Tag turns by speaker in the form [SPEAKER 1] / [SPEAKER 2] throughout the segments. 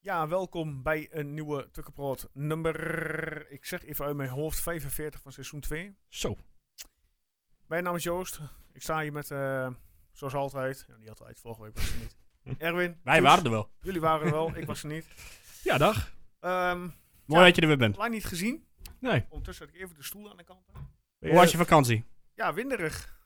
[SPEAKER 1] Ja, welkom bij een nieuwe Tukkenproot nummer, ik zeg even uit mijn hoofd, 45 van seizoen 2.
[SPEAKER 2] Zo.
[SPEAKER 1] Mijn naam is Joost, ik sta hier met, eh, zoals altijd, ja, niet altijd, vorige week was het niet. Erwin,
[SPEAKER 2] Wij
[SPEAKER 1] Toets,
[SPEAKER 3] Dus-
[SPEAKER 2] waren er wel.
[SPEAKER 1] jullie waren er wel, ik was er niet.
[SPEAKER 2] Ja, dag.
[SPEAKER 1] Ehm
[SPEAKER 2] Mooi
[SPEAKER 1] Ja.
[SPEAKER 2] dat je er weer bent.
[SPEAKER 1] lang niet gezien,
[SPEAKER 2] Nee.
[SPEAKER 1] ondertussen had ik even de stoel aan de kant.
[SPEAKER 2] Hoe was je vakantie?
[SPEAKER 1] Ja, winderig.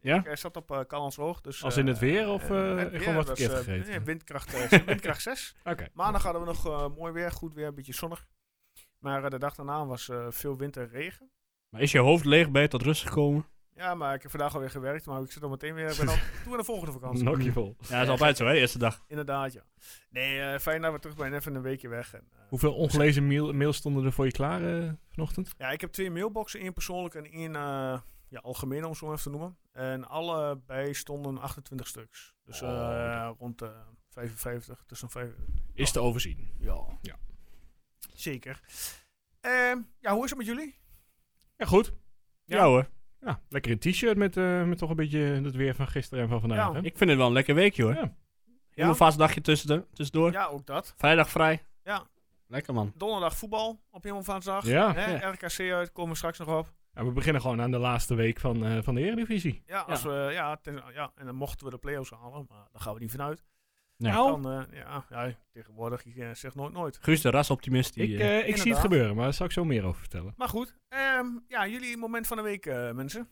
[SPEAKER 2] Ja?
[SPEAKER 1] Ik eh, zat op eh Kalenshoog, dus...
[SPEAKER 2] Als
[SPEAKER 1] eh,
[SPEAKER 2] in het weer of
[SPEAKER 1] eh,
[SPEAKER 2] eh,
[SPEAKER 1] het weer
[SPEAKER 2] gewoon wat
[SPEAKER 1] was,
[SPEAKER 2] verkeerd
[SPEAKER 1] eh,
[SPEAKER 2] gegeten?
[SPEAKER 1] nee, windkracht, eh, windkracht 6.
[SPEAKER 2] Oké.
[SPEAKER 1] Maandag hadden we nog eh, mooi weer, goed weer, een beetje zonnig. Maar eh, de dag daarna was eh, veel wind en regen.
[SPEAKER 2] Maar is je hoofd leeg? Ben je tot rust gekomen?
[SPEAKER 1] Ja, maar ik heb vandaag alweer gewerkt, maar ik zit al meteen weer. Ik ben al toe aan de volgende vakantie.
[SPEAKER 2] vol. Ja, dat is altijd zo, hè? De eerste dag.
[SPEAKER 1] Inderdaad, ja. Nee, eh, fijn dat we terug zijn. Even een weekje weg. En, eh,
[SPEAKER 3] Hoeveel ongelezen mail, mails stonden er voor je klaar eh, vanochtend?
[SPEAKER 1] ja, ik heb twee mailboxen, één persoonlijk en één eh ja, algemeen, om het zo maar even te noemen. En allebei stonden 28 stuks. Dus eh,
[SPEAKER 2] Oh.
[SPEAKER 1] rond de 55, tussen 5.
[SPEAKER 2] Is te overzien.
[SPEAKER 1] Ja.
[SPEAKER 2] Ja.
[SPEAKER 1] Zeker. Ehm, ja, hoe is het met jullie?
[SPEAKER 2] Ja, goed.
[SPEAKER 1] Ja.
[SPEAKER 2] Ja, hoor.
[SPEAKER 3] Ja, lekker een t-shirt met, eh, met toch een beetje het weer van gisteren en van vandaag.
[SPEAKER 1] Ja,
[SPEAKER 3] hè?
[SPEAKER 2] Ik vind het wel een lekker weekje, hoor.
[SPEAKER 3] Ja.
[SPEAKER 2] Ja. Heel een vast dagje tussen- tussendoor.
[SPEAKER 1] Ja, ook dat.
[SPEAKER 2] Vrijdag vrij.
[SPEAKER 1] Ja.
[SPEAKER 2] Lekker, man.
[SPEAKER 1] Donderdag voetbal op Hemelvaartsdag.
[SPEAKER 3] Ja,
[SPEAKER 1] Hè,
[SPEAKER 2] ja.
[SPEAKER 1] RKC uit, komen we straks nog op.
[SPEAKER 3] Ja, we beginnen gewoon aan de laatste week van, eh, van de Eredivisie.
[SPEAKER 1] Ja, als We, ja, ten- ja, en dan mochten we de play-offs halen, maar daar gaan we niet vanuit.
[SPEAKER 2] Ja.
[SPEAKER 3] Nou,
[SPEAKER 1] Dan, eh, ja, ja, tegenwoordig je eh, zegt nooit nooit.
[SPEAKER 2] Guus de rasoptimist. Die,
[SPEAKER 3] ik
[SPEAKER 2] eh,
[SPEAKER 3] eh, ik zie het
[SPEAKER 1] inderdaad.
[SPEAKER 3] gebeuren, maar daar zal ik zo meer over vertellen.
[SPEAKER 1] Maar goed, ehm, ja, jullie moment van de week, eh, mensen.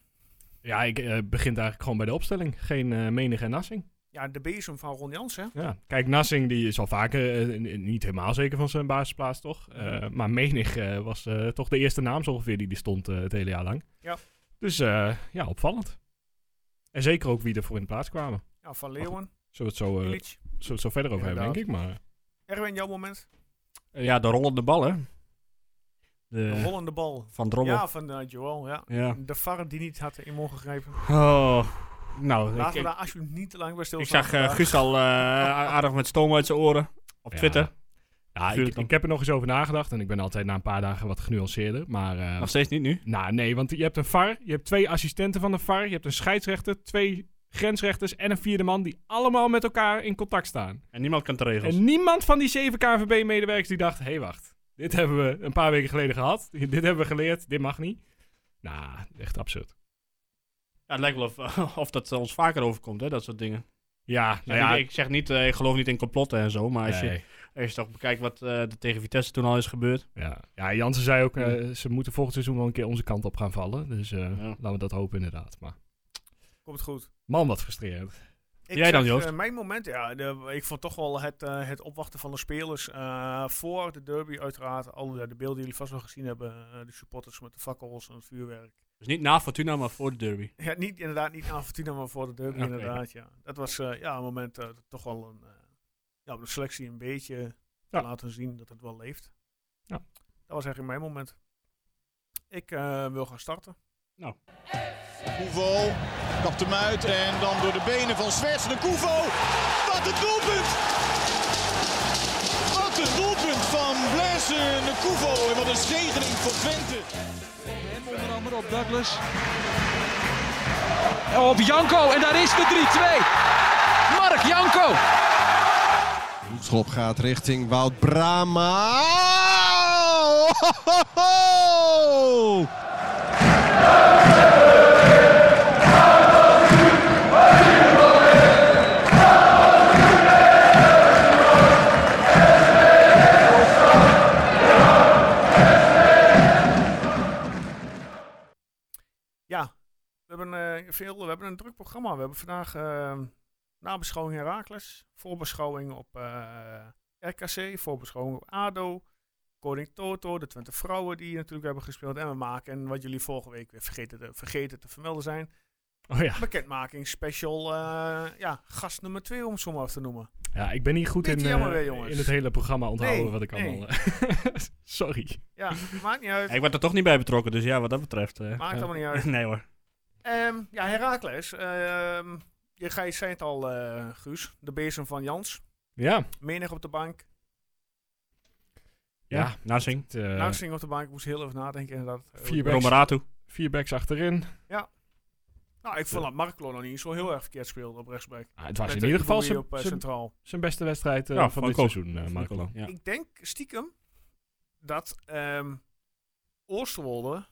[SPEAKER 3] Ja, ik eh, begint eigenlijk gewoon bij de opstelling. Geen eh menig en Nassing.
[SPEAKER 1] Ja, de bezem van Ron Jansen. hè.
[SPEAKER 3] Ja. Kijk, Nassing die is al vaker eh, n- n- niet helemaal zeker van zijn basisplaats, toch? Eh, maar menig eh, was eh, toch de eerste naam zo ongeveer die die stond eh, het hele jaar lang.
[SPEAKER 1] Ja.
[SPEAKER 3] Dus eh, ja, opvallend. En zeker ook wie ervoor in de plaats kwamen.
[SPEAKER 1] Ja, van Leeuwen,
[SPEAKER 3] Zullen we het zo, eh,
[SPEAKER 1] Ilic.
[SPEAKER 3] zullen we het zo verder over hebben, denk ik. Maar
[SPEAKER 1] Erwin, jouw moment.
[SPEAKER 2] ja, de rollende bal, hè?
[SPEAKER 1] De
[SPEAKER 2] De,
[SPEAKER 1] rollende bal.
[SPEAKER 2] van Drommel.
[SPEAKER 1] Ja, van eh, Joel, ja.
[SPEAKER 2] Eh, ja.
[SPEAKER 1] De VAR die niet had in mogen grijpen.
[SPEAKER 2] Oh. Nou, ik,
[SPEAKER 1] Laten we
[SPEAKER 2] ik,
[SPEAKER 1] daar alsjeblieft niet te lang bij
[SPEAKER 2] ik
[SPEAKER 1] stilstaan.
[SPEAKER 2] zag eh, Guus al eh, a- aardig met stoom uit zijn oren. Op
[SPEAKER 3] Ja.
[SPEAKER 2] Twitter.
[SPEAKER 3] Ja,
[SPEAKER 2] Stuur
[SPEAKER 3] ik,
[SPEAKER 2] het dan.
[SPEAKER 3] ik heb er nog eens over nagedacht en ik ben altijd na een paar dagen wat genuanceerder. Maar eh,
[SPEAKER 2] Nog steeds niet nu.
[SPEAKER 3] nou, nee, want je hebt een VAR, je hebt twee assistenten van de VAR, je hebt een scheidsrechter, twee grensrechters en een vierde man die allemaal met elkaar in contact staan.
[SPEAKER 2] En niemand kan de regels.
[SPEAKER 3] En niemand van die zeven KNVB-medewerkers die dacht, hé hey, wacht, dit hebben we een paar weken geleden gehad, dit hebben we geleerd, dit mag niet. Nou, echt absurd.
[SPEAKER 2] Ja, het lijkt wel of, of dat ons vaker overkomt, hè, dat soort dingen.
[SPEAKER 3] Ja, nou
[SPEAKER 2] Ik-
[SPEAKER 3] ja,
[SPEAKER 2] ik, zeg niet, eh, ik geloof niet in complotten en zo, maar als, je,
[SPEAKER 3] nee.
[SPEAKER 2] als je toch bekijkt wat eh, er tegen Vitesse toen al is gebeurd.
[SPEAKER 3] ja. ja, Jansen zei ook, eh, ze moeten volgend seizoen wel een keer onze kant op gaan vallen. Dus eh, laten we dat hopen inderdaad. Maar
[SPEAKER 1] Komt goed.
[SPEAKER 3] man, wat frustrerend.
[SPEAKER 1] Ik
[SPEAKER 2] Jij dan,
[SPEAKER 1] zeg,
[SPEAKER 2] Joost?
[SPEAKER 1] eh, mijn moment, ja, de- ik vond toch wel het, eh, het opwachten van de spelers eh, voor de derby uiteraard. Al de, de beelden die jullie vast wel gezien hebben, eh, de supporters met de fakkels en het vuurwerk.
[SPEAKER 2] Dus niet na Fortuna, maar voor de derby.
[SPEAKER 1] Ja, niet, inderdaad, niet aan Fortuna, maar voor de derby
[SPEAKER 2] Oké.
[SPEAKER 1] inderdaad, ja. Dat was eh, ja, een moment eh, dat toch wel een, eh, ja, op de selectie een beetje te
[SPEAKER 3] Ja.
[SPEAKER 1] laten zien dat het wel leeft.
[SPEAKER 3] Ja.
[SPEAKER 1] Dat was eigenlijk mijn moment. Ik eh, wil gaan starten.
[SPEAKER 4] Koevo kapt hem uit en dan door de benen van Zwerts de Koevo. Wat een doelpunt! Wat een doelpunt van Blaise de Koevo en wat een zegening voor Twente.
[SPEAKER 5] Hem onder andere op Douglas. Op Janko en daar is de 3-2. Mark Janko.
[SPEAKER 6] Schop gaat richting Wout Brama.
[SPEAKER 1] Ja, we hebben, eh, veel, we hebben een druk programma. We hebben vandaag eh, nabeschouwing Herakles, voorbeschouwing op eh, RKC, voorbeschouwing op ADO, Koning Toto, de Twente Vrouwen die hier natuurlijk hebben gespeeld. En we maken, en wat jullie vorige week weer vergeten te, vergeten te vermelden zijn,
[SPEAKER 3] Oh ja.
[SPEAKER 1] bekendmaking special, eh, ja, gast nummer 2 om het zo maar even te noemen.
[SPEAKER 3] Ja, ik ben niet goed in,
[SPEAKER 1] Beetje jammer
[SPEAKER 3] eh,
[SPEAKER 1] weer, jongens.
[SPEAKER 3] in het hele programma onthouden
[SPEAKER 1] Nee,
[SPEAKER 3] wat ik
[SPEAKER 1] nee.
[SPEAKER 3] allemaal... eh, Sorry.
[SPEAKER 1] Ja, maakt niet uit.
[SPEAKER 2] Ja, ik werd er toch niet bij betrokken, dus ja, wat dat betreft. eh,
[SPEAKER 1] Maakt
[SPEAKER 2] eh,
[SPEAKER 1] allemaal niet uit.
[SPEAKER 2] nee hoor.
[SPEAKER 1] Ehm, ja, Herakles, ehm, je, ga- je zei het al, eh, Guus, de bezem van Jans.
[SPEAKER 3] Ja.
[SPEAKER 1] Menig op de bank,
[SPEAKER 3] Ja.
[SPEAKER 2] Ja, Nassing.
[SPEAKER 3] het, eh,
[SPEAKER 1] Nou, Narsing op de bank, ik moest heel even nadenken inderdaad.
[SPEAKER 3] Vier
[SPEAKER 1] Eh,
[SPEAKER 3] backs.
[SPEAKER 2] Romeratu.
[SPEAKER 3] vier backs achterin.
[SPEAKER 1] Ja. Nou, ik vond dat Marco nog niet zo heel erg verkeerd speelde op rechtsback.
[SPEAKER 3] Ah, het was
[SPEAKER 1] Met
[SPEAKER 3] in
[SPEAKER 1] de
[SPEAKER 3] ieder geval
[SPEAKER 1] Iwobi
[SPEAKER 3] zijn-
[SPEAKER 1] op eh,
[SPEAKER 3] zijn
[SPEAKER 1] centraal.
[SPEAKER 3] zijn beste wedstrijd eh,
[SPEAKER 2] Ja,
[SPEAKER 3] van
[SPEAKER 2] vond
[SPEAKER 3] dit
[SPEAKER 2] ik ook.
[SPEAKER 3] seizoen, eh Marco Lang.
[SPEAKER 2] Ja.
[SPEAKER 1] Ik denk stiekem dat ehm Oosterwolde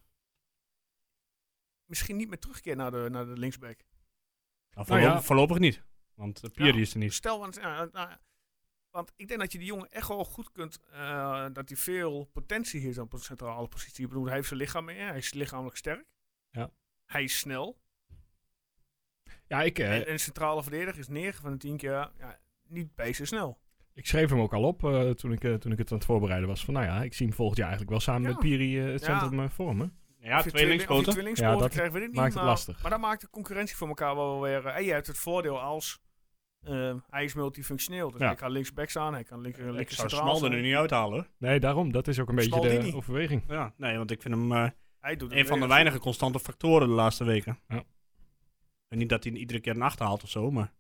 [SPEAKER 1] misschien niet meer terugkeert naar de, naar de linksback.
[SPEAKER 2] Nou,
[SPEAKER 3] Nou
[SPEAKER 2] voorlopig,
[SPEAKER 3] ja.
[SPEAKER 2] voorlopig niet. Want eh, Pieri is er niet.
[SPEAKER 1] Stel, want, ja, nou, want ik denk dat je die jongen echt wel goed kunt, eh, dat hij veel potentie heeft op een centrale positie. Ik bedoel, hij heeft zijn lichaam meer, hij is lichamelijk sterk.
[SPEAKER 3] Ja.
[SPEAKER 1] Hij is snel.
[SPEAKER 3] Ja, ik, eh,
[SPEAKER 1] en, en centrale verdediger is 9 van de 10 keer ja, niet bezig snel.
[SPEAKER 3] ik schreef hem ook al op eh, toen, ik, eh, toen ik het aan het voorbereiden was. Van nou ja, ik zie hem volgend jaar eigenlijk wel samen
[SPEAKER 1] Ja.
[SPEAKER 3] met Piri eh, het
[SPEAKER 1] Ja.
[SPEAKER 3] centrum eh, vormen.
[SPEAKER 2] Ja,
[SPEAKER 1] Of je
[SPEAKER 2] twee
[SPEAKER 1] li- of je
[SPEAKER 2] linkspoten.
[SPEAKER 1] twee linkspoten
[SPEAKER 3] Ja, dat
[SPEAKER 1] krijgt, weet ik niet.
[SPEAKER 3] maakt het
[SPEAKER 1] maar,
[SPEAKER 3] lastig.
[SPEAKER 1] Maar dat maakt de concurrentie voor elkaar wel weer... eh, en je hebt het voordeel als eh, hij is multifunctioneel. Dus
[SPEAKER 3] Ja.
[SPEAKER 1] hij kan linksback staan, hij kan linker,
[SPEAKER 2] Ik
[SPEAKER 1] linker
[SPEAKER 2] zou
[SPEAKER 1] centraal
[SPEAKER 2] Smal er
[SPEAKER 1] staan.
[SPEAKER 2] nu niet uithalen. hoor.
[SPEAKER 3] Nee, daarom. Dat is ook een beetje de
[SPEAKER 1] Spaldini.
[SPEAKER 3] overweging.
[SPEAKER 2] Ja, nee, want ik vind hem eh,
[SPEAKER 1] Hij doet het
[SPEAKER 2] een van de
[SPEAKER 1] weer.
[SPEAKER 2] weinige constante factoren de laatste weken.
[SPEAKER 3] Ja.
[SPEAKER 2] En niet dat hij iedere keer een acht haalt of zo, maar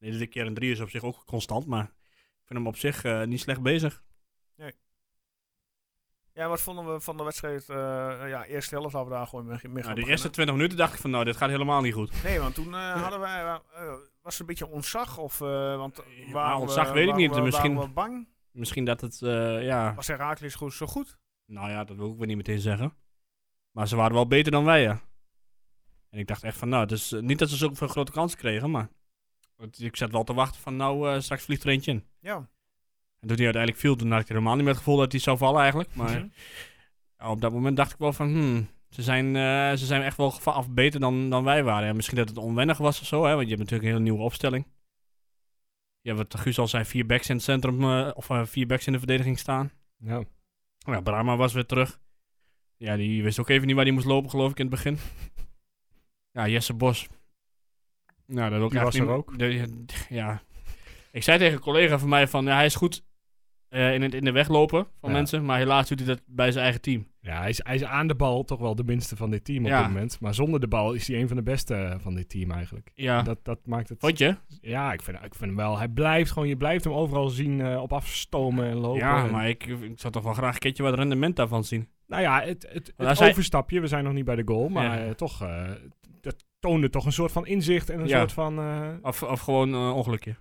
[SPEAKER 2] iedere keer een drie is op zich ook constant. Maar ik vind hem op zich eh, niet slecht bezig.
[SPEAKER 1] Ja, wat vonden we van de wedstrijd? eh, ja, eerste helft laten we daar gewoon mee, mee gaan
[SPEAKER 2] Nou, de
[SPEAKER 1] beginnen.
[SPEAKER 2] eerste 20 minuten dacht ik van, nou, dit gaat helemaal niet goed.
[SPEAKER 1] Nee, want toen eh, hadden wij... eh, eh, was het een beetje ontzag? Of, eh want
[SPEAKER 2] Ja,
[SPEAKER 1] waren we-
[SPEAKER 2] ontzag weet ik
[SPEAKER 1] waren
[SPEAKER 2] niet,
[SPEAKER 1] we- waren
[SPEAKER 2] misschien-
[SPEAKER 1] we bang?
[SPEAKER 2] Misschien dat het, eh, ja,
[SPEAKER 1] Was Herakles goed zo goed?
[SPEAKER 2] nou ja, dat wil ik weer niet meteen zeggen. Maar ze waren wel beter dan wij, ja. En ik dacht echt van, nou, het is eh, niet dat ze zoveel grote kansen kregen, maar het- ik zat wel te wachten van, nou, eh, straks vliegt er eentje in.
[SPEAKER 1] Ja.
[SPEAKER 2] En toen hij uiteindelijk viel, toen had ik er helemaal niet meer het gevoel dat hij zou vallen eigenlijk. Maar ja, op dat moment dacht ik wel van, hmm, ze zijn, eh, ze zijn echt wel geva- of beter dan, dan wij waren. En misschien dat het onwennig was of zo, hè, want je hebt natuurlijk een hele nieuwe opstelling. Ja, wat Guus al zei, vier backs in het centrum, eh, of eh, vier backs in de verdediging staan.
[SPEAKER 3] Ja.
[SPEAKER 2] Oh ja, Brahma was weer terug. Ja, die wist ook even niet waar hij moest lopen, geloof ik, in het begin. Ja, Jesse Bos. Nou, dat wil ik
[SPEAKER 3] Die was
[SPEAKER 2] eigenlijk
[SPEAKER 3] er
[SPEAKER 2] niet meer- de- ja. Ik zei tegen een collega van mij van, ja, hij is goed eh, in, het, in de weg lopen van
[SPEAKER 3] Ja.
[SPEAKER 2] mensen, maar helaas doet hij dat bij zijn eigen team.
[SPEAKER 3] Ja, hij is, hij is aan de bal toch wel de minste van dit team op
[SPEAKER 2] Ja.
[SPEAKER 3] dit moment. Maar zonder de bal is hij een van de beste eh, van dit team eigenlijk.
[SPEAKER 2] Ja,
[SPEAKER 3] Dat, dat maakt het...
[SPEAKER 2] vond je?
[SPEAKER 3] Ja, ik vind, ik vind hem wel... Hij blijft gewoon... Je blijft hem overal zien eh, op afstomen en lopen.
[SPEAKER 2] ja,
[SPEAKER 3] En-
[SPEAKER 2] maar ik, ik zou toch wel graag een keertje wat rendement daarvan zien.
[SPEAKER 3] Nou ja, het, het,
[SPEAKER 2] daar
[SPEAKER 3] het
[SPEAKER 2] zijn-
[SPEAKER 3] overstapje, we zijn nog niet bij de goal, maar
[SPEAKER 2] Ja.
[SPEAKER 3] eh, toch, eh, dat toonde toch een soort van inzicht en een
[SPEAKER 2] Ja.
[SPEAKER 3] soort van... eh,
[SPEAKER 2] Of, of gewoon een ongelukje.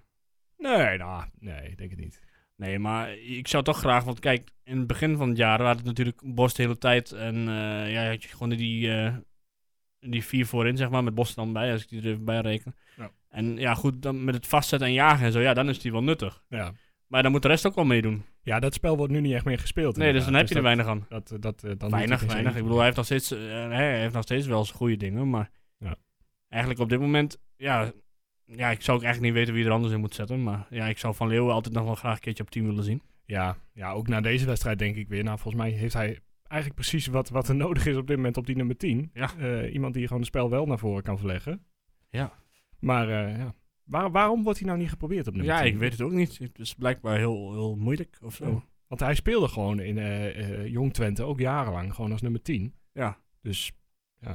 [SPEAKER 3] nee, nou, nee, ik denk het niet.
[SPEAKER 2] Nee, maar ik zou toch graag, want kijk, in het begin van het jaar had het natuurlijk Bos de hele tijd. En eh, ja, had je gewoon die, eh, die vier voorin, zeg maar, met Bos er dan bij, als ik die er even bij reken.
[SPEAKER 3] Ja.
[SPEAKER 2] En ja, goed, dan met het vastzetten en jagen en zo, ja, dan is die wel nuttig.
[SPEAKER 3] Ja.
[SPEAKER 2] Maar dan moet de rest ook wel meedoen.
[SPEAKER 3] ja, dat spel wordt nu niet echt meer gespeeld.
[SPEAKER 2] Nee, dus dan heb
[SPEAKER 3] inderdaad.
[SPEAKER 2] je er weinig aan.
[SPEAKER 3] dat, dat, dat, eh, dan doet
[SPEAKER 2] Weinig,
[SPEAKER 3] het geen
[SPEAKER 2] weinig.
[SPEAKER 3] zin.
[SPEAKER 2] Ik bedoel, hij heeft nog steeds, eh, hij heeft nog steeds wel zijn goede dingen, maar
[SPEAKER 3] Ja.
[SPEAKER 2] eigenlijk op dit moment, ja, ja, ik zou ook eigenlijk niet weten wie er anders in moet zetten. Maar ja, ik zou Van Leeuwen altijd nog wel graag een keertje op team willen zien.
[SPEAKER 3] Ja, ja, ook na deze wedstrijd denk ik weer. Nou, volgens mij heeft hij eigenlijk precies wat, wat er nodig is op dit moment op die nummer 10.
[SPEAKER 2] Ja.
[SPEAKER 3] Eh, iemand die gewoon het spel wel naar voren kan verleggen.
[SPEAKER 2] Ja.
[SPEAKER 3] Maar eh, ja. Waar, waarom wordt hij nou niet geprobeerd op nummer
[SPEAKER 2] Ja,
[SPEAKER 3] 10?
[SPEAKER 2] ik weet het ook niet. Het is blijkbaar heel, heel moeilijk of zo.
[SPEAKER 3] Ja. Want hij speelde gewoon in eh, eh, Jong Twente ook jarenlang gewoon als nummer 10.
[SPEAKER 2] Ja.
[SPEAKER 3] Dus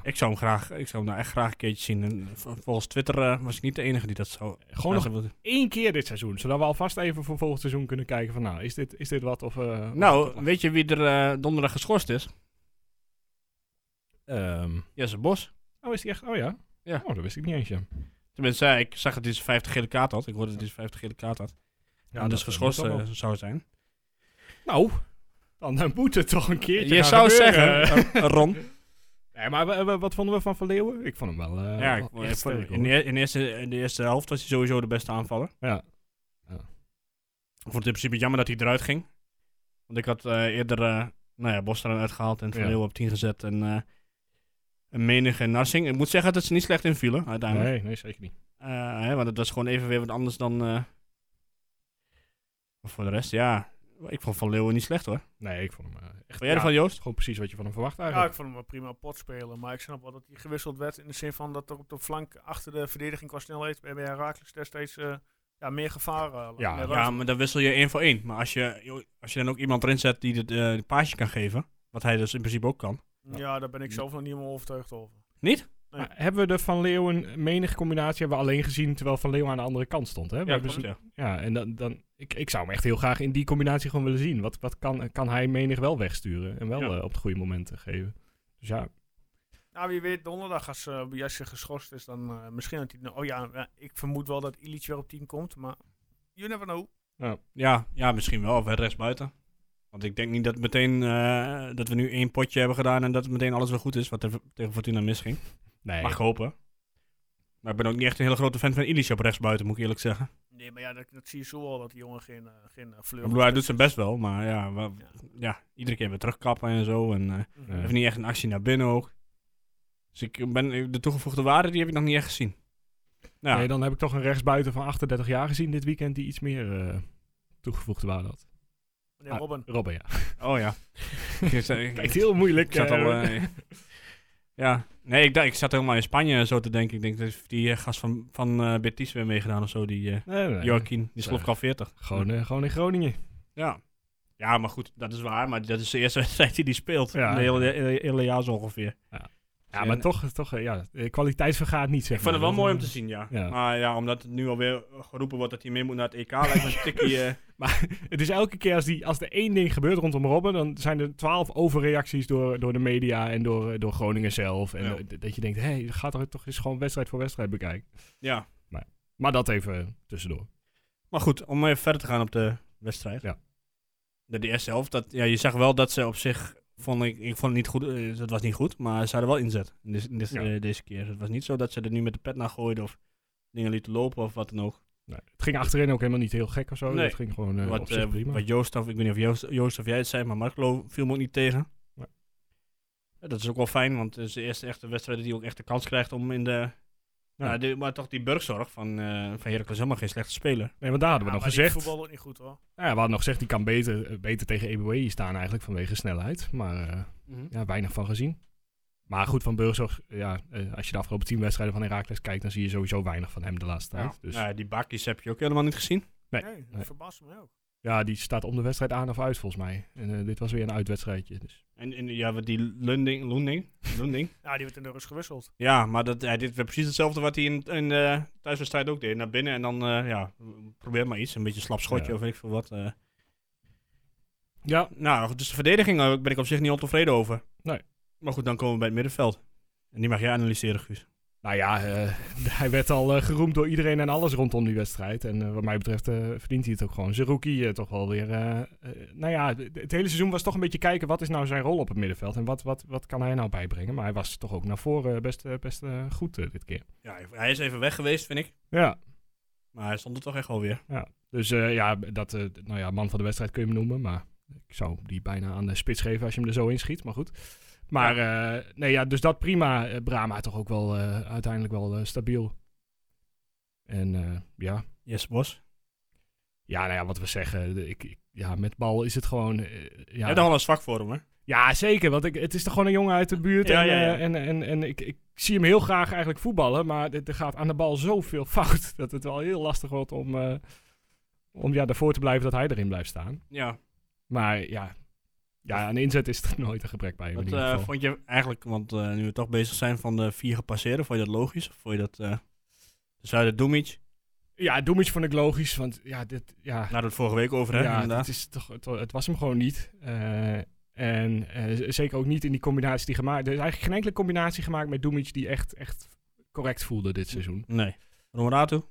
[SPEAKER 2] Ik zou hem graag, ik zou hem nou echt graag een keertje zien. En v- volgens Twitter eh, was ik niet de enige die dat zou.
[SPEAKER 3] Gewoon nog
[SPEAKER 2] graag wilde.
[SPEAKER 3] één keer dit seizoen. Zodat we alvast even voor volgend seizoen kunnen kijken van nou, is dit, is dit wat? Of, eh, of is
[SPEAKER 2] Nou,
[SPEAKER 3] dit wat?
[SPEAKER 2] weet je wie er eh, donderdag geschorst is?
[SPEAKER 3] Ehm,
[SPEAKER 2] Jesse Bos.
[SPEAKER 3] oh, is die echt? Oh ja?
[SPEAKER 2] Ja.
[SPEAKER 3] Oh, dat wist ik niet eens, ja.
[SPEAKER 2] Tenminste, eh, ik zag dat hij zijn 50 gele kaart had. Ik hoorde dat hij zijn 50 gele kaart had. Ja,
[SPEAKER 3] dat,
[SPEAKER 2] dus
[SPEAKER 3] eh,
[SPEAKER 2] geschorst
[SPEAKER 3] moet dan
[SPEAKER 2] eh, zou zijn.
[SPEAKER 3] wel. nou, dan, dan moet het toch een keertje
[SPEAKER 2] Je
[SPEAKER 3] gaan
[SPEAKER 2] zou
[SPEAKER 3] gebeuren.
[SPEAKER 2] zeggen, eh, Ron.
[SPEAKER 3] Nee, maar we- we- wat vonden we van Van Leeuwen? Ik vond hem wel eh,
[SPEAKER 2] ja,
[SPEAKER 3] wel
[SPEAKER 2] ik,
[SPEAKER 3] echt
[SPEAKER 2] ik vond-
[SPEAKER 3] sterk,
[SPEAKER 2] in, de,
[SPEAKER 3] hoor.
[SPEAKER 2] eer- in de eerste, in de eerste helft was hij sowieso de beste aanvaller.
[SPEAKER 3] Ja.
[SPEAKER 2] Ik vond het in principe jammer dat hij eruit ging. Want ik had eh, eerder eh nou ja, Bos eruit gehaald en Van
[SPEAKER 3] Ja.
[SPEAKER 2] Leeuwen op 10 gezet. En eh een menige en Narsing. Ik moet zeggen dat ze niet slecht invielen uiteindelijk.
[SPEAKER 3] Nee, nee, zeker niet.
[SPEAKER 2] Eh, hè, want het was gewoon even weer wat anders dan... eh, maar voor de rest, ja. Ik vond Van Leeuwen niet slecht hoor. Vond
[SPEAKER 3] Nee, ik vond hem eh, echt
[SPEAKER 2] jij ervan,
[SPEAKER 3] ja,
[SPEAKER 2] Joost?
[SPEAKER 3] gewoon precies wat je van hem verwacht
[SPEAKER 1] Ja, ik
[SPEAKER 3] eigenlijk.
[SPEAKER 1] vond hem wel prima pot spelen. Maar ik snap wel dat hij gewisseld werd. In de zin van dat er op de flank achter de verdediging qua snelheid bij bij Herakles destijds eh, ja, meer gevaar eh,
[SPEAKER 3] Ja,
[SPEAKER 1] meer
[SPEAKER 2] Ja, maar dan wissel je één voor één. Maar als je, als je dan ook iemand erin zet die het eh, de paasje kan geven... Wat hij dus in principe ook kan.
[SPEAKER 1] Ja, daar ben ik zelf nog niet helemaal overtuigd over. Ja.
[SPEAKER 3] Maar hebben we de Van Leeuwen menig combinatie hebben we alleen gezien terwijl Van Leeuwen aan de andere kant stond. Hè? We hebben ze-
[SPEAKER 2] klopt,
[SPEAKER 3] Ja, en dan, dan ik, ik zou hem echt heel graag in die combinatie gewoon willen zien. Wat, wat kan, kan hij menig wel wegsturen en wel
[SPEAKER 2] Ja.
[SPEAKER 3] eh, op het goede momenten geven? Dus ja,
[SPEAKER 1] Nou, wie weet, donderdag als eh Jasje geschorst is, dan eh, misschien dat hij... nou, Oh ja, ja, ik vermoed wel dat Illich weer op 10 komt, maar you never know.
[SPEAKER 2] Ja, ja, misschien wel. Of rechts buiten. Want ik denk niet dat, meteen, eh, dat we nu één potje hebben gedaan en dat meteen alles weer goed is wat er tegen Fortuna misging.
[SPEAKER 3] Nee.
[SPEAKER 2] Mag ik hopen. Maar ik ben ook niet echt een hele grote fan van Illich op rechtsbuiten, moet ik eerlijk zeggen.
[SPEAKER 1] Nee, maar ja, dat, dat zie je zo al, dat die jongen geen, eh, geen eh,
[SPEAKER 2] Ik
[SPEAKER 1] fleur...
[SPEAKER 2] bedoel,
[SPEAKER 3] dus-
[SPEAKER 2] hij doet zijn best wel, maar ja, wel- ja, iedere keer weer terugkappen en zo. En eh
[SPEAKER 1] Mhm.
[SPEAKER 3] Ja.
[SPEAKER 2] heeft niet echt een actie naar binnen ook. Dus ik ben, de toegevoegde waarde die heb ik nog niet echt gezien. Nou,
[SPEAKER 3] Nee, dan heb ik toch een rechtsbuiten van 38 jaar gezien dit weekend die iets meer eh, toegevoegde waarde had.
[SPEAKER 1] Meneer Robben.
[SPEAKER 3] Robben, Ah. ja.
[SPEAKER 2] oh ja. Ik zei- ik-
[SPEAKER 3] Kijkt heel moeilijk.
[SPEAKER 2] Ik zat
[SPEAKER 3] eh,
[SPEAKER 2] al. eh, ja, nee, ik, dacht- ik zat helemaal in Spanje en zo te denken. Ik denk dat heeft die eh, gast van, van eh, Betis weer meegedaan of zo, die eh
[SPEAKER 3] nee, nee.
[SPEAKER 2] Joaquin. Die sloeg
[SPEAKER 3] Ja.
[SPEAKER 2] al 40.
[SPEAKER 3] Gewoon, eh, gewoon in Groningen.
[SPEAKER 2] Ja. Ja, maar goed, dat is waar. Maar dat is de eerste wedstrijd die die speelt.
[SPEAKER 3] Ja.
[SPEAKER 2] Ja. Hele, hele, hele jaar zo ongeveer.
[SPEAKER 3] Ja, maar toch, toch eh, ja, eh, kwaliteit vergaat niet, zeg
[SPEAKER 2] Ik vond het
[SPEAKER 3] maar.
[SPEAKER 2] wel mooi om te zien, ja.
[SPEAKER 3] Ja.
[SPEAKER 2] Maar ja, omdat het nu alweer geroepen wordt dat hij mee moet naar het EK, lijkt me een tikkie... eh,
[SPEAKER 3] Het is elke keer als, die, als er één ding gebeurt rondom Robben, dan zijn er twaalf overreacties door, door de media en door, eh, door Groningen zelf. En
[SPEAKER 2] Ja.
[SPEAKER 3] eh, d- dat je denkt, hé, hey, ga toch, toch eens gewoon wedstrijd voor wedstrijd bekijken.
[SPEAKER 2] ja.
[SPEAKER 3] Maar dat even tussendoor.
[SPEAKER 2] Maar goed, om even verder te gaan op de wedstrijd.
[SPEAKER 3] Ja.
[SPEAKER 2] De, de eerste helft, dat, ja, je zag wel dat ze op zich, vond ik, ik vond het niet goed, eh, dat was niet goed, maar ze hadden wel inzet in dit- in dit-
[SPEAKER 3] Ja.
[SPEAKER 2] eh, deze keer. Het was niet zo dat ze er nu met de pet naar gooiden of dingen lieten lopen of wat dan ook.
[SPEAKER 3] Nee, Nou, het ging achterin ook helemaal niet heel gek of zo.
[SPEAKER 2] Nee.
[SPEAKER 3] Het ging gewoon eh, op
[SPEAKER 2] wat,
[SPEAKER 3] zich
[SPEAKER 2] eh,
[SPEAKER 3] prima.
[SPEAKER 2] wat Joost, of, ik weet niet of Joost, Joost of jij het zei, maar Marco viel me ook niet tegen.
[SPEAKER 3] Nee.
[SPEAKER 2] Ja, dat is ook wel fijn, want het is de eerste echte wedstrijd die ook echt de kans krijgt om in de...
[SPEAKER 3] Ja.
[SPEAKER 2] Ja, de- maar toch die burgzorg van, eh van Heracles helemaal geen slechte speler.
[SPEAKER 3] Nee, want daar hadden
[SPEAKER 1] Ja,
[SPEAKER 3] we nog
[SPEAKER 1] maar die
[SPEAKER 3] gezegd.
[SPEAKER 1] voetbalde ook niet goed, hoor.
[SPEAKER 3] Nou Ja, we hadden nog gezegd, die kan beter, eh, beter tegen EBWE staan eigenlijk vanwege snelheid. Maar eh,
[SPEAKER 2] Mhm.
[SPEAKER 3] ja, weinig van gezien. Maar goed, van Burgzorg, ja, eh, als je de afgelopen tien wedstrijden van Herakles kijkt, dan zie je sowieso weinig van hem de laatste tijd.
[SPEAKER 2] Ja.
[SPEAKER 3] Ja, dus,
[SPEAKER 2] Nou ja, die bakjes heb je ook helemaal niet gezien.
[SPEAKER 3] Nee,
[SPEAKER 1] Nee, dat
[SPEAKER 3] nee.
[SPEAKER 1] verbaast me ook.
[SPEAKER 3] ja, die staat om de wedstrijd aan of uit volgens mij. En eh, dit was weer een uitwedstrijdje. Dus.
[SPEAKER 2] En, en ja, wat die Lunding, Lunding, Lunding.
[SPEAKER 1] Ja, die werd in de rust gewisseld.
[SPEAKER 2] ja, maar dat, hij dit werd precies hetzelfde wat hij in, in de thuiswedstrijd ook deed. Naar binnen en dan, eh, ja, probeer maar iets. Een beetje een slap schotje
[SPEAKER 3] Ja.
[SPEAKER 2] of weet ik veel wat. eh.
[SPEAKER 3] Ja,
[SPEAKER 2] Nou, goed, dus de verdediging eh, ben ik op zich niet ontevreden over.
[SPEAKER 3] Nee.
[SPEAKER 2] Maar goed, dan komen we bij het middenveld. En die mag jij analyseren, Guus.
[SPEAKER 3] nou ja, eh, hij werd al eh, geroemd door iedereen en alles rondom die wedstrijd. En eh, wat mij betreft eh, verdient hij het ook gewoon. Zijn rookie eh, toch wel weer. eh, eh, nou ja, d- het hele seizoen was toch een beetje kijken wat is nou zijn rol op het middenveld en wat, wat, wat kan hij nou bijbrengen. Maar hij was toch ook naar voren eh, best, eh, best eh, goed eh, dit keer.
[SPEAKER 2] Ja, hij is even weg geweest, vind ik.
[SPEAKER 3] Ja,
[SPEAKER 2] Maar hij stond er toch echt wel weer.
[SPEAKER 3] Dus eh, ja, dat, eh, nou ja, man van de wedstrijd kun je hem noemen. Maar ik zou die bijna aan de spits geven als je hem er zo inschiet. Maar goed. Maar eh, nee, ja, dus dat prima. Eh, Brahma toch ook wel eh, uiteindelijk wel eh, stabiel. En eh, ja.
[SPEAKER 2] Yes, Bos.
[SPEAKER 3] ja, nou ja, wat we zeggen. de- Ik, ik- ja, met bal is het gewoon... eh,
[SPEAKER 2] Je
[SPEAKER 3] ja.
[SPEAKER 2] hebt al een zwak voor hem, hè?
[SPEAKER 3] Ja, zeker. Want ik, het is toch gewoon een jongen uit de buurt.
[SPEAKER 2] Ja,
[SPEAKER 3] en
[SPEAKER 2] ja, ja.
[SPEAKER 3] eh, en, en, en ik, ik zie hem heel graag eigenlijk voetballen. Maar er er gaat aan de bal zoveel fout. Dat het wel heel lastig wordt om, eh, om ja, ervoor te blijven dat hij erin blijft staan.
[SPEAKER 2] Ja.
[SPEAKER 3] Maar ja, ja aan inzet is er nooit een gebrek bij hem.
[SPEAKER 2] Wat
[SPEAKER 3] in ieder
[SPEAKER 2] eh,
[SPEAKER 3] geval.
[SPEAKER 2] vond je eigenlijk, want eh, nu we toch bezig zijn van de vier gepasseerden, vond je dat logisch? Of vond je dat... eh dus uit Doemic,
[SPEAKER 3] Ja, Doemic vond ik logisch. Want ja, dit, ja,
[SPEAKER 2] Daar hadden we het vorige week over, hè?
[SPEAKER 3] ja
[SPEAKER 2] inderdaad.
[SPEAKER 3] het, is toch, het, wa- het was hem gewoon niet. Eh, en eh, z- zeker ook niet in die combinatie die gemaakt... Er is eigenlijk geen enkele combinatie gemaakt met Doemic die echt, echt correct voelde dit seizoen.
[SPEAKER 2] Nee. Romerato?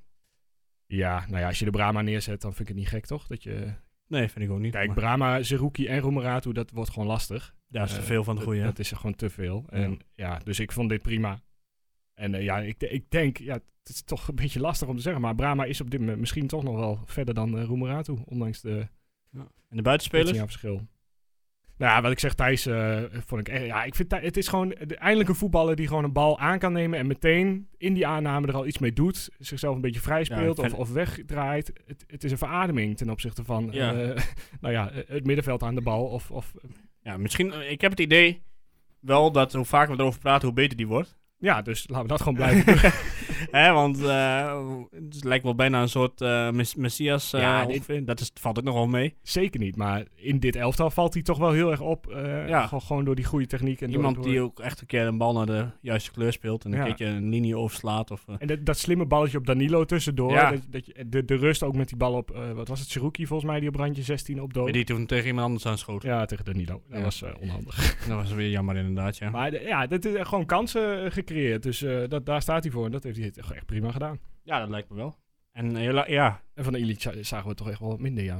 [SPEAKER 3] Ja, nou ja, als je de Brahma neerzet, dan vind ik het niet gek, toch? Dat je...
[SPEAKER 2] Nee, vind ik ook niet.
[SPEAKER 3] Kijk,
[SPEAKER 2] maar-
[SPEAKER 3] Brahma, Zerouki en Romeratu, dat wordt gewoon lastig.
[SPEAKER 2] ja, is te
[SPEAKER 3] eh,
[SPEAKER 2] veel van de
[SPEAKER 3] Dat-
[SPEAKER 2] goede. hè?
[SPEAKER 3] Dat is er gewoon te veel. En ja, dus ik vond dit prima. En eh, ja, ik, de- ik denk, ja, het is toch een beetje lastig om te zeggen, maar Brahma is op dit moment misschien toch nog wel verder dan eh Romeratu, ondanks de
[SPEAKER 2] En de buitenspelers?
[SPEAKER 3] jaar verschil. Nou ja, wat ik zeg, Thijs, eh, vond ik, echt- ja, ik vind, Thij- het is gewoon de- eindelijk een voetballer die gewoon een bal aan kan nemen en meteen in die aanname er al iets mee doet, zichzelf een beetje vrij
[SPEAKER 2] Ja,
[SPEAKER 3] speelt
[SPEAKER 2] ik
[SPEAKER 3] of,
[SPEAKER 2] vind-
[SPEAKER 3] of wegdraait. Het, het is een verademing ten opzichte van,
[SPEAKER 2] Ja.
[SPEAKER 3] eh, nou ja, eh, het middenveld aan de bal of, of
[SPEAKER 2] Ja, misschien... eh, ik heb het idee wel dat hoe vaker we erover praten, hoe beter die wordt.
[SPEAKER 3] ja, dus laten we dat gewoon blijven.
[SPEAKER 2] Hè, want eh, het lijkt wel bijna een soort eh, mes- Messias eh,
[SPEAKER 3] Ja, dit-
[SPEAKER 2] ongeveer. Dat is, valt ook nog wel mee.
[SPEAKER 3] Zeker niet, maar in dit elftal valt hij toch wel heel erg op. eh,
[SPEAKER 2] Ja.
[SPEAKER 3] gewoon, gewoon door die goede techniek. En door-
[SPEAKER 2] Iemand
[SPEAKER 3] door,
[SPEAKER 2] die ook echt een keer een bal naar de juiste kleur speelt. En een
[SPEAKER 3] Ja.
[SPEAKER 2] keertje een linie overslaat. Of, eh,
[SPEAKER 3] En dat, dat slimme balletje op Danilo tussendoor.
[SPEAKER 2] Ja.
[SPEAKER 3] Dat, dat je, de, de rust ook met die bal op, eh, wat was het, Seruki volgens mij, die op brandje 16 op
[SPEAKER 2] weet
[SPEAKER 3] dood.
[SPEAKER 2] die toen tegen iemand anders aanschoot.
[SPEAKER 3] Ja, tegen Danilo. Dat
[SPEAKER 2] Ja.
[SPEAKER 3] was eh, onhandig.
[SPEAKER 2] Dat was weer jammer inderdaad, ja.
[SPEAKER 3] Maar de- ja, dat is echt gewoon kansen eh, gecreëerd. Dus eh, dat, daar staat hij voor. En dat heeft hij het echt prima gedaan.
[SPEAKER 2] Ja, dat lijkt me wel. En eh, hela- ja,
[SPEAKER 3] En van Illich za- zagen we toch echt wel wat minder, ja.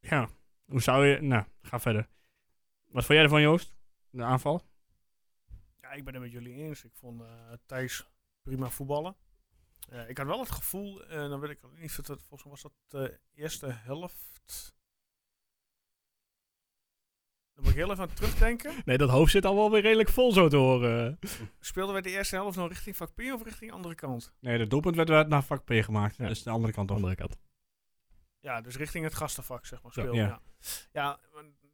[SPEAKER 2] ja. Hoe zou je... Nou, ga verder. Wat vond jij ervan, Joost? De aanval?
[SPEAKER 1] Ja, ik ben het met jullie eens. Ik vond eh, Thijs prima voetballen. Eh, ik had wel het gevoel, en dan weet ik ook niet of het, volgens mij was dat de eerste helft. Dan moet ik heel even aan terugdenken.
[SPEAKER 3] Nee, dat hoofd zit al wel weer redelijk vol zo te horen.
[SPEAKER 1] Speelden wij de eerste helft nou richting vak P of richting andere kant?
[SPEAKER 2] Nee, de doelpunt werd uit naar vak P gemaakt.
[SPEAKER 3] Ja.
[SPEAKER 2] Dus de andere kant op.
[SPEAKER 3] Andere kant.
[SPEAKER 1] Ja, dus richting het gastenvak, zeg maar, speelde.
[SPEAKER 2] ja.
[SPEAKER 1] Ja, ja.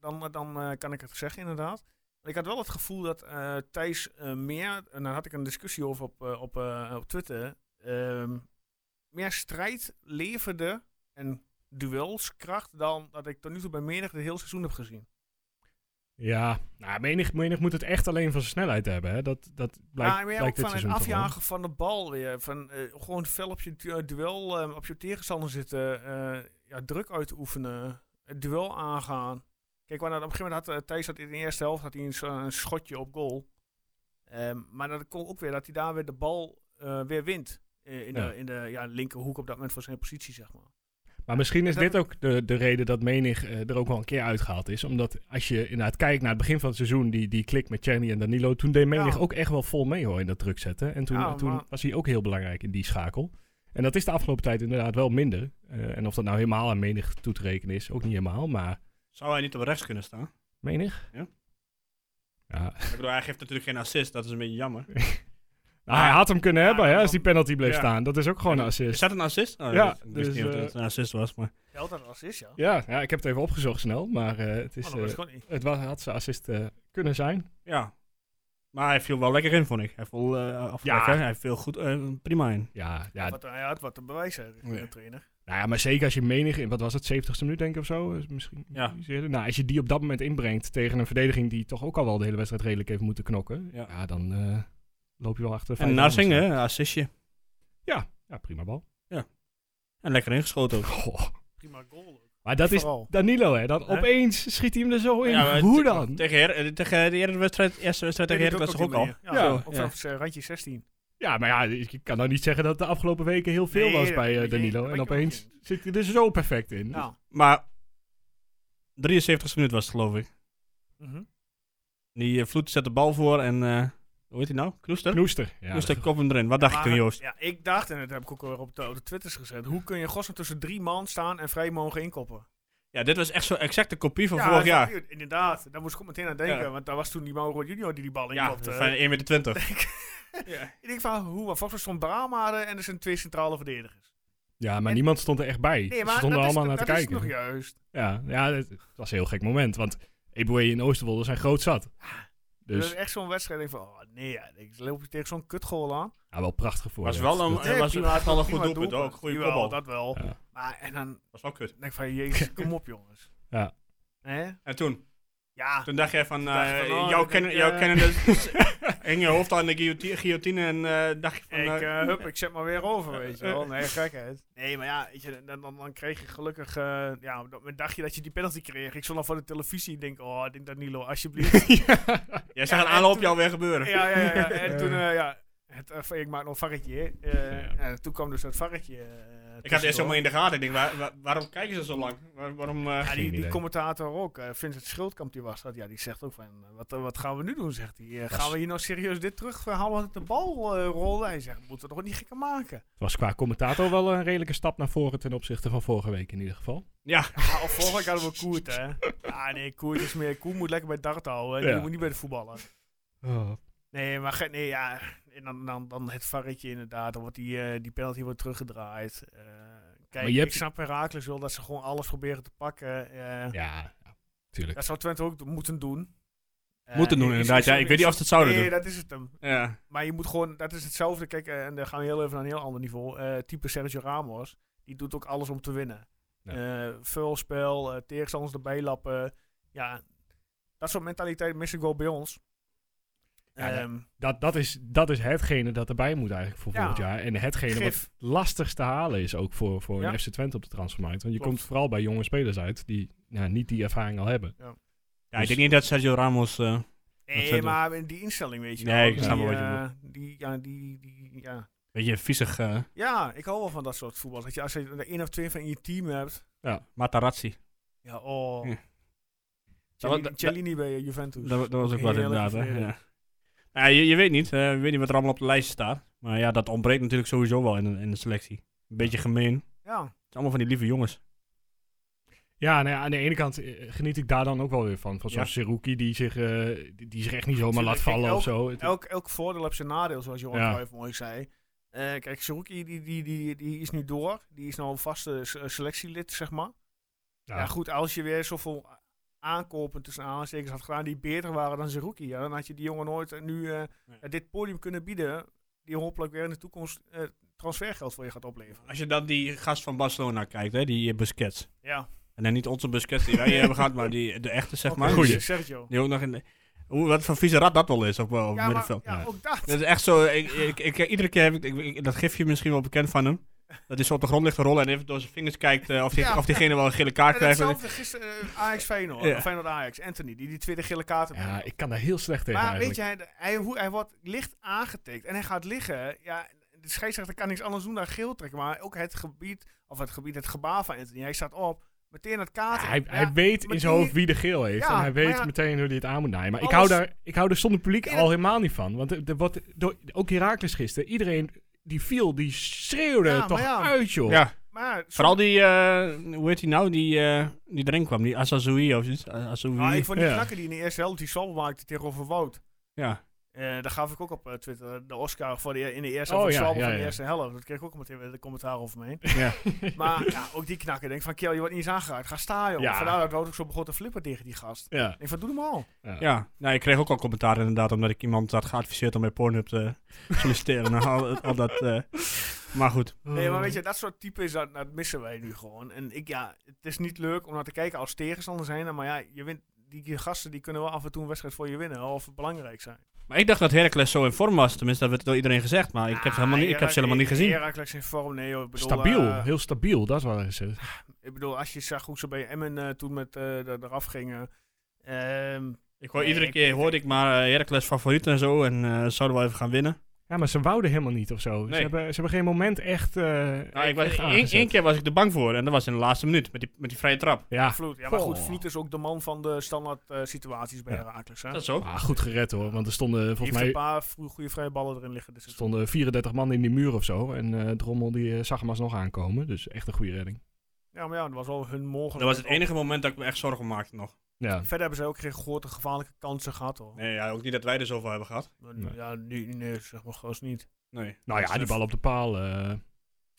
[SPEAKER 1] dan, dan eh, kan ik het zeggen, inderdaad. Ik had wel het gevoel dat eh, Thijs eh, meer, en daar had ik een discussie over op, eh, op, eh, op Twitter, ehm, meer strijd leverde en duelskracht dan dat ik tot nu toe bij menig de hele seizoen heb gezien.
[SPEAKER 3] Ja, nou, menig, menig moet het echt alleen van zijn snelheid hebben. Hè. Dat, dat blijkt,
[SPEAKER 1] ja, maar ja,
[SPEAKER 3] blijkt
[SPEAKER 1] ook van
[SPEAKER 3] dit
[SPEAKER 1] het
[SPEAKER 3] seizoen toch wel.
[SPEAKER 1] afjagen van de bal weer. Van, eh, gewoon fel op je du- eh, duel, eh, op je tegenstander zitten. eh, ja, druk uitoefenen. Het duel aangaan. Kijk, want op een gegeven moment had eh, Thijs dat in de eerste helft had hij een, zo- een schotje op goal. Ehm, maar dat kon ook weer dat hij daar weer de bal eh, weer wint. Eh, in,
[SPEAKER 3] Ja.
[SPEAKER 1] de, in de ja, linkerhoek op dat moment voor zijn positie, zeg maar.
[SPEAKER 3] Maar misschien is
[SPEAKER 1] Dat-
[SPEAKER 3] dit ook de, de reden dat menig eh, er ook wel een keer uitgehaald is. Omdat als je inderdaad kijkt naar het begin van het seizoen, die, die klik met Cherny en Danilo, toen deed menig
[SPEAKER 1] Ja.
[SPEAKER 3] ook echt wel vol mee hoor in dat druk zetten. En toen,
[SPEAKER 1] Ja,
[SPEAKER 3] toen
[SPEAKER 1] maar-
[SPEAKER 3] was hij ook heel belangrijk in die schakel. En dat is de afgelopen tijd inderdaad wel minder. Eh, en of dat nou helemaal aan menig toe te rekenen is, ook niet helemaal, maar
[SPEAKER 2] Zou hij niet op rechts kunnen staan?
[SPEAKER 3] menig.
[SPEAKER 2] Ja.
[SPEAKER 3] Ja.
[SPEAKER 2] Ik bedoel, hij geeft natuurlijk geen assist. Dat is een beetje jammer.
[SPEAKER 3] Nou, hij had hem kunnen
[SPEAKER 2] Ja,
[SPEAKER 3] hebben hè,
[SPEAKER 2] dan-
[SPEAKER 3] als die penalty bleef
[SPEAKER 2] ja.
[SPEAKER 3] staan. Dat is ook gewoon een
[SPEAKER 2] Is
[SPEAKER 3] assist.
[SPEAKER 2] dat een assist? Oh,
[SPEAKER 3] Ja,
[SPEAKER 2] ik wist
[SPEAKER 3] dus,
[SPEAKER 2] niet of
[SPEAKER 3] eh,
[SPEAKER 2] het een assist was, maar...
[SPEAKER 1] Geldt dat als is, ja? Oh,
[SPEAKER 3] Ja, ja, ik heb het even opgezocht snel, maar eh, het, is,
[SPEAKER 1] dat was
[SPEAKER 3] eh,
[SPEAKER 1] gewoon niet.
[SPEAKER 3] het was, had zijn assist eh, kunnen zijn.
[SPEAKER 2] Ja. Maar hij viel wel lekker in, vond ik. Hij viel, eh, of
[SPEAKER 3] Ja.
[SPEAKER 2] lekker, hij viel goed, eh, prima in.
[SPEAKER 3] Ja, ja,
[SPEAKER 1] Wat, hij had wat te bewijzen, richting
[SPEAKER 2] Ja.
[SPEAKER 1] de trainer.
[SPEAKER 3] Nou ja, maar zeker als je menig in, wat was het, 70ste minuut denk ik of zo? eh, Misschien
[SPEAKER 2] Ja.
[SPEAKER 3] iets eerder. Nou, als je die op dat moment inbrengt tegen een verdediging die toch ook al wel de hele wedstrijd redelijk heeft moeten knokken.
[SPEAKER 2] Ja.
[SPEAKER 3] Ja, dan eh, loop je wel achter. vijf
[SPEAKER 2] En
[SPEAKER 3] man
[SPEAKER 2] Narsing,
[SPEAKER 3] aan.
[SPEAKER 2] hè, assistje.
[SPEAKER 3] Ja, prima bal.
[SPEAKER 2] En lekker ingeschoten ook.
[SPEAKER 3] Goh.
[SPEAKER 1] Prima goal. ook.
[SPEAKER 3] Maar dat is
[SPEAKER 1] Vooral.
[SPEAKER 3] Danilo, hè. Dan
[SPEAKER 2] Hè?
[SPEAKER 3] opeens schiet hij hem er zo in.
[SPEAKER 2] Ja, maar
[SPEAKER 3] Hoe
[SPEAKER 2] te-
[SPEAKER 3] dan?
[SPEAKER 2] Tegen, Her- eh, tegen de eerste wedstrijd, eerste wedstrijd tegen
[SPEAKER 1] Deed hij
[SPEAKER 2] Heracles
[SPEAKER 1] het
[SPEAKER 2] toch ook
[SPEAKER 1] op
[SPEAKER 2] al.
[SPEAKER 1] die
[SPEAKER 2] Ja.
[SPEAKER 1] manier. Ja,
[SPEAKER 2] Ja.
[SPEAKER 1] op vanaf zijn randje 16.
[SPEAKER 3] Ja, maar ja, je kan nou niet zeggen dat de afgelopen weken heel veel
[SPEAKER 1] Nee,
[SPEAKER 3] was
[SPEAKER 1] dat
[SPEAKER 3] bij eh,
[SPEAKER 1] weet je-
[SPEAKER 3] Danilo.
[SPEAKER 1] dat
[SPEAKER 3] En
[SPEAKER 1] weet ik ook Nou.
[SPEAKER 3] opeens zit hij er zo perfect in.
[SPEAKER 1] Ja.
[SPEAKER 2] Maar 73 minuut was het, geloof ik.
[SPEAKER 1] Mhm.
[SPEAKER 2] Die eh, Vloed zet de bal voor en... eh, hoe heet hij nou? Kloester?
[SPEAKER 3] Knoester. Ja,
[SPEAKER 2] Kloester kop hem erin. Wat dacht je
[SPEAKER 1] Maar,
[SPEAKER 2] toen, Joost?
[SPEAKER 1] Ja, ik dacht, en dat heb ik ook weer op de, op de Twitters gezet. Hoe kun je godsnaam tussen drie man staan en vrij mogen inkoppen?
[SPEAKER 2] Ja, dit was echt zo'n exacte kopie van vorig jaar.
[SPEAKER 1] Inderdaad, daar moest ik ook meteen aan denken.
[SPEAKER 2] Ja.
[SPEAKER 1] Want daar was toen die Mauro Junior die die bal
[SPEAKER 2] Ja,
[SPEAKER 1] inkopte.
[SPEAKER 2] van 1 meter 20.
[SPEAKER 1] ik denk van, hoe? Maar volgens mij stond Brahma er en er zijn twee centrale verdedigers.
[SPEAKER 3] ja maar
[SPEAKER 1] En-
[SPEAKER 3] niemand stond er echt bij. Ze stonden
[SPEAKER 1] dat is
[SPEAKER 3] allemaal
[SPEAKER 1] toch-
[SPEAKER 3] naar te
[SPEAKER 1] dat is
[SPEAKER 3] kijken.
[SPEAKER 1] nog juist.
[SPEAKER 3] Ja, ja het, het was een heel gek moment. Want Eboué en Oosterwolde zijn groot zat.
[SPEAKER 1] Dus.
[SPEAKER 3] Dus
[SPEAKER 1] echt zo'n wedstrijd. Ik denk van, oh nee, ja, ik loop je tegen zo'n kutgoal aan.
[SPEAKER 3] ja, wel prachtig voor.
[SPEAKER 2] Was
[SPEAKER 3] je.
[SPEAKER 2] wel een,
[SPEAKER 3] Dat-
[SPEAKER 2] eh, was
[SPEAKER 1] prima,
[SPEAKER 2] echt wel een goed
[SPEAKER 1] prima
[SPEAKER 2] doelpunt ook. Goede
[SPEAKER 1] Jawel,
[SPEAKER 2] kopbal.
[SPEAKER 1] dat wel.
[SPEAKER 3] Ja.
[SPEAKER 1] Maar en dan
[SPEAKER 2] was wel kut.
[SPEAKER 1] denk ik van, jezus, kom op jongens.
[SPEAKER 3] Ja.
[SPEAKER 1] Hè?
[SPEAKER 2] En toen?
[SPEAKER 1] Ja.
[SPEAKER 2] Toen dacht jij van,
[SPEAKER 1] Toen dacht ik
[SPEAKER 2] eh,
[SPEAKER 1] van, oh,
[SPEAKER 2] jouw,
[SPEAKER 1] dat
[SPEAKER 2] kennen,
[SPEAKER 1] ik,
[SPEAKER 2] jouw
[SPEAKER 1] eh,
[SPEAKER 2] kennende hing je hoofd aan de guillotine, guillotine en eh, dacht je van...
[SPEAKER 1] Ik,
[SPEAKER 2] eh,
[SPEAKER 1] eh, hup, ik zet maar weer over, weet je wel. Nee, gekheid. Nee, maar ja, weet je, dan, dan, dan kreeg je gelukkig... eh, ja, op dat moment dacht je dat je die penalty kreeg. Ik stond al voor de televisie en denk, oh, ik denk Danilo, alsjeblieft.
[SPEAKER 2] jij zag
[SPEAKER 1] ja,
[SPEAKER 2] een
[SPEAKER 1] en
[SPEAKER 2] aanloop
[SPEAKER 1] toen-
[SPEAKER 2] jou weer gebeuren.
[SPEAKER 1] ja, ja, ja, ja. En toen, eh, ja, het, eh, ik maak nog een varretje. hè. Eh, En toen kwam dus dat varretje. eh,
[SPEAKER 2] Ik had het
[SPEAKER 1] tussendoor.
[SPEAKER 2] eerst helemaal in de gaten. Ik denk, waar- waar- waarom kijken ze zo lang? Waar- waarom... eh,
[SPEAKER 1] Ja,
[SPEAKER 3] Geen
[SPEAKER 1] die, die
[SPEAKER 3] idee.
[SPEAKER 1] commentator ook, eh, Vincent Schildkamp, die was dat. Ja, die zegt ook van, eh, wat, eh, wat gaan we nu doen, zegt hij. Eh, gaan we hier nou serieus dit terughalen? Want de bal eh rolde. Hij zegt, moeten we toch niet gekker maken?
[SPEAKER 3] Het was qua commentator wel een redelijke stap naar voren ten opzichte van vorige week in ieder geval.
[SPEAKER 2] ja,
[SPEAKER 1] Ja, of vorige week hadden we Koert, hè. Ja, nee, Koert is meer... Koert moet lekker bij dart houden.
[SPEAKER 3] Ja.
[SPEAKER 1] Die moet niet bij de voetballen. Nee, maar ge- nee, ja. En dan, dan, dan het varretje inderdaad. Dan wordt die, eh, die penalty wordt teruggedraaid. Eh, kijk,
[SPEAKER 3] je hebt-
[SPEAKER 1] ik snap Herakles wel dat ze gewoon alles proberen te pakken. eh.
[SPEAKER 3] Ja, ja, tuurlijk.
[SPEAKER 1] Dat zou Twente ook moeten doen. Eh, Eh,
[SPEAKER 2] Moeten doen
[SPEAKER 1] is- is-
[SPEAKER 2] inderdaad. Ja,
[SPEAKER 1] is-
[SPEAKER 2] ik weet niet of ze het zouden
[SPEAKER 1] nee,
[SPEAKER 2] doen.
[SPEAKER 1] dat is het hem.
[SPEAKER 2] Ja.
[SPEAKER 1] Maar je moet gewoon, dat is hetzelfde. Kijk, eh, en dan gaan we heel even naar een heel ander niveau. Eh, type Sergio Ramos, die doet ook alles om te winnen.
[SPEAKER 3] Ja.
[SPEAKER 1] Eh, Vuil spel, eh, tegenstanders erbij lappen. Ja, dat soort mentaliteit mis ik wel bij ons.
[SPEAKER 3] Ja,
[SPEAKER 1] Ehm,
[SPEAKER 3] Dat, dat, is, dat is hetgene dat erbij moet eigenlijk voor
[SPEAKER 1] Ja.
[SPEAKER 3] volgend jaar. En hetgene wat
[SPEAKER 1] Gif.
[SPEAKER 3] het lastigst te halen is ook voor, voor
[SPEAKER 1] Ja.
[SPEAKER 3] een FC Twente op de transfermarkt. Want je
[SPEAKER 1] Klopt.
[SPEAKER 3] komt vooral bij jonge spelers uit die nou, niet die ervaring al hebben.
[SPEAKER 2] ja, ik denk niet dat Sergio Ramos... eh,
[SPEAKER 1] Nee,
[SPEAKER 2] verder.
[SPEAKER 1] maar in die instelling, weet je
[SPEAKER 2] Nee,
[SPEAKER 1] wel.
[SPEAKER 2] ik snap
[SPEAKER 1] Die,
[SPEAKER 2] wel wat je
[SPEAKER 1] eh, die, ja, die, die, ja.
[SPEAKER 2] Weet je, viezig eh
[SPEAKER 1] ja, ik hou wel van dat soort voetbal. Dat je als je er één of twee van in je team hebt.
[SPEAKER 2] Matarazzi.
[SPEAKER 1] Ja, oh.
[SPEAKER 2] Ja. Nou,
[SPEAKER 1] Cellini-
[SPEAKER 2] Dat- dat-
[SPEAKER 1] Cellini bij eh, Juventus.
[SPEAKER 2] Dat, wa- dat was ook wat
[SPEAKER 1] Heel
[SPEAKER 2] inderdaad.
[SPEAKER 1] erg
[SPEAKER 2] hè,
[SPEAKER 1] vervelend.
[SPEAKER 2] Ja. Nou, je, je weet niet, eh, je weet niet wat er allemaal op de lijst staat. Maar ja, dat ontbreekt natuurlijk sowieso wel in, de- in de selectie. Een beetje gemeen. Het
[SPEAKER 1] Ja,
[SPEAKER 2] is allemaal van die lieve jongens.
[SPEAKER 3] Ja, nou ja, aan de ene kant eh, geniet ik daar dan ook wel weer van. Van zo'n
[SPEAKER 2] Ja.
[SPEAKER 3] Seruki die zich, eh, die, die zich echt niet zomaar laat
[SPEAKER 1] Tuurlijk, kijk,
[SPEAKER 3] vallen
[SPEAKER 1] elk-
[SPEAKER 3] of zo. Het-
[SPEAKER 1] elk, elk voordeel heeft zijn nadeel, zoals Johan
[SPEAKER 3] Ja.
[SPEAKER 1] Cruijff mooi zei. Eh, kijk, Zerouki, die, die, die, die is nu door. Die is nou een vaste s- eh, selectielid, zeg maar. Ja.
[SPEAKER 3] ja,
[SPEAKER 1] goed, als je weer zoveel aankopen tussen aanstekens had gedaan die beter waren dan Zerouki, ja, dan had je die jongen nooit eh, nu eh,
[SPEAKER 2] Nee.
[SPEAKER 1] eh, dit podium kunnen bieden, die hopelijk weer in de toekomst eh, transfergeld voor je gaat opleveren.
[SPEAKER 2] Als je dan die gast van Barcelona kijkt, hè, die eh, Busquets.
[SPEAKER 1] Ja,
[SPEAKER 2] En dan niet onze Busquets die wij hebben gehad, maar die, de echte, zeg
[SPEAKER 1] Oké,
[SPEAKER 2] maar.
[SPEAKER 1] dus Sergio.
[SPEAKER 2] Die ook nog in de- hoe, wat voor vieze rat dat wel is op, op het
[SPEAKER 1] Ja, maar,
[SPEAKER 2] middenveld.
[SPEAKER 1] ja,
[SPEAKER 2] Ja.
[SPEAKER 1] ook dat.
[SPEAKER 2] Dat is echt zo. Ik, ik, ik- eh, iedere keer heb ik, ik- ik- dat gifje misschien wel bekend van hem. Dat hij zo op de grond ligt te rollen en even door zijn vingers kijkt eh, of, die,
[SPEAKER 1] Ja.
[SPEAKER 2] of diegene wel een gele kaart
[SPEAKER 1] En
[SPEAKER 2] krijgt.
[SPEAKER 1] hetzelfde gisteren eh, Ajax Feyenoord,
[SPEAKER 2] Ja.
[SPEAKER 1] Feyenoord Ajax, Anthony, die die tweede gele kaart heeft.
[SPEAKER 3] ja, ik kan daar heel slecht tegen
[SPEAKER 1] Maar weet
[SPEAKER 3] eigenlijk.
[SPEAKER 1] je, hij, hij, hoe, hij wordt licht aangetikt en hij gaat liggen. Ja, de scheidsrechter kan niks anders doen dan geel trekken. Maar ook het gebied, of het gebied, het gebaar van Anthony. Hij staat op, meteen het kaart.
[SPEAKER 3] Ja, hij,
[SPEAKER 1] Ja,
[SPEAKER 3] hij weet
[SPEAKER 1] maar
[SPEAKER 3] in zijn
[SPEAKER 1] die-
[SPEAKER 3] hoofd wie de geel heeft.
[SPEAKER 1] Ja,
[SPEAKER 3] en hij weet
[SPEAKER 1] maar ja,
[SPEAKER 3] meteen hoe hij het aan moet naaien. Maar ik hou,
[SPEAKER 1] alles-
[SPEAKER 3] daar, ik hou er zonder publiek
[SPEAKER 1] Ja.
[SPEAKER 3] al helemaal niet van. Want er, er wordt door, ook Herakles gisteren, iedereen die viel, die schreeuwde
[SPEAKER 1] Ja,
[SPEAKER 3] het toch
[SPEAKER 1] maar ja.
[SPEAKER 3] uit, joh.
[SPEAKER 2] Ja.
[SPEAKER 1] Maar
[SPEAKER 2] Vooral die, eh, hoe heet die nou, die, eh, die erin kwam, die Azazoui of zoiets. A- Azazoui.
[SPEAKER 1] Nou, ik vond die
[SPEAKER 3] Ja.
[SPEAKER 1] knakker die in de eerste helft die salm maakte tegenover Wout.
[SPEAKER 2] ja.
[SPEAKER 1] Eh daar gaf ik ook op eh, Twitter de Oscar voor de, e- in de eerste
[SPEAKER 3] Oh,
[SPEAKER 1] helft.
[SPEAKER 3] ja,
[SPEAKER 1] de zwalbe
[SPEAKER 3] ja,
[SPEAKER 1] van de
[SPEAKER 3] ja.
[SPEAKER 1] eerste helft. Dat kreeg ik ook meteen weer de commentaar over me heen.
[SPEAKER 2] Ja.
[SPEAKER 1] maar ja, ook die knakker. Denk van, Kiel, je wordt niet eens aangeraakt. Ga staan, joh.
[SPEAKER 3] Ja.
[SPEAKER 1] Vandaar dat Wout ook zo begon te flippen tegen die gast.
[SPEAKER 3] Ja.
[SPEAKER 1] Ik denk van, doe hem al.
[SPEAKER 2] ja. Nou, ik kreeg ook al commentaar inderdaad, omdat ik iemand had geadviseerd om bij Pornhub te solliciteren. nou, al, al dat, eh, maar goed.
[SPEAKER 1] Nee, maar weet je, dat soort type is dat, dat missen wij nu gewoon. En ik, ja, het is niet leuk om naar te kijken als tegenstander zijn. Maar ja, je wint, die, die gasten die kunnen wel af en toe een wedstrijd voor je winnen. Of belangrijk zijn.
[SPEAKER 2] Maar ik dacht dat Heracles zo in vorm was. Tenminste, dat werd door iedereen gezegd. Maar ik heb, ze helemaal
[SPEAKER 1] Ah,
[SPEAKER 2] niet, ik heb ze helemaal niet gezien.
[SPEAKER 1] Herakles in vorm, nee joh. Ik bedoel,
[SPEAKER 3] Stabiel,
[SPEAKER 1] eh,
[SPEAKER 3] heel stabiel, dat is wat er zit.
[SPEAKER 1] ik bedoel, als je zag hoe ze bij Emmen eh, toen met, eh er- eraf gingen. Ehm,
[SPEAKER 2] Ik hoor,
[SPEAKER 1] Nee,
[SPEAKER 2] iedere
[SPEAKER 1] ik-
[SPEAKER 2] keer
[SPEAKER 1] ik-
[SPEAKER 2] hoorde ik maar eh, Heracles favoriet en zo. En eh, zouden we even gaan winnen.
[SPEAKER 3] Ja, maar ze wouden helemaal niet of zo. Ze,
[SPEAKER 2] Nee.
[SPEAKER 3] hebben, ze hebben geen moment echt. eh
[SPEAKER 2] Nou, ik was,
[SPEAKER 3] echt
[SPEAKER 2] één,
[SPEAKER 3] aangezet.
[SPEAKER 2] één keer was ik er bang voor. En dat was in de laatste minuut. Met die, met die vrije trap.
[SPEAKER 3] Ja,
[SPEAKER 1] Vloed. Ja, maar goed,
[SPEAKER 3] Goh.
[SPEAKER 1] Vloed is ook de man van de standaard eh, situaties bij
[SPEAKER 3] Ja. Ah,
[SPEAKER 1] Herakles. Hè?
[SPEAKER 2] Dat is ook.
[SPEAKER 3] maar goed gered hoor. Want er stonden
[SPEAKER 1] Die heeft
[SPEAKER 3] volgens mij
[SPEAKER 1] een paar vro- goede vrije ballen erin liggen. Dus
[SPEAKER 3] er
[SPEAKER 1] het-
[SPEAKER 3] stonden 34 man in die muur of zo. En eh, Drommel die eh, zag hem alsnog aankomen. Dus echt een goede redding.
[SPEAKER 1] ja, maar ja, dat was wel hun mogelijk.
[SPEAKER 2] Dat was het enige moment dat ik me echt zorgen maakte nog.
[SPEAKER 3] Ja.
[SPEAKER 1] Verder hebben ze ook geen grote gevaarlijke kansen gehad hoor.
[SPEAKER 2] Nee, ja, ook niet dat wij er zoveel hebben gehad.
[SPEAKER 3] Nee.
[SPEAKER 1] Ja, nu, nee, zeg maar gewoon niet.
[SPEAKER 2] Nee. Dus-
[SPEAKER 3] Nou ja, die bal op de paal. eh.
[SPEAKER 2] Ja,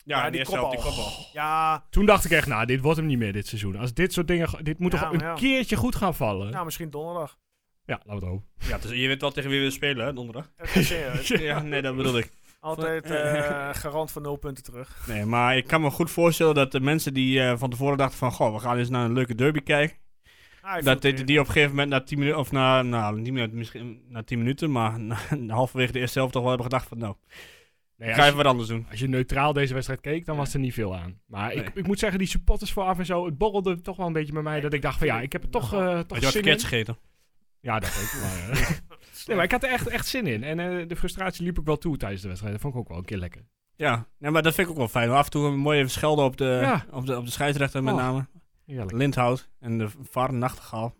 [SPEAKER 1] Ja,
[SPEAKER 2] in de
[SPEAKER 1] die
[SPEAKER 2] eerste helft, die
[SPEAKER 1] kopbal.
[SPEAKER 2] kopbal.
[SPEAKER 1] Ja,
[SPEAKER 3] Toen dacht ik echt, nou, dit wordt hem niet meer dit seizoen. Als dit soort dingen. ge- Dit moet
[SPEAKER 1] Ja,
[SPEAKER 3] toch
[SPEAKER 1] maar
[SPEAKER 3] een
[SPEAKER 1] ja.
[SPEAKER 3] keertje goed gaan vallen. Ja,
[SPEAKER 1] nou misschien donderdag.
[SPEAKER 3] laten we het hopen.
[SPEAKER 2] Ja, dus je weet wel tegen wie we spelen, hè, donderdag.
[SPEAKER 1] RKC, hè.
[SPEAKER 2] Ja, nee, dat bedoel ik.
[SPEAKER 1] Altijd eh, garant van nul punten terug.
[SPEAKER 2] Nee, maar ik kan me goed voorstellen dat de mensen die eh, van tevoren dachten van... Goh, we gaan eens naar een leuke derby kijken.
[SPEAKER 1] Ah, ik
[SPEAKER 2] Dat
[SPEAKER 1] vond het
[SPEAKER 2] die, die op een gegeven moment na 10 minuten... Of na, nou, niet meer, misschien na 10 minuten, maar na, halverwege de eerste helft toch wel hebben gedacht van... Nou,
[SPEAKER 3] Nee, als
[SPEAKER 2] ga
[SPEAKER 3] je-
[SPEAKER 2] even wat anders doen.
[SPEAKER 3] Als je neutraal deze wedstrijd keek, dan was er niet veel aan. Maar
[SPEAKER 2] Nee.
[SPEAKER 3] ik, ik moet zeggen, die supporters vooraf en zo, het borrelde toch wel een beetje bij mij. Dat ik dacht van ja, ik heb er toch, eh
[SPEAKER 2] Maar
[SPEAKER 3] toch
[SPEAKER 2] je had
[SPEAKER 3] zin in.
[SPEAKER 2] verkeerd gegeten.
[SPEAKER 3] Ja, dat ook. Maar, eh. nee, maar ik had er echt, echt zin in. En eh, de frustratie liep ik wel toe tijdens de wedstrijd. Dat vond ik ook wel een keer lekker.
[SPEAKER 2] Ja, nee, maar dat vind ik ook wel fijn. hoor. Af en toe een mooie schelden op de,
[SPEAKER 3] Ja.
[SPEAKER 2] op de, op de scheidsrechter met
[SPEAKER 3] Oh.
[SPEAKER 2] name.
[SPEAKER 3] Heerlijk.
[SPEAKER 2] Lindhout en de VAR Nachtegaal.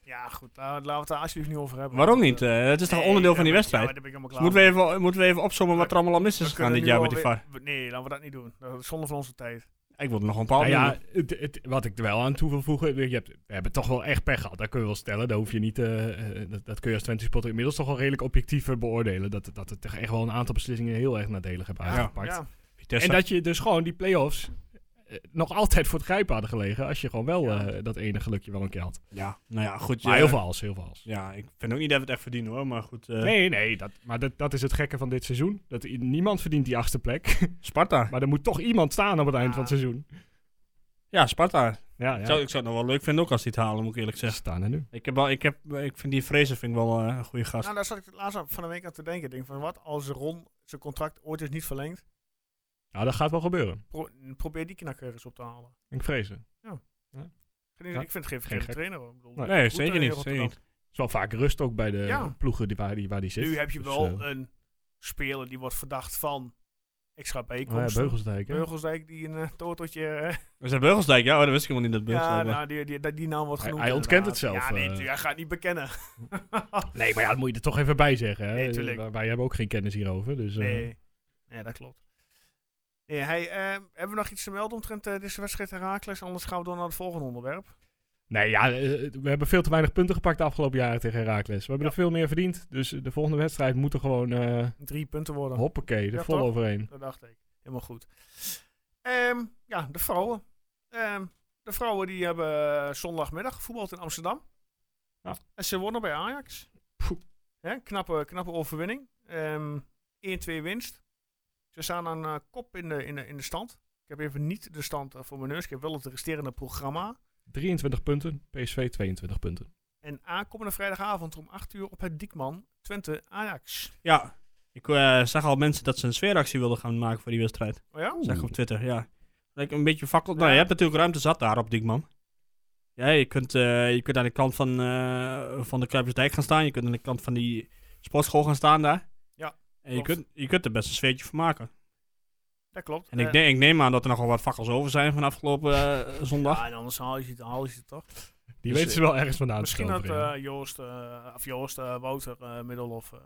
[SPEAKER 1] Ja, goed. nou, laten we het daar alsjeblieft niet over hebben.
[SPEAKER 2] Waarom
[SPEAKER 1] Want,
[SPEAKER 2] niet?
[SPEAKER 1] eh,
[SPEAKER 2] Eh, het is toch
[SPEAKER 1] nee,
[SPEAKER 2] onderdeel
[SPEAKER 1] daar
[SPEAKER 2] van
[SPEAKER 1] ben
[SPEAKER 2] die
[SPEAKER 1] ik-
[SPEAKER 2] wedstrijd?
[SPEAKER 1] Ja, maar daar ben ik helemaal klaar
[SPEAKER 2] moeten,
[SPEAKER 1] mee.
[SPEAKER 2] we even, moeten we even opzommen wat er allemaal al mis
[SPEAKER 1] We
[SPEAKER 2] is gegaan
[SPEAKER 1] kunnen nu
[SPEAKER 2] dit jaar met
[SPEAKER 1] wel
[SPEAKER 2] die
[SPEAKER 1] weer-
[SPEAKER 2] VAR?
[SPEAKER 1] we- Nee, laten we dat niet doen. Dat is zonde van onze tijd.
[SPEAKER 2] Ik wil er nog een paar
[SPEAKER 3] Nou ja,
[SPEAKER 2] opnoemen.
[SPEAKER 3] het, het- wat ik er wel aan toe wil voegen, je hebt, we hebben toch wel echt pech gehad. Dat kun je wel stellen. Dat, hoef je niet, eh, eh, dat, dat kun je als Twente supporter inmiddels toch wel redelijk objectief eh, beoordelen. Dat, dat het toch echt wel een aantal beslissingen heel erg nadelig hebben
[SPEAKER 2] Ja.
[SPEAKER 3] aangepakt.
[SPEAKER 1] Ja,
[SPEAKER 2] Vitesse.
[SPEAKER 3] En dat je dus gewoon die play-offs eh, eh, nog altijd voor het grijpen hadden gelegen. Als je gewoon wel eh, dat ene gelukje wel een keer had.
[SPEAKER 2] Ja, nou ja, goed.
[SPEAKER 3] Maar
[SPEAKER 2] ja,
[SPEAKER 3] heel veel als, heel veel als.
[SPEAKER 2] Ja, ik vind ook niet dat we het echt verdienen hoor, maar goed. eh,
[SPEAKER 3] Nee, nee, dat, maar dat, dat is het gekke van dit seizoen. Dat i- niemand verdient die achtste plek.
[SPEAKER 2] Sparta.
[SPEAKER 3] maar er moet toch iemand staan op het eind van het seizoen.
[SPEAKER 2] Ja, Sparta.
[SPEAKER 3] Ja,
[SPEAKER 2] Ik,
[SPEAKER 3] ja.
[SPEAKER 2] zou, ik zou het nog wel leuk vinden ook als die het halen, moet ik eerlijk
[SPEAKER 3] Ze
[SPEAKER 2] zeggen.
[SPEAKER 3] staan er nu.
[SPEAKER 2] Ik, heb wel, ik, heb, ik vind die Fraser vind ik wel eh, een goede gast.
[SPEAKER 1] Nou, daar zat ik het laatst aan- van de week aan te denken. Ik denk van, wat als Ron zijn contract ooit is niet verlengd?
[SPEAKER 3] Nou, dat gaat wel gebeuren.
[SPEAKER 1] Pro- probeer die knakker eens op te halen.
[SPEAKER 3] Ik vrees het.
[SPEAKER 1] Geen-
[SPEAKER 3] Ja.
[SPEAKER 1] Ik vind het geen
[SPEAKER 3] Geen
[SPEAKER 1] verkeerde
[SPEAKER 3] gek.
[SPEAKER 1] trainer. hoor. Ik bedoel,
[SPEAKER 3] Nee,
[SPEAKER 1] goed,
[SPEAKER 2] nee,
[SPEAKER 1] eh,
[SPEAKER 2] zeker niet.
[SPEAKER 1] Rotterdam.
[SPEAKER 2] Zeker niet.
[SPEAKER 3] Het is wel vaak rust ook bij de
[SPEAKER 1] Ja.
[SPEAKER 3] ploegen die, waar, die, waar die zit.
[SPEAKER 1] Nu heb je
[SPEAKER 3] Dus,
[SPEAKER 1] wel
[SPEAKER 3] eh,
[SPEAKER 1] een speler die wordt verdacht van extra
[SPEAKER 3] oh ja,
[SPEAKER 1] bijkomsten.
[SPEAKER 3] Beugelsdijk, hè?
[SPEAKER 1] Beugelsdijk die een eh, toteltje... eh,
[SPEAKER 2] Is dat Beugelsdijk? Ja, oh, dat wist ik helemaal niet dat
[SPEAKER 1] ja,
[SPEAKER 2] Beugelsdijk was.
[SPEAKER 1] nou, die, die, die, die naam wordt
[SPEAKER 3] Hij-
[SPEAKER 1] genoemd.
[SPEAKER 3] hij ontkent het
[SPEAKER 1] inderdaad.
[SPEAKER 3] zelf,
[SPEAKER 1] Ja,
[SPEAKER 3] eh.
[SPEAKER 1] nee, tu- hij gaat niet bekennen.
[SPEAKER 3] Nee, maar ja, dat moet je er toch even bij zeggen. Hè? Eh,
[SPEAKER 1] Nee, tuurlijk.
[SPEAKER 3] Wij- Wij hebben ook geen kennis hierover. Dus, eh,
[SPEAKER 1] Nee, nee dat klopt. Nee, hij, eh, hebben we nog iets te melden omtrent eh, deze wedstrijd Herakles? Anders gaan we door naar het volgende onderwerp.
[SPEAKER 3] nee, ja, eh, we hebben veel te weinig punten gepakt de afgelopen jaren tegen Heracles. We hebben er veel meer verdiend. Dus de volgende wedstrijd moet er gewoon, eh
[SPEAKER 1] Drie punten worden.
[SPEAKER 3] hoppakee, er
[SPEAKER 1] Ja,
[SPEAKER 3] vol
[SPEAKER 1] toch?
[SPEAKER 3] overheen.
[SPEAKER 1] Dat dacht ik. Helemaal goed. Ehm, ja, de vrouwen. Ehm, de vrouwen die hebben eh, zondagmiddag gevoetbald in Amsterdam.
[SPEAKER 3] Ja.
[SPEAKER 1] En ze wonnen bij Ajax.
[SPEAKER 3] Poeh.
[SPEAKER 1] Hè, knappe, knappe overwinning. Ehm 1-2 winst. Ze staan aan eh, kop in de, in, de, in de stand. Ik heb even niet de stand eh, voor mijn neus. Ik heb wel het resterende programma.
[SPEAKER 3] 23 punten, PSV 22 punten.
[SPEAKER 1] En aankomende vrijdagavond om 8 uur op het Diekman Twente Ajax.
[SPEAKER 2] Ja, ik eh, zag al mensen dat ze een sfeeractie wilden gaan maken voor die wedstrijd.
[SPEAKER 1] Oh ja?
[SPEAKER 2] Zeg op Twitter, ja. Lijkt een beetje fakkel. Nou,
[SPEAKER 1] Ja.
[SPEAKER 2] je hebt natuurlijk ruimte zat daar op Diekman. Ja, je kunt, eh, je kunt aan de kant van, eh, van de Kuipersdijk gaan staan. Je kunt aan de kant van die sportschool gaan staan daar.
[SPEAKER 1] Ja,
[SPEAKER 2] En je
[SPEAKER 1] klopt.
[SPEAKER 2] kunt, je kunt er best een sfeertje van maken.
[SPEAKER 1] Dat klopt.
[SPEAKER 2] En
[SPEAKER 1] Eh,
[SPEAKER 2] ik, denk, ik neem aan dat er nogal wat fakkels over zijn van afgelopen eh, zondag.
[SPEAKER 1] Ja, en anders haal je het, haal je het toch?
[SPEAKER 3] Die
[SPEAKER 2] Dus,
[SPEAKER 3] weten ze wel ergens vandaan te
[SPEAKER 1] eh, Misschien dat
[SPEAKER 3] toveren, ja.
[SPEAKER 1] eh, Joost, eh, of Joost eh, Wouter eh, Middelhof. eh,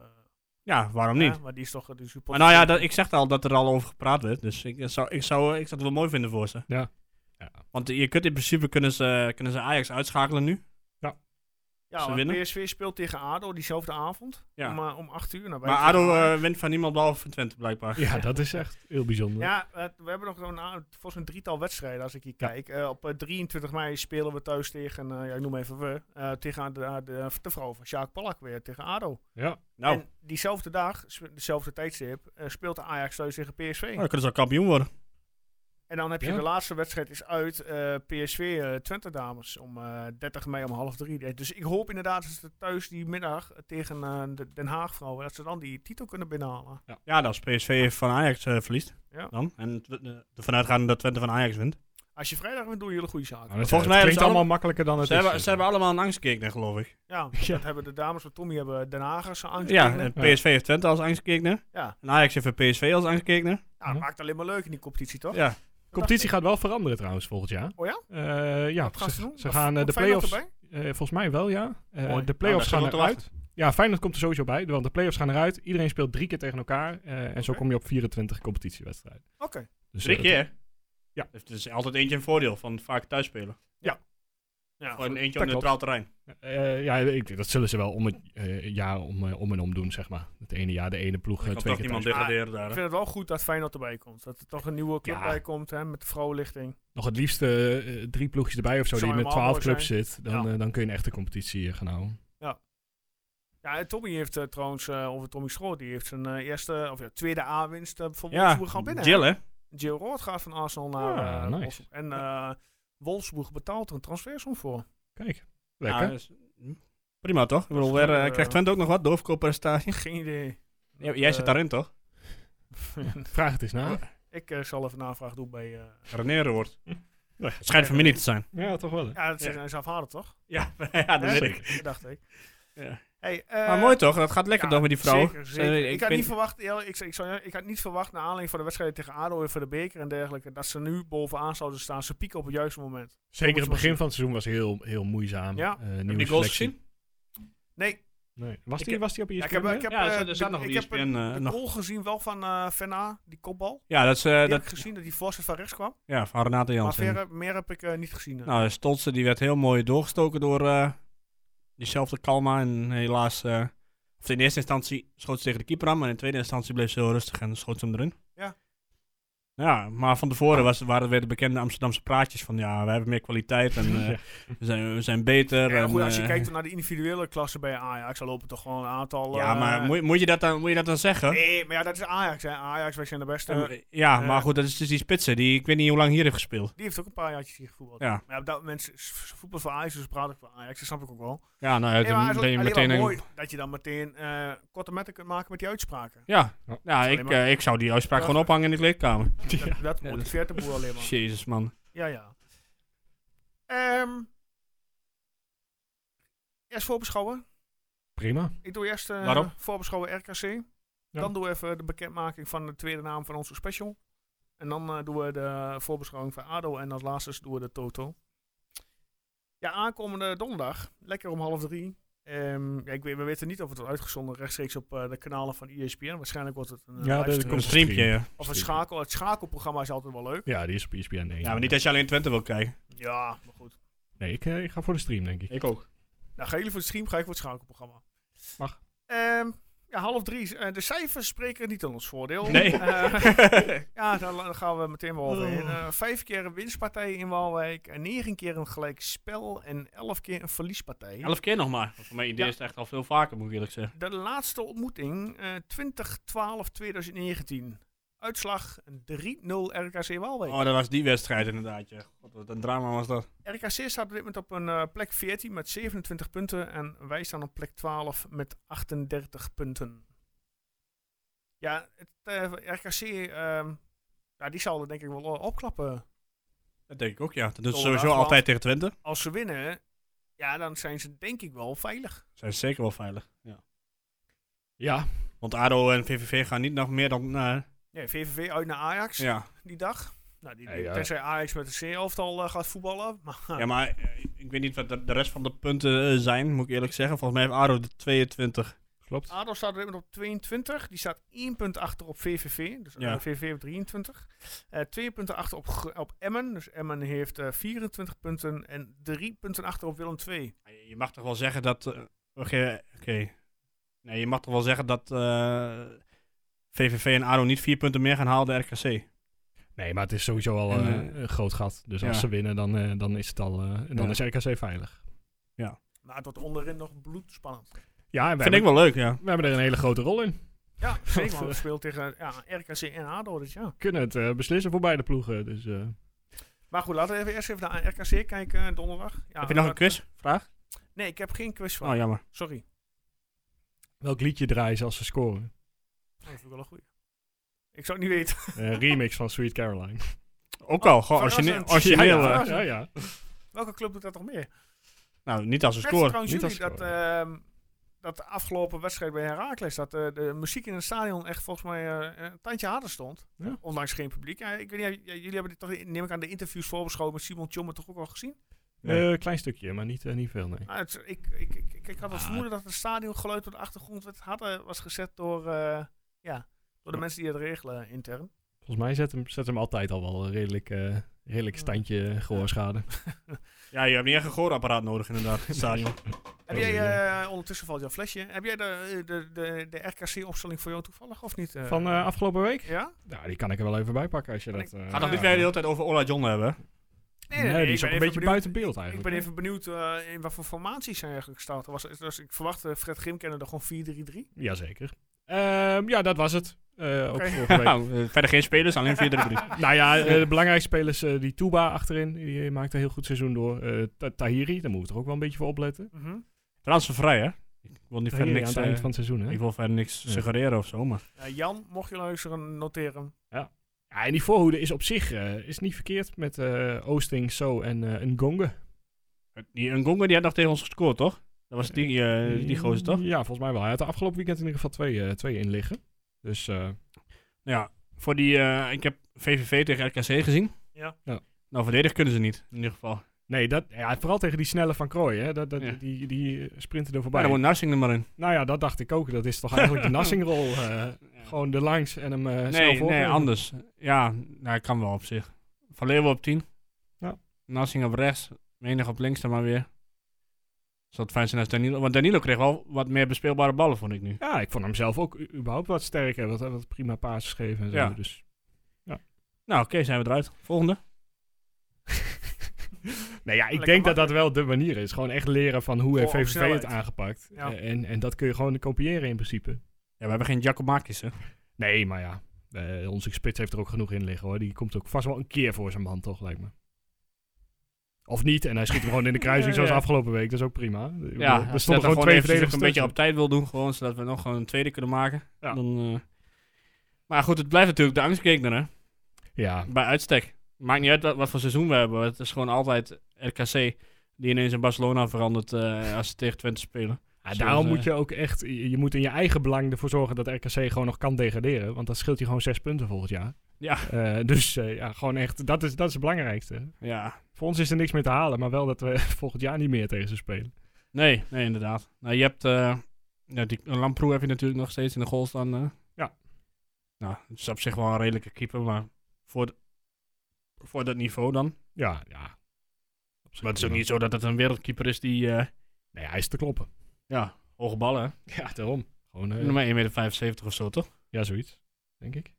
[SPEAKER 2] Ja, waarom niet?
[SPEAKER 1] hè, maar die is toch eh, de
[SPEAKER 2] Maar
[SPEAKER 1] supporter.
[SPEAKER 2] nou ja, dat, ik zeg al dat er al over gepraat werd. Dus ik dat zou, ik zou, ik zou het wel mooi vinden voor ze.
[SPEAKER 3] Ja. Ja.
[SPEAKER 2] Want je kunt in principe kunnen ze, kunnen ze Ajax uitschakelen nu.
[SPEAKER 1] ja,
[SPEAKER 2] ze
[SPEAKER 1] want
[SPEAKER 2] winnen.
[SPEAKER 1] PSV speelt tegen ADO diezelfde avond.
[SPEAKER 2] Ja.
[SPEAKER 1] Om, eh, om 8 uur. Nou, wij
[SPEAKER 2] Maar
[SPEAKER 1] tegen
[SPEAKER 2] ADO
[SPEAKER 1] Ajax.
[SPEAKER 2] eh, wint van niemand behalve van Twente blijkbaar.
[SPEAKER 3] Ja, dat is echt heel bijzonder.
[SPEAKER 1] ja, eh, we hebben nog een, a- volgens een drietal wedstrijden als ik hier kijk. Eh, op eh, 23 mei spelen we thuis tegen, eh, ja, ik noem even we, eh, tegen de, de, de vrouw van Sjaak Palak weer, tegen ADO.
[SPEAKER 3] Ja.
[SPEAKER 2] Nou,
[SPEAKER 1] En diezelfde dag, sp- dezelfde tijdstip, eh, speelt de Ajax thuis tegen PSV.
[SPEAKER 2] dan oh, kunnen ze al kampioen worden.
[SPEAKER 1] En dan heb je
[SPEAKER 3] Ja.
[SPEAKER 1] de laatste wedstrijd is uit eh, PSV eh, Twente dames om eh 30 mei om half drie. Dus ik hoop inderdaad dat ze thuis die middag tegen eh, de Den Haag vrouwen dat ze dan die titel kunnen binnenhalen.
[SPEAKER 2] Ja, dat als PSV van Ajax eh, verliest.
[SPEAKER 1] Ja.
[SPEAKER 2] Dan. En Tw- eh, ervan uitgaande dat Twente van Ajax wint.
[SPEAKER 1] Als je vrijdag wint, doe je hele goede zaken.
[SPEAKER 3] Maar Nou, dat-
[SPEAKER 2] Volgens mij
[SPEAKER 3] het
[SPEAKER 2] hebben
[SPEAKER 3] klinkt
[SPEAKER 2] ze
[SPEAKER 3] allemaal makkelijker
[SPEAKER 2] allemaal-
[SPEAKER 3] dan het
[SPEAKER 2] Ze
[SPEAKER 3] is. eh.
[SPEAKER 2] hebben, ze hebben allemaal een angstkeekner, geloof ik.
[SPEAKER 1] Ja,
[SPEAKER 3] Ja.
[SPEAKER 1] dat hebben de dames van Tommy hebben Den Haagers angst.
[SPEAKER 2] Ja, eh,
[SPEAKER 1] tegen.
[SPEAKER 2] en PSV heeft Twente als angstkeekner.
[SPEAKER 1] Ja.
[SPEAKER 2] En Ajax heeft PSV als angstkeekner.
[SPEAKER 1] Ja, dat maakt alleen maar leuk in die competitie, toch?
[SPEAKER 2] Ja.
[SPEAKER 3] De competitie gaat wel veranderen trouwens volgend jaar.
[SPEAKER 1] Oh ja?
[SPEAKER 3] Eh, ja,
[SPEAKER 1] Wat gaan ze
[SPEAKER 3] ze,
[SPEAKER 1] doen?
[SPEAKER 3] ze gaan eh, de
[SPEAKER 1] Komt Feyenoord
[SPEAKER 3] play-offs...
[SPEAKER 1] erbij?
[SPEAKER 3] eh, volgens mij wel, ja. Eh,
[SPEAKER 2] Mooi.
[SPEAKER 3] de
[SPEAKER 2] Nou, daar
[SPEAKER 3] play-offs
[SPEAKER 2] zitten we
[SPEAKER 3] gaan
[SPEAKER 2] te
[SPEAKER 3] eruit. Ja, Feyenoord komt er sowieso bij, want de play-offs gaan eruit. Iedereen speelt drie keer tegen elkaar. eh, en zo
[SPEAKER 1] Oké.
[SPEAKER 3] kom je op 24 competitiewedstrijden.
[SPEAKER 1] Oké.
[SPEAKER 3] Dus,
[SPEAKER 2] Drie
[SPEAKER 3] eh,
[SPEAKER 2] keer.
[SPEAKER 3] Ja.
[SPEAKER 2] Dus het is altijd eentje een voordeel van vaak thuis spelen.
[SPEAKER 1] Ja,
[SPEAKER 2] Gewoon
[SPEAKER 1] goed.
[SPEAKER 2] eentje
[SPEAKER 3] dat
[SPEAKER 2] op neutraal terrein.
[SPEAKER 3] eh, ja, ik, denk dat zullen ze wel om het eh, jaar om, eh, om en om doen, zeg maar. Het ene jaar de ene ploeg, eh,
[SPEAKER 2] Kan
[SPEAKER 3] twee
[SPEAKER 2] toch
[SPEAKER 3] keer
[SPEAKER 2] niemand
[SPEAKER 3] thuis.
[SPEAKER 2] degraderen daar.
[SPEAKER 1] Ik
[SPEAKER 2] hè?
[SPEAKER 1] vind het wel goed dat Feyenoord erbij komt. Dat er toch een nieuwe club
[SPEAKER 3] Ja.
[SPEAKER 1] bij komt hè, met de vrouwenlichting.
[SPEAKER 3] Nog het liefst eh, eh, drie ploegjes erbij of zo,
[SPEAKER 1] Zou
[SPEAKER 3] die met
[SPEAKER 1] helemaal mooi
[SPEAKER 3] 12 clubs zit. Dan,
[SPEAKER 1] Ja.
[SPEAKER 3] eh, dan kun je een echte competitie eh, gaan houden.
[SPEAKER 1] Ja, en Tommy heeft eh, trouwens, eh over Tommy Schroot, die heeft zijn eh, eerste, of ja, tweede A-winst eh voor
[SPEAKER 2] Ja, Ah,
[SPEAKER 1] Wolfsburg gaan binnen. hè?
[SPEAKER 2] Jill hè.
[SPEAKER 1] Jill Roord gaat van Arsenal naar
[SPEAKER 3] Ja,
[SPEAKER 1] eh,
[SPEAKER 3] nice.
[SPEAKER 1] Wolfsburg. En eh Wolfsburg betaalt er een transfersom voor.
[SPEAKER 3] Kijk,
[SPEAKER 2] Ja,
[SPEAKER 3] lekker.
[SPEAKER 2] dus- hm. prima toch? Ik bedoel,
[SPEAKER 1] is
[SPEAKER 2] weer,
[SPEAKER 1] gewoon,
[SPEAKER 2] eh,
[SPEAKER 1] eh,
[SPEAKER 2] krijgt Twente ook nog wat? Doorverkoopprestatie?
[SPEAKER 1] Geen idee.
[SPEAKER 2] Jij, jij
[SPEAKER 1] eh,
[SPEAKER 2] zit daarin toch?
[SPEAKER 3] Vraag het eens na.
[SPEAKER 1] ik eh, zal even navraag doen bij... eh,
[SPEAKER 2] Reneren wordt.
[SPEAKER 3] Nee.
[SPEAKER 2] Het schijnt van mij niet te zijn.
[SPEAKER 3] Ja, toch wel. hè?
[SPEAKER 1] ja, dat is
[SPEAKER 2] Ja.
[SPEAKER 1] zijn vader toch?
[SPEAKER 2] Ja, ja dat
[SPEAKER 1] Hè?
[SPEAKER 2] weet ik.
[SPEAKER 1] Dat dacht ik.
[SPEAKER 2] Ja.
[SPEAKER 1] Hey,
[SPEAKER 2] Maar
[SPEAKER 1] eh,
[SPEAKER 2] mooi toch? Dat gaat lekker
[SPEAKER 1] ja,
[SPEAKER 2] toch met die vrouwen?
[SPEAKER 1] zeker,
[SPEAKER 2] Ze-
[SPEAKER 1] zeker. Ik, had
[SPEAKER 2] ben-
[SPEAKER 1] niet verwacht, eerlijk, ik, ik, zou, ik had niet verwacht, naar aanleiding van de wedstrijd tegen ADO en voor de beker en dergelijke, dat ze nu bovenaan zouden staan. Ze pieken op het juiste moment.
[SPEAKER 3] Zeker het
[SPEAKER 1] Volgens
[SPEAKER 3] begin van het seizoen was heel, heel moeizaam.
[SPEAKER 1] Ja.
[SPEAKER 3] Eh, nieuwe
[SPEAKER 2] Heb je die goals
[SPEAKER 3] selectie.
[SPEAKER 2] gezien?
[SPEAKER 1] Nee,
[SPEAKER 3] Nee. Was,
[SPEAKER 2] Ik
[SPEAKER 3] die,
[SPEAKER 2] heb-
[SPEAKER 3] was die op E ESPN?
[SPEAKER 1] ja, ik heb, ik heb,
[SPEAKER 2] Ja,
[SPEAKER 1] eh,
[SPEAKER 2] er zat- er zat
[SPEAKER 1] de-
[SPEAKER 2] nog op
[SPEAKER 1] ik heb
[SPEAKER 2] ESPN,
[SPEAKER 1] een-
[SPEAKER 2] eh,
[SPEAKER 1] de
[SPEAKER 2] nog.
[SPEAKER 1] goal gezien wel van eh Venna, die kopbal.
[SPEAKER 2] Ja, dat is... eh,
[SPEAKER 1] Die heb
[SPEAKER 2] dat,
[SPEAKER 1] ik gezien dat die voorzet van rechts kwam.
[SPEAKER 2] ja, van Renate
[SPEAKER 1] Maar
[SPEAKER 2] Jansen.
[SPEAKER 1] verre- meer heb ik eh, niet gezien. eh.
[SPEAKER 2] Nou, Stolze die werd heel mooi doorgestoken door eh, diezelfde Kalma. En helaas, eh, of in eerste instantie schoot ze tegen de keeper aan, maar in tweede instantie bleef ze heel rustig en schoot ze hem erin.
[SPEAKER 1] Ja.
[SPEAKER 2] Ja, maar van tevoren was, waren weer de bekende Amsterdamse praatjes van ja, we hebben meer kwaliteit en eh, we, zijn, we zijn beter.
[SPEAKER 1] Ja,
[SPEAKER 2] en,
[SPEAKER 1] goed, als je
[SPEAKER 2] eh,
[SPEAKER 1] kijkt naar de individuele klassen bij Ajax, dan lopen toch gewoon een aantal...
[SPEAKER 2] Ja,
[SPEAKER 1] eh,
[SPEAKER 2] maar moet, moet, je dat dan, moet je dat dan zeggen?
[SPEAKER 1] Nee, maar ja, dat is Ajax. Hè. Ajax, wij zijn de beste.
[SPEAKER 2] Eh, ja,
[SPEAKER 1] eh,
[SPEAKER 2] maar goed, dat is dus die spitsen die ik weet niet hoe lang hier heeft gespeeld.
[SPEAKER 1] Die heeft ook een paar jaartjes hier gevoetbald.
[SPEAKER 2] Ja.
[SPEAKER 1] Maar ja, op dat moment is voetbal voor Ajax, dus praat ik voor Ajax. Dat snap ik ook wel.
[SPEAKER 2] Ja, nou,
[SPEAKER 1] Nee, maar het
[SPEAKER 2] dan
[SPEAKER 1] is
[SPEAKER 2] ben je
[SPEAKER 1] alleen maar
[SPEAKER 2] meteen een.
[SPEAKER 1] mooi dat je dan meteen eh, korte metten kunt maken met die uitspraken.
[SPEAKER 2] Ja,
[SPEAKER 3] Dat
[SPEAKER 2] ja
[SPEAKER 1] alleen
[SPEAKER 2] ik,
[SPEAKER 1] maar-
[SPEAKER 2] eh, ik zou die uitspraak
[SPEAKER 1] Ja.
[SPEAKER 2] gewoon ophangen in de kleedkamer.
[SPEAKER 1] Dat, dat
[SPEAKER 2] Ja,
[SPEAKER 1] motiveert de boer alleen maar.
[SPEAKER 2] Jezus, man.
[SPEAKER 1] Ja, ja. Ehm eerst voorbeschouwen.
[SPEAKER 3] Prima.
[SPEAKER 1] Ik doe eerst eh,
[SPEAKER 2] Waarom?
[SPEAKER 1] voorbeschouwen RKC. Dan doen we even de bekendmaking van de tweede naam van onze special. En dan eh, doen we de voorbeschouwing van ADO. En als laatste doen we de Toto. Ja, aankomende donderdag. Lekker om half drie. Ehm, ja, ik weet, we weten niet of het wordt uitgezonden rechtstreeks op eh, de kanalen van ESPN. Waarschijnlijk wordt het een, eh,
[SPEAKER 3] Ja, dat
[SPEAKER 1] livestream.
[SPEAKER 2] Een
[SPEAKER 3] komt-
[SPEAKER 2] streampje.
[SPEAKER 3] stream.
[SPEAKER 2] ja.
[SPEAKER 1] of een schakel. Het schakelprogramma is altijd wel leuk.
[SPEAKER 3] Ja, die is op E ESPN 1.
[SPEAKER 2] Ja, maar niet als je alleen Twente wil kijken.
[SPEAKER 1] Ja, maar goed.
[SPEAKER 3] Nee, ik, eh, ik ga voor de stream, denk ik.
[SPEAKER 2] Ik ook.
[SPEAKER 1] Nou, gaan jullie voor het stream, ga ik voor het schakelprogramma.
[SPEAKER 3] Mag.
[SPEAKER 1] Ehm, ja, half drie. Eh, de cijfers spreken niet aan ons voordeel.
[SPEAKER 2] Nee.
[SPEAKER 1] Eh, ja, daar la- daar gaan we meteen wel overheen. Eh, vijf keer een winstpartij in Waalwijk. En negen keer een gelijk spel. En elf keer een verliespartij.
[SPEAKER 2] Elf keer nog maar. Voor mijn idee
[SPEAKER 1] Ja.
[SPEAKER 2] is het echt al veel vaker, moet ik eerlijk zeggen.
[SPEAKER 1] De laatste ontmoeting, eh 2012-2019. Uitslag 3-0 RKC Waalwijk.
[SPEAKER 2] Oh, dat was die wedstrijd inderdaad. Ja. God, wat een drama was dat.
[SPEAKER 1] RKC staat op dit moment op een eh, plek 14 met 27 punten. En wij staan op plek 12 met 38 punten. Ja, het, eh, RKC, ehm, ja, die zal er denk ik wel eh, opklappen.
[SPEAKER 2] Dat denk ik ook, ja. Dat doen ze
[SPEAKER 1] Zondag,
[SPEAKER 2] sowieso
[SPEAKER 1] want-
[SPEAKER 2] altijd tegen Twente.
[SPEAKER 1] Als ze winnen, ja, dan zijn ze denk ik wel veilig.
[SPEAKER 2] Zijn ze zeker wel veilig.
[SPEAKER 3] Ja,
[SPEAKER 2] Want ADO en VVV gaan niet nog meer dan... nou,
[SPEAKER 1] Nee, VVV uit naar Ajax
[SPEAKER 2] ja.
[SPEAKER 1] die dag. Nou, die,
[SPEAKER 3] Nee, ja.
[SPEAKER 1] Tenzij Ajax met de C-elftal eh, gaat voetballen. Maar,
[SPEAKER 2] ja, maar eh, ik weet niet wat de de rest van de punten eh, zijn, moet ik eerlijk zeggen. Volgens mij heeft ADO de 22.
[SPEAKER 3] klopt.
[SPEAKER 1] ADO staat op dit moment op 22. Die staat 1 punt achter op VVV. Dus eh,
[SPEAKER 2] Ja.
[SPEAKER 1] VVV op 23. Eh 2 punten achter op, Gr- op Emmen. Dus Emmen heeft eh, 24 punten. En 3 punten achter op Willem 2.
[SPEAKER 2] Ah, Je mag toch wel zeggen dat... eh, Oké. oké. Nee, je mag toch wel zeggen dat eh, VVV en ADO niet vier punten meer gaan halen dan RKC.
[SPEAKER 3] Nee, maar het is sowieso al
[SPEAKER 2] En,
[SPEAKER 3] eh,
[SPEAKER 2] eh,
[SPEAKER 3] een groot gat. Dus als
[SPEAKER 2] ja.
[SPEAKER 3] ze winnen, dan, eh, dan is het al. eh, dan
[SPEAKER 2] Ja.
[SPEAKER 3] is RKC veilig.
[SPEAKER 1] Maar het wordt onderin nog bloedspannend.
[SPEAKER 3] Ja, en we,
[SPEAKER 2] Vind
[SPEAKER 3] hebben,
[SPEAKER 2] ik wel leuk, ja.
[SPEAKER 3] we hebben er een hele grote rol in.
[SPEAKER 1] Ja, zeker. want We spelen tegen ja, RKC en ADO. Dus ja.
[SPEAKER 3] Kunnen het eh, beslissen voor beide ploegen. Dus, eh,
[SPEAKER 1] Maar goed, laten we even eerst even naar RKC kijken eh, donderdag. Ja,
[SPEAKER 2] heb je nog een
[SPEAKER 1] dat-
[SPEAKER 2] quiz? Vraag?
[SPEAKER 1] Nee, ik heb geen quiz van.
[SPEAKER 2] Oh, jammer.
[SPEAKER 1] Sorry.
[SPEAKER 3] welk liedje draaien ze als ze scoren?
[SPEAKER 1] Oh, Dat vind ik wel een goeie. Ik zou het niet weten.
[SPEAKER 3] Eh, Een remix van Sweet Caroline.
[SPEAKER 2] Ook
[SPEAKER 1] Oh,
[SPEAKER 2] al, gewoon origineel.
[SPEAKER 1] verrassend.
[SPEAKER 2] origineel
[SPEAKER 1] Ja,
[SPEAKER 2] eh.
[SPEAKER 1] ja.
[SPEAKER 3] ja, ja.
[SPEAKER 1] Welke club doet dat nog meer?
[SPEAKER 2] Nou, niet als een
[SPEAKER 1] Merkten
[SPEAKER 2] score.
[SPEAKER 1] trouwens
[SPEAKER 3] niet
[SPEAKER 1] jullie
[SPEAKER 3] als
[SPEAKER 1] dat, ehm, dat de afgelopen wedstrijd bij Herakles, dat eh, de muziek in het stadion echt volgens mij eh, een tandje harder stond. Eh,
[SPEAKER 3] Ja.
[SPEAKER 1] Ondanks geen publiek. Ja, ik weet niet, ja, jullie hebben dit toch, neem ik aan, de interviews voorbeschoven met Simon Tjomme toch ook al gezien?
[SPEAKER 2] Nee.
[SPEAKER 3] Eh, klein stukje, maar niet, eh, niet veel. Nee.
[SPEAKER 1] Nou, het, is- ik, ik, ik, ik, ik had het
[SPEAKER 2] Ah,
[SPEAKER 1] vermoeden dat het stadiongeluid op de achtergrond werd, harder was gezet door, eh, ja, door de mensen die het regelen intern.
[SPEAKER 3] Volgens mij zet hem, zet hem altijd al wel een redelijk, eh, redelijk standje gehoorschade.
[SPEAKER 2] Ja, je hebt niet echt een gehoorapparaat nodig inderdaad, in het stadion.
[SPEAKER 1] Heb
[SPEAKER 3] Oh,
[SPEAKER 1] jij,
[SPEAKER 3] jee.
[SPEAKER 1] eh, ondertussen valt jouw flesje, heb jij de, de, de, de RKC-opstelling voor jou toevallig of niet? eh?
[SPEAKER 3] Van eh, afgelopen week?
[SPEAKER 1] Ja?
[SPEAKER 3] Nou, die kan ik er wel even bij pakken als je
[SPEAKER 1] Kan
[SPEAKER 3] dat... eh,
[SPEAKER 2] Gaat toch niet
[SPEAKER 3] ja.
[SPEAKER 2] weer de hele tijd over Ola John hebben? hè?
[SPEAKER 3] Nee,
[SPEAKER 1] ik
[SPEAKER 3] die is
[SPEAKER 1] ben
[SPEAKER 3] ook een
[SPEAKER 1] even
[SPEAKER 3] beetje
[SPEAKER 1] benieuwd-
[SPEAKER 3] buiten beeld
[SPEAKER 1] Ik
[SPEAKER 3] eigenlijk.
[SPEAKER 1] ben even benieuwd eh, in wat voor formaties zij eigenlijk staat. Was, dus ik verwachtte Fred Grim kende er gewoon 4-3-3.
[SPEAKER 3] Jazeker. Ehm, ja, dat was het. Eh, ook
[SPEAKER 1] Oké.
[SPEAKER 3] vorige week.
[SPEAKER 2] Nou, eh, verder geen spelers, alleen 4 3
[SPEAKER 3] nou ja, eh, de belangrijkste spelers, eh, die Touba achterin, die eh, maakt een heel goed seizoen door. Eh, Ta- Tahiri, daar moeten we er ook wel een beetje voor opletten.
[SPEAKER 2] Transfervrij, hè? Ik wil niet verder
[SPEAKER 3] Tahiri aan
[SPEAKER 2] niks,
[SPEAKER 3] het eind
[SPEAKER 2] eh,
[SPEAKER 3] van het seizoen, hè?
[SPEAKER 2] ik wil verder niks
[SPEAKER 3] Ja.
[SPEAKER 2] suggereren of zo, maar...
[SPEAKER 1] Eh, Jan, mocht je luisteren, noteer hem.
[SPEAKER 3] Ja, en die voorhoede is op zich eh, is niet verkeerd met eh, Oosting, So en eh Ngonge.
[SPEAKER 2] Die Ngonga, die had nog tegen ons gescoord, toch? Dat was die, eh, die gozer, toch?
[SPEAKER 3] Ja, volgens mij wel. Hij had de afgelopen weekend in ieder geval twee, eh, twee in liggen. Dus eh,
[SPEAKER 2] Ja, voor die... eh, ik heb VVV tegen RKC gezien.
[SPEAKER 1] Ja.
[SPEAKER 3] Ja.
[SPEAKER 2] Nou, verdedigen kunnen ze niet, in ieder geval.
[SPEAKER 3] nee, dat, ja, vooral tegen die snelle van Krooi, hè. Dat, dat,
[SPEAKER 2] Ja.
[SPEAKER 3] Die, die eh, sprinten er
[SPEAKER 2] Maar
[SPEAKER 3] voorbij.
[SPEAKER 2] dan moet Narsing er maar in.
[SPEAKER 3] Nou ja, dat dacht ik ook. Dat is toch eigenlijk de Nassingrol. eh Gewoon er langs en hem eh snel
[SPEAKER 2] Nee, nee,
[SPEAKER 3] voorgeven.
[SPEAKER 2] anders. Ja, nou, kan wel op zich. Van Leeuwen op 10.
[SPEAKER 3] Ja.
[SPEAKER 2] Nassing op rechts. Menig op links dan maar weer. Zou het fijn zijn als Danilo... Want Danilo kreeg wel wat meer bespeelbare ballen, vond ik nu.
[SPEAKER 3] dus. Ja, ik vond hem zelf ook u- überhaupt wat sterker. Wat, wat prima paasjes geven en zo.
[SPEAKER 2] Ja.
[SPEAKER 3] Dus
[SPEAKER 2] Nou, oké, zijn we eruit. Volgende.
[SPEAKER 3] Nou ja, ik
[SPEAKER 1] Lekker
[SPEAKER 3] denk dat dat wel de manier is. Gewoon echt leren van hoe heeft
[SPEAKER 1] Voor op
[SPEAKER 3] VVV het
[SPEAKER 1] snelheid.
[SPEAKER 3] aangepakt.
[SPEAKER 1] Ja.
[SPEAKER 3] Eh, En, en dat kun je gewoon kopiëren in principe.
[SPEAKER 2] Ja, we hebben geen Giacomakis, hè?
[SPEAKER 3] Nee, maar ja. eh, onze spits heeft er ook genoeg in liggen hoor. Die komt ook vast wel een keer voor zijn man, toch, lijkt me. Of niet, en hij schiet hem gewoon in de kruising
[SPEAKER 2] Ja,
[SPEAKER 3] zoals
[SPEAKER 2] ja.
[SPEAKER 3] afgelopen week. Dat is ook prima. Ik bedoel,
[SPEAKER 2] Ja,
[SPEAKER 3] er
[SPEAKER 2] als je dat
[SPEAKER 3] stonden
[SPEAKER 2] dan
[SPEAKER 3] gewoon twee
[SPEAKER 2] eventjes
[SPEAKER 3] verdedigers
[SPEAKER 2] een beetje
[SPEAKER 3] tussen.
[SPEAKER 2] op tijd wil doen, gewoon, zodat we nog gewoon een tweede kunnen maken.
[SPEAKER 3] Ja.
[SPEAKER 2] Dan, eh, Maar goed, het blijft natuurlijk de angstgekner, hè?
[SPEAKER 3] Ja,
[SPEAKER 2] Bij uitstek. Maakt niet uit wat, wat voor seizoen we hebben. Het is gewoon altijd RKC die ineens in Barcelona verandert eh, als ze tegen Twente spelen.
[SPEAKER 3] Ja,
[SPEAKER 2] Zoals,
[SPEAKER 3] daarom
[SPEAKER 2] eh,
[SPEAKER 3] moet je ook echt, je je moet in je eigen belang ervoor zorgen dat RKC gewoon nog kan degraderen. Want dat scheelt je gewoon zes punten volgend jaar.
[SPEAKER 2] Ja.
[SPEAKER 3] Eh, dus eh, ja, gewoon echt, dat is, dat is het belangrijkste.
[SPEAKER 2] Ja.
[SPEAKER 3] Voor ons is er niks meer te halen, maar wel dat we volgend jaar niet meer tegen ze spelen.
[SPEAKER 2] Nee, nee, inderdaad. Nou, je hebt... eh ja, die Lamproe heb je natuurlijk nog steeds in de goal staan. eh.
[SPEAKER 3] Ja.
[SPEAKER 2] Nou, het is op zich wel een redelijke keeper, maar voor, d- voor dat niveau dan.
[SPEAKER 3] Ja, ja. Op zich
[SPEAKER 2] Maar het is ook
[SPEAKER 3] prima.
[SPEAKER 2] niet zo dat het een wereldkeeper is die... eh,
[SPEAKER 3] Nee, hij is te kloppen.
[SPEAKER 2] ja, hoge ballen, hè?
[SPEAKER 3] Ja, daarom. Gewoon, eh,
[SPEAKER 2] Nog maar 1,75 meter of zo, toch?
[SPEAKER 3] ja, zoiets. Denk ik.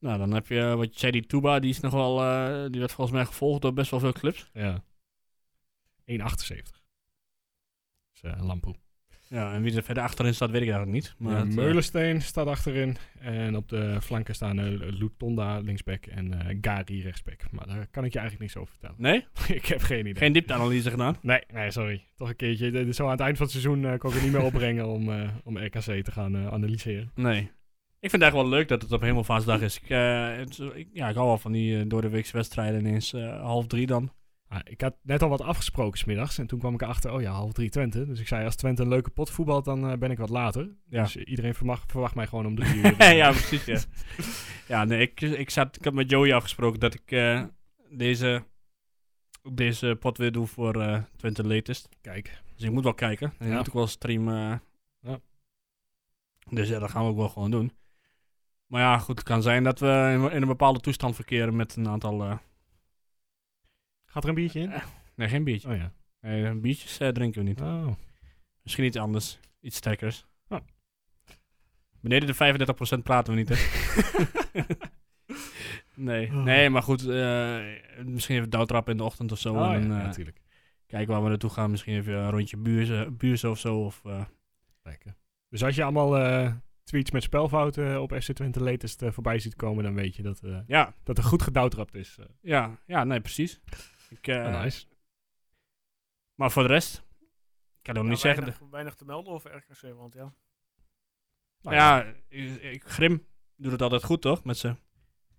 [SPEAKER 2] Nou, dan heb je, eh, wat je zei, die Tuba, die is nog wel, eh, die werd volgens mij gevolgd door best wel veel clubs.
[SPEAKER 3] Ja. 1,78. Dat is eh, een lampoe.
[SPEAKER 2] Ja, en wie er verder achterin staat, weet ik eigenlijk niet. Maar
[SPEAKER 3] Ja,
[SPEAKER 2] het, eh,
[SPEAKER 3] Meulensteen staat achterin. En op de flanken staan eh, Lutonda linksback en eh, Gari rechtsback. Maar daar kan ik je eigenlijk niks over vertellen.
[SPEAKER 2] nee,
[SPEAKER 3] ik heb geen idee.
[SPEAKER 2] geen diepteanalyse gedaan.
[SPEAKER 3] Nee, nee, sorry. Toch een keertje. Dit is Zo aan het eind van het seizoen eh, kan ik het niet meer opbrengen om, eh, om RKC te gaan eh, analyseren.
[SPEAKER 2] Nee. Ik vind het eigenlijk wel leuk dat het op helemaal vastdag is. Ik, eh, het- ik- ja, ik hou wel van die eh, door de weekse wedstrijden ineens eh, half drie dan.
[SPEAKER 3] Ah, ik had net al wat afgesproken smiddags. En toen kwam ik erachter, oh ja, half drie Twente. Dus ik zei, als Twente een leuke pot voetbalt, dan eh, ben ik wat later.
[SPEAKER 2] Ja.
[SPEAKER 3] Dus iedereen vermag- verwacht mij gewoon om drie uur. eh,
[SPEAKER 2] ja, precies. Ja, ja nee, ik, ik, zat, ik had met Joey afgesproken dat ik eh, deze, deze pot weer doe voor eh Twente Latest.
[SPEAKER 3] Kijk,
[SPEAKER 2] Dus ik moet wel kijken. En ik
[SPEAKER 3] Ja.
[SPEAKER 2] moet ook wel streamen.
[SPEAKER 3] Ja.
[SPEAKER 2] Dus ja, dat gaan we ook wel gewoon doen. Maar ja, goed, het kan zijn dat we in, in een bepaalde toestand verkeren met een aantal... eh,
[SPEAKER 3] gaat er een biertje in?
[SPEAKER 2] nee, geen biertje.
[SPEAKER 3] Oh ja.
[SPEAKER 2] Nee, eh, biertjes eh, drinken we niet.
[SPEAKER 3] Oh.
[SPEAKER 2] Misschien iets anders. Iets sterkers.
[SPEAKER 3] Oh.
[SPEAKER 2] Beneden de 35% praten we niet, hè? nee.
[SPEAKER 3] Oh.
[SPEAKER 2] nee, maar goed. eh, misschien even douwtrap in de ochtend of zo.
[SPEAKER 3] Oh,
[SPEAKER 2] en
[SPEAKER 3] ja,
[SPEAKER 2] dan, eh,
[SPEAKER 3] natuurlijk.
[SPEAKER 2] kijken waar we naartoe gaan. Misschien even een rondje buurzen, buurzen of zo. Of, eh,
[SPEAKER 3] Lekker. Dus als je allemaal eh, tweets met spelfouten eh, op FC Twente latest eh, voorbij ziet komen, dan weet je dat, eh,
[SPEAKER 2] ja,
[SPEAKER 3] dat er goed gedouwtrapt is. Eh,
[SPEAKER 2] Ja, ja, nee, precies. Ik, eh,
[SPEAKER 3] ah, nice.
[SPEAKER 2] Maar voor de rest, ik kan ook niet zeggen.
[SPEAKER 1] weinig, weinig te melden over RKC, want ja.
[SPEAKER 3] Nou
[SPEAKER 2] ja, ik, ik- Grim doet het altijd goed, toch? Met ze.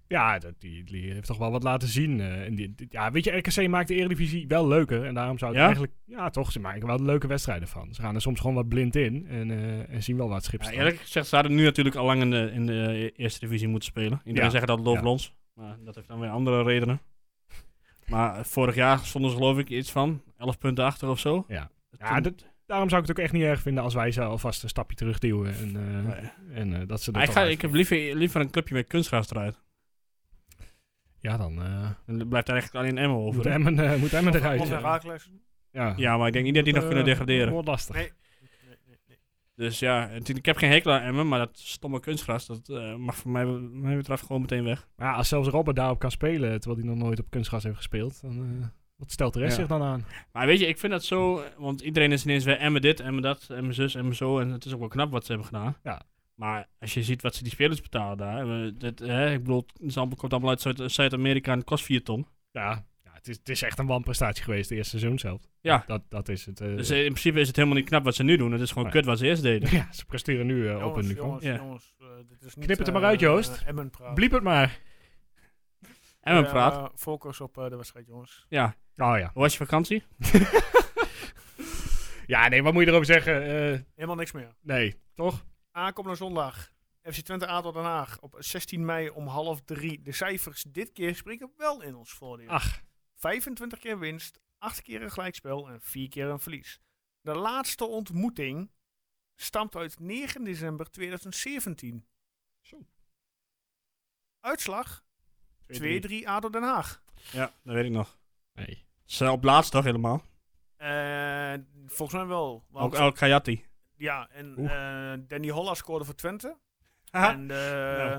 [SPEAKER 3] Ja, dat, die, die heeft toch wel wat laten zien. eh, en die, die- ja, weet je, RKC maakt de Eredivisie wel leuker. En daarom zou het
[SPEAKER 2] Ja?
[SPEAKER 3] eigenlijk... Ja, toch, ze maken wel leuke wedstrijden van. Ze gaan er soms gewoon wat blind in en, eh, en zien wel wat schip
[SPEAKER 2] Ja,
[SPEAKER 3] staan.
[SPEAKER 2] eerlijk gezegd, ze hadden nu natuurlijk al lang in de, in de eerste divisie moeten spelen. Iedereen
[SPEAKER 3] Ja,
[SPEAKER 2] zegt dat het loopt
[SPEAKER 3] ja.
[SPEAKER 2] ons, maar dat heeft dan weer andere redenen. Maar eh, vorig jaar stonden ze geloof ik iets van 11 punten achter of zo.
[SPEAKER 3] Ja.
[SPEAKER 2] Toen-
[SPEAKER 3] Ja, dat- daarom zou ik het ook echt niet erg vinden als wij ze alvast een stapje terugduwen. En, eh,
[SPEAKER 2] Nee.
[SPEAKER 3] en eh, dat ze
[SPEAKER 2] Oh Maar
[SPEAKER 3] dat
[SPEAKER 2] ik, ga, ik heb liever, liever een clubje met kunstgras eruit.
[SPEAKER 3] Ja, dan eh,
[SPEAKER 2] Dan blijft er eigenlijk alleen Emmen over.
[SPEAKER 3] moet Emmen, eh, moet Emmen
[SPEAKER 1] Of,
[SPEAKER 3] eruit.
[SPEAKER 1] of
[SPEAKER 3] eh.
[SPEAKER 1] Herakles.
[SPEAKER 3] ja.
[SPEAKER 2] Ja, maar ik denk niet dat die nog
[SPEAKER 3] Eh,
[SPEAKER 2] kunnen degraderen.
[SPEAKER 3] Wordt lastig.
[SPEAKER 1] Nee. Nee, nee, nee.
[SPEAKER 2] Dus ja, het- ik heb geen hekel aan Emmen, maar dat stomme kunstgras, dat eh, mag voor mij, mij betreft gewoon meteen weg.
[SPEAKER 3] Maar ja, als zelfs Robert daarop kan spelen, terwijl hij nog nooit op kunstgras heeft gespeeld, dan eh, wat stelt de rest
[SPEAKER 2] Ja.
[SPEAKER 3] zich dan aan?
[SPEAKER 2] Maar weet je, ik vind dat zo, eh, want iedereen is ineens weer Emmen dit, Emmen dat, Emmen zus, Emmen zo. En het is ook wel knap wat ze hebben gedaan.
[SPEAKER 3] Ja.
[SPEAKER 2] Maar als je ziet wat ze die spelers betalen daar, eh, dit, hè, ik bedoel, het is allemaal, komt allemaal uit Zuid- Zuid-Amerika en het kost 4 ton.
[SPEAKER 3] Ja, ja het, is, het is echt een wanprestatie geweest, de eerste seizoen zelf.
[SPEAKER 2] Ja.
[SPEAKER 3] Dat, dat is het. eh,
[SPEAKER 2] Dus eh, in principe is het helemaal niet knap wat ze nu doen, het is gewoon
[SPEAKER 3] Nee.
[SPEAKER 2] kut wat ze eerst deden.
[SPEAKER 3] ja, ze presteren nu eh, op een
[SPEAKER 1] Jongens,
[SPEAKER 3] niveau.
[SPEAKER 1] jongens,
[SPEAKER 2] Ja.
[SPEAKER 1] jongens, eh, dit is niet,
[SPEAKER 3] Knip het er maar
[SPEAKER 1] eh,
[SPEAKER 3] uit, Joost.
[SPEAKER 1] eh, Emmen praat.
[SPEAKER 3] Bliep het maar.
[SPEAKER 2] Emmen
[SPEAKER 1] Eh,
[SPEAKER 2] praat.
[SPEAKER 1] Focus op eh, de wedstrijd, jongens.
[SPEAKER 2] Ja,
[SPEAKER 3] Oh ja.
[SPEAKER 2] hoe was je vakantie?
[SPEAKER 3] Ja, nee, wat moet je erover zeggen? Eh,
[SPEAKER 1] Helemaal niks meer.
[SPEAKER 3] nee, toch?
[SPEAKER 1] Aankomende zondag. FC Twente Adel Den Haag op 16 mei om half drie. De cijfers dit keer spreken wel in ons voordeel.
[SPEAKER 3] Ach.
[SPEAKER 1] 25 keer winst, 8 keer een gelijkspel en 4 keer een verlies. De laatste ontmoeting stamt uit 9 december 2017.
[SPEAKER 3] Zo.
[SPEAKER 1] Uitslag 2-3 ADO Den Haag.
[SPEAKER 2] Ja, dat weet ik nog.
[SPEAKER 3] Nee.
[SPEAKER 2] Ze op laatst toch helemaal?
[SPEAKER 1] Eh, volgens mij wel.
[SPEAKER 2] Ook
[SPEAKER 1] Want,
[SPEAKER 2] El Kayati.
[SPEAKER 1] ja, en
[SPEAKER 2] Oeh.
[SPEAKER 1] eh, Danny Holla scoorde voor Twente.
[SPEAKER 2] Haha.
[SPEAKER 1] En eh,
[SPEAKER 2] Ja.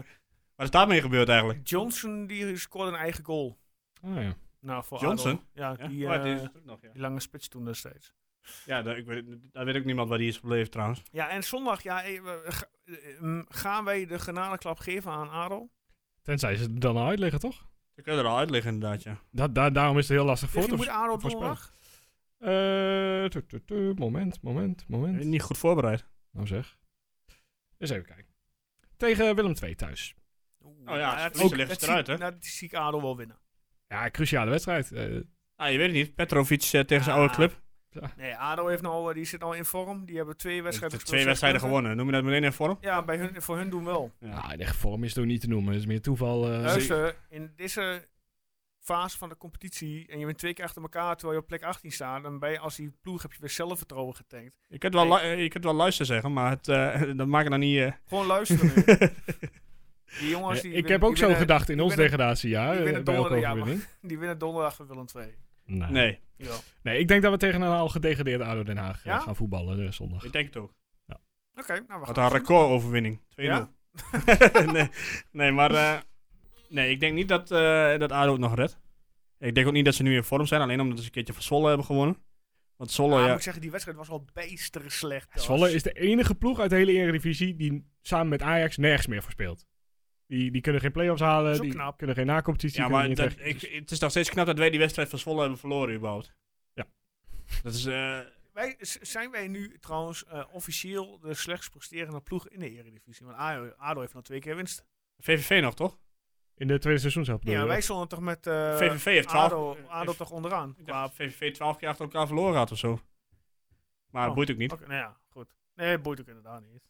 [SPEAKER 2] Wat is daarmee gebeurd eigenlijk?
[SPEAKER 1] Johnson die scoorde een eigen goal.
[SPEAKER 3] Oh, ja.
[SPEAKER 1] Nou, voor
[SPEAKER 2] Johnson?
[SPEAKER 1] Adel. Ja,
[SPEAKER 2] Ja,
[SPEAKER 1] Die,
[SPEAKER 2] Oh,
[SPEAKER 1] eh,
[SPEAKER 2] die is er ook nog, ja.
[SPEAKER 1] die lange spits toen destijds.
[SPEAKER 2] Ja, daar, ik weet, daar weet ook niemand waar die is gebleven trouwens.
[SPEAKER 1] Ja, en zondag, ja, eh, we- ga- eh, mm, gaan wij de genadeklap geven aan Adel?
[SPEAKER 3] Tenzij ze er dan al uitleggen, toch?
[SPEAKER 2] Ze kunnen er al uit liggen inderdaad, ja.
[SPEAKER 3] Dat, daar- daarom is het heel lastig voor
[SPEAKER 1] Tegen
[SPEAKER 3] te
[SPEAKER 1] wie Dus moet Adel op
[SPEAKER 3] voorspellen.
[SPEAKER 1] donderdag?
[SPEAKER 3] Eh, tu- tu- tu, moment, moment, moment.
[SPEAKER 2] Niet goed voorbereid.
[SPEAKER 3] Nou zeg. Eens even kijken. Tegen Willem II thuis.
[SPEAKER 2] Oh ja,
[SPEAKER 1] nou,
[SPEAKER 2] ze
[SPEAKER 1] dat
[SPEAKER 2] verliezen,
[SPEAKER 1] zie-
[SPEAKER 2] leggen
[SPEAKER 1] dat
[SPEAKER 2] ze eruit,
[SPEAKER 1] zie-
[SPEAKER 2] hè?
[SPEAKER 1] Dat zie ik Adel wel winnen.
[SPEAKER 3] Ja, cruciale wedstrijd. Eh,
[SPEAKER 2] Ah, je weet het niet. Petrovic eh, tegen zijn
[SPEAKER 1] Ja,
[SPEAKER 2] oude club.
[SPEAKER 1] Nee, Adel heeft nou, eh, die zit al in vorm. Die hebben twee wedstrijden
[SPEAKER 2] Twee wedstrijden
[SPEAKER 1] gewonnen.
[SPEAKER 2] gewonnen. Noem je dat meteen in vorm?
[SPEAKER 1] Ja, bij hun, voor hun doen wel.
[SPEAKER 2] Ja.
[SPEAKER 3] ja, in echt nou, vorm is het ook niet te noemen. Het is meer toeval. eh,
[SPEAKER 1] Luister, in deze fase van de competitie en je bent twee keer achter elkaar terwijl je op plek 18 staat, dan ben je als die ploeg heb je weer zelfvertrouwen getankt.
[SPEAKER 2] Je kunt wel, lu- eh, je kunt wel luisteren zeggen, maar het, eh, dat maakt dan niet... eh,
[SPEAKER 1] Gewoon luisteren. nu. die jongens
[SPEAKER 3] eh,
[SPEAKER 1] die
[SPEAKER 3] ik
[SPEAKER 1] win-
[SPEAKER 3] heb ook
[SPEAKER 1] die
[SPEAKER 3] zo
[SPEAKER 1] winnen-
[SPEAKER 3] gedacht in
[SPEAKER 1] die
[SPEAKER 3] ons
[SPEAKER 1] winnen-
[SPEAKER 3] degradatiejaar.
[SPEAKER 1] die
[SPEAKER 3] eh,
[SPEAKER 1] winnen
[SPEAKER 3] bij elke
[SPEAKER 1] dollar, ja, maar-
[SPEAKER 3] overwinning.
[SPEAKER 1] Die winnen donderdag van Willem II.
[SPEAKER 3] Nee. Nee.
[SPEAKER 2] nee,
[SPEAKER 1] Ja. Oké.
[SPEAKER 3] ik denk dat we tegen een al gedegradeerd ADO Den Haag eh,
[SPEAKER 1] Ja?
[SPEAKER 3] gaan voetballen eh, zondag.
[SPEAKER 2] ik denk het ook.
[SPEAKER 1] nou we
[SPEAKER 2] Wat
[SPEAKER 1] gaan
[SPEAKER 2] een recordoverwinning. 2-0.
[SPEAKER 1] Ja?
[SPEAKER 2] nee, nee, maar... eh, nee, ik denk niet dat, eh dat ADO het nog redt. Ik denk ook niet dat ze nu in vorm zijn, alleen omdat ze een keertje van Zwolle hebben gewonnen. Want Zwolle,
[SPEAKER 1] Ah,
[SPEAKER 2] ja...
[SPEAKER 1] moet ik zeggen, die wedstrijd was al beester slecht. Jos.
[SPEAKER 3] Zwolle is de enige ploeg uit de hele Eredivisie die samen met Ajax nergens meer verspeelt. Die, die kunnen geen play-offs halen,
[SPEAKER 1] is ook
[SPEAKER 3] die
[SPEAKER 1] knap.
[SPEAKER 3] kunnen geen nacompetitie.
[SPEAKER 2] Ja,
[SPEAKER 3] kunnen Dus
[SPEAKER 2] maar
[SPEAKER 3] niet
[SPEAKER 2] dat,
[SPEAKER 3] echt-
[SPEAKER 2] ik, het is nog steeds knap dat wij die wedstrijd van Zwolle hebben verloren, überhaupt.
[SPEAKER 3] Ja.
[SPEAKER 2] Dat is... eh,
[SPEAKER 1] Wij, s- zijn wij nu trouwens eh, officieel de slechtst presterende ploeg in de Eredivisie? Want ADO, ADO heeft nog twee keer winst.
[SPEAKER 2] VVV nog, toch?
[SPEAKER 3] in de tweede seizoen zelf.
[SPEAKER 1] Ja, wij stonden toch met eh,
[SPEAKER 2] VVV heeft 12.
[SPEAKER 1] ADO, ADO toch onderaan.
[SPEAKER 2] Ik
[SPEAKER 1] Qua
[SPEAKER 2] dacht dat VVV 12 keer achter elkaar verloren had of zo. Maar
[SPEAKER 1] Oh,
[SPEAKER 2] boeit ook niet.
[SPEAKER 1] Oké, nou ja, goed. Nee, boeit ook inderdaad niet.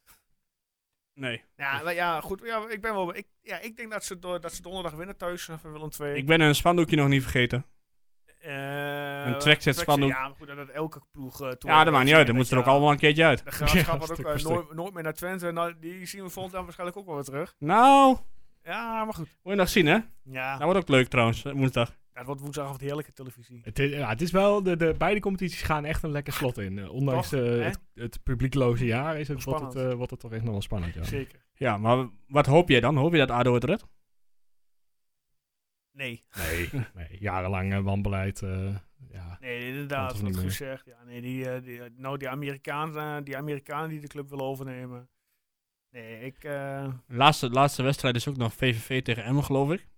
[SPEAKER 2] Nee.
[SPEAKER 1] Ja, maar ja goed. Ja, ik, ben wel, ik, ja, ik denk dat ze, do- dat ze donderdag winnen thuis eh, van Willem II.
[SPEAKER 2] Ik ben een spandoekje nog niet vergeten.
[SPEAKER 1] Eh,
[SPEAKER 2] een trackset
[SPEAKER 1] trackset,
[SPEAKER 2] spandoek.
[SPEAKER 1] Ja, maar goed, dat had elke ploeg... eh, toen
[SPEAKER 2] ja, dat maakt niet
[SPEAKER 1] Ja,
[SPEAKER 2] uit. Dan moeten ze er ook
[SPEAKER 1] ja,
[SPEAKER 2] allemaal een keertje uit.
[SPEAKER 1] De graafschap
[SPEAKER 3] Ja,
[SPEAKER 1] had ook
[SPEAKER 3] stuk
[SPEAKER 1] eh,
[SPEAKER 3] voor
[SPEAKER 1] nooit, nooit meer naar Twente. Nou, die zien we volgend jaar waarschijnlijk ook wel weer terug.
[SPEAKER 2] Nou,
[SPEAKER 1] Ja, maar goed.
[SPEAKER 2] moet je nog zien, hè?
[SPEAKER 1] Ja,
[SPEAKER 2] Dat wordt ook leuk trouwens, eh, woensdag.
[SPEAKER 1] dat wordt woensdagavond heerlijke televisie.
[SPEAKER 3] Het is, ja, het is wel, de, de, beide competities gaan echt een lekker slot in. Eh, ondanks
[SPEAKER 1] Toch,
[SPEAKER 3] eh,
[SPEAKER 1] hè?
[SPEAKER 3] het, het publiekloze jaar is het, wordt, het,
[SPEAKER 1] Spannend.
[SPEAKER 3] eh, wordt het toch echt nog wel spannend. Ja.
[SPEAKER 1] Zeker.
[SPEAKER 2] Ja, maar wat hoop jij dan? Hoop je dat ADO het redt?
[SPEAKER 1] Nee,
[SPEAKER 3] Nee, jarenlang eh, wanbeleid. eh, ja.
[SPEAKER 1] nee
[SPEAKER 3] Kan
[SPEAKER 1] inderdaad.
[SPEAKER 3] toch
[SPEAKER 1] Wat
[SPEAKER 3] niet
[SPEAKER 1] goed
[SPEAKER 3] meer.
[SPEAKER 1] zegt. Ja, nee, die, eh, die, eh, nou, die Amerikanen, eh, die Amerikanen die de club willen overnemen. Nee, ik... eh,
[SPEAKER 2] De laatste, laatste wedstrijd is ook nog VVV tegen Emmen, geloof ik.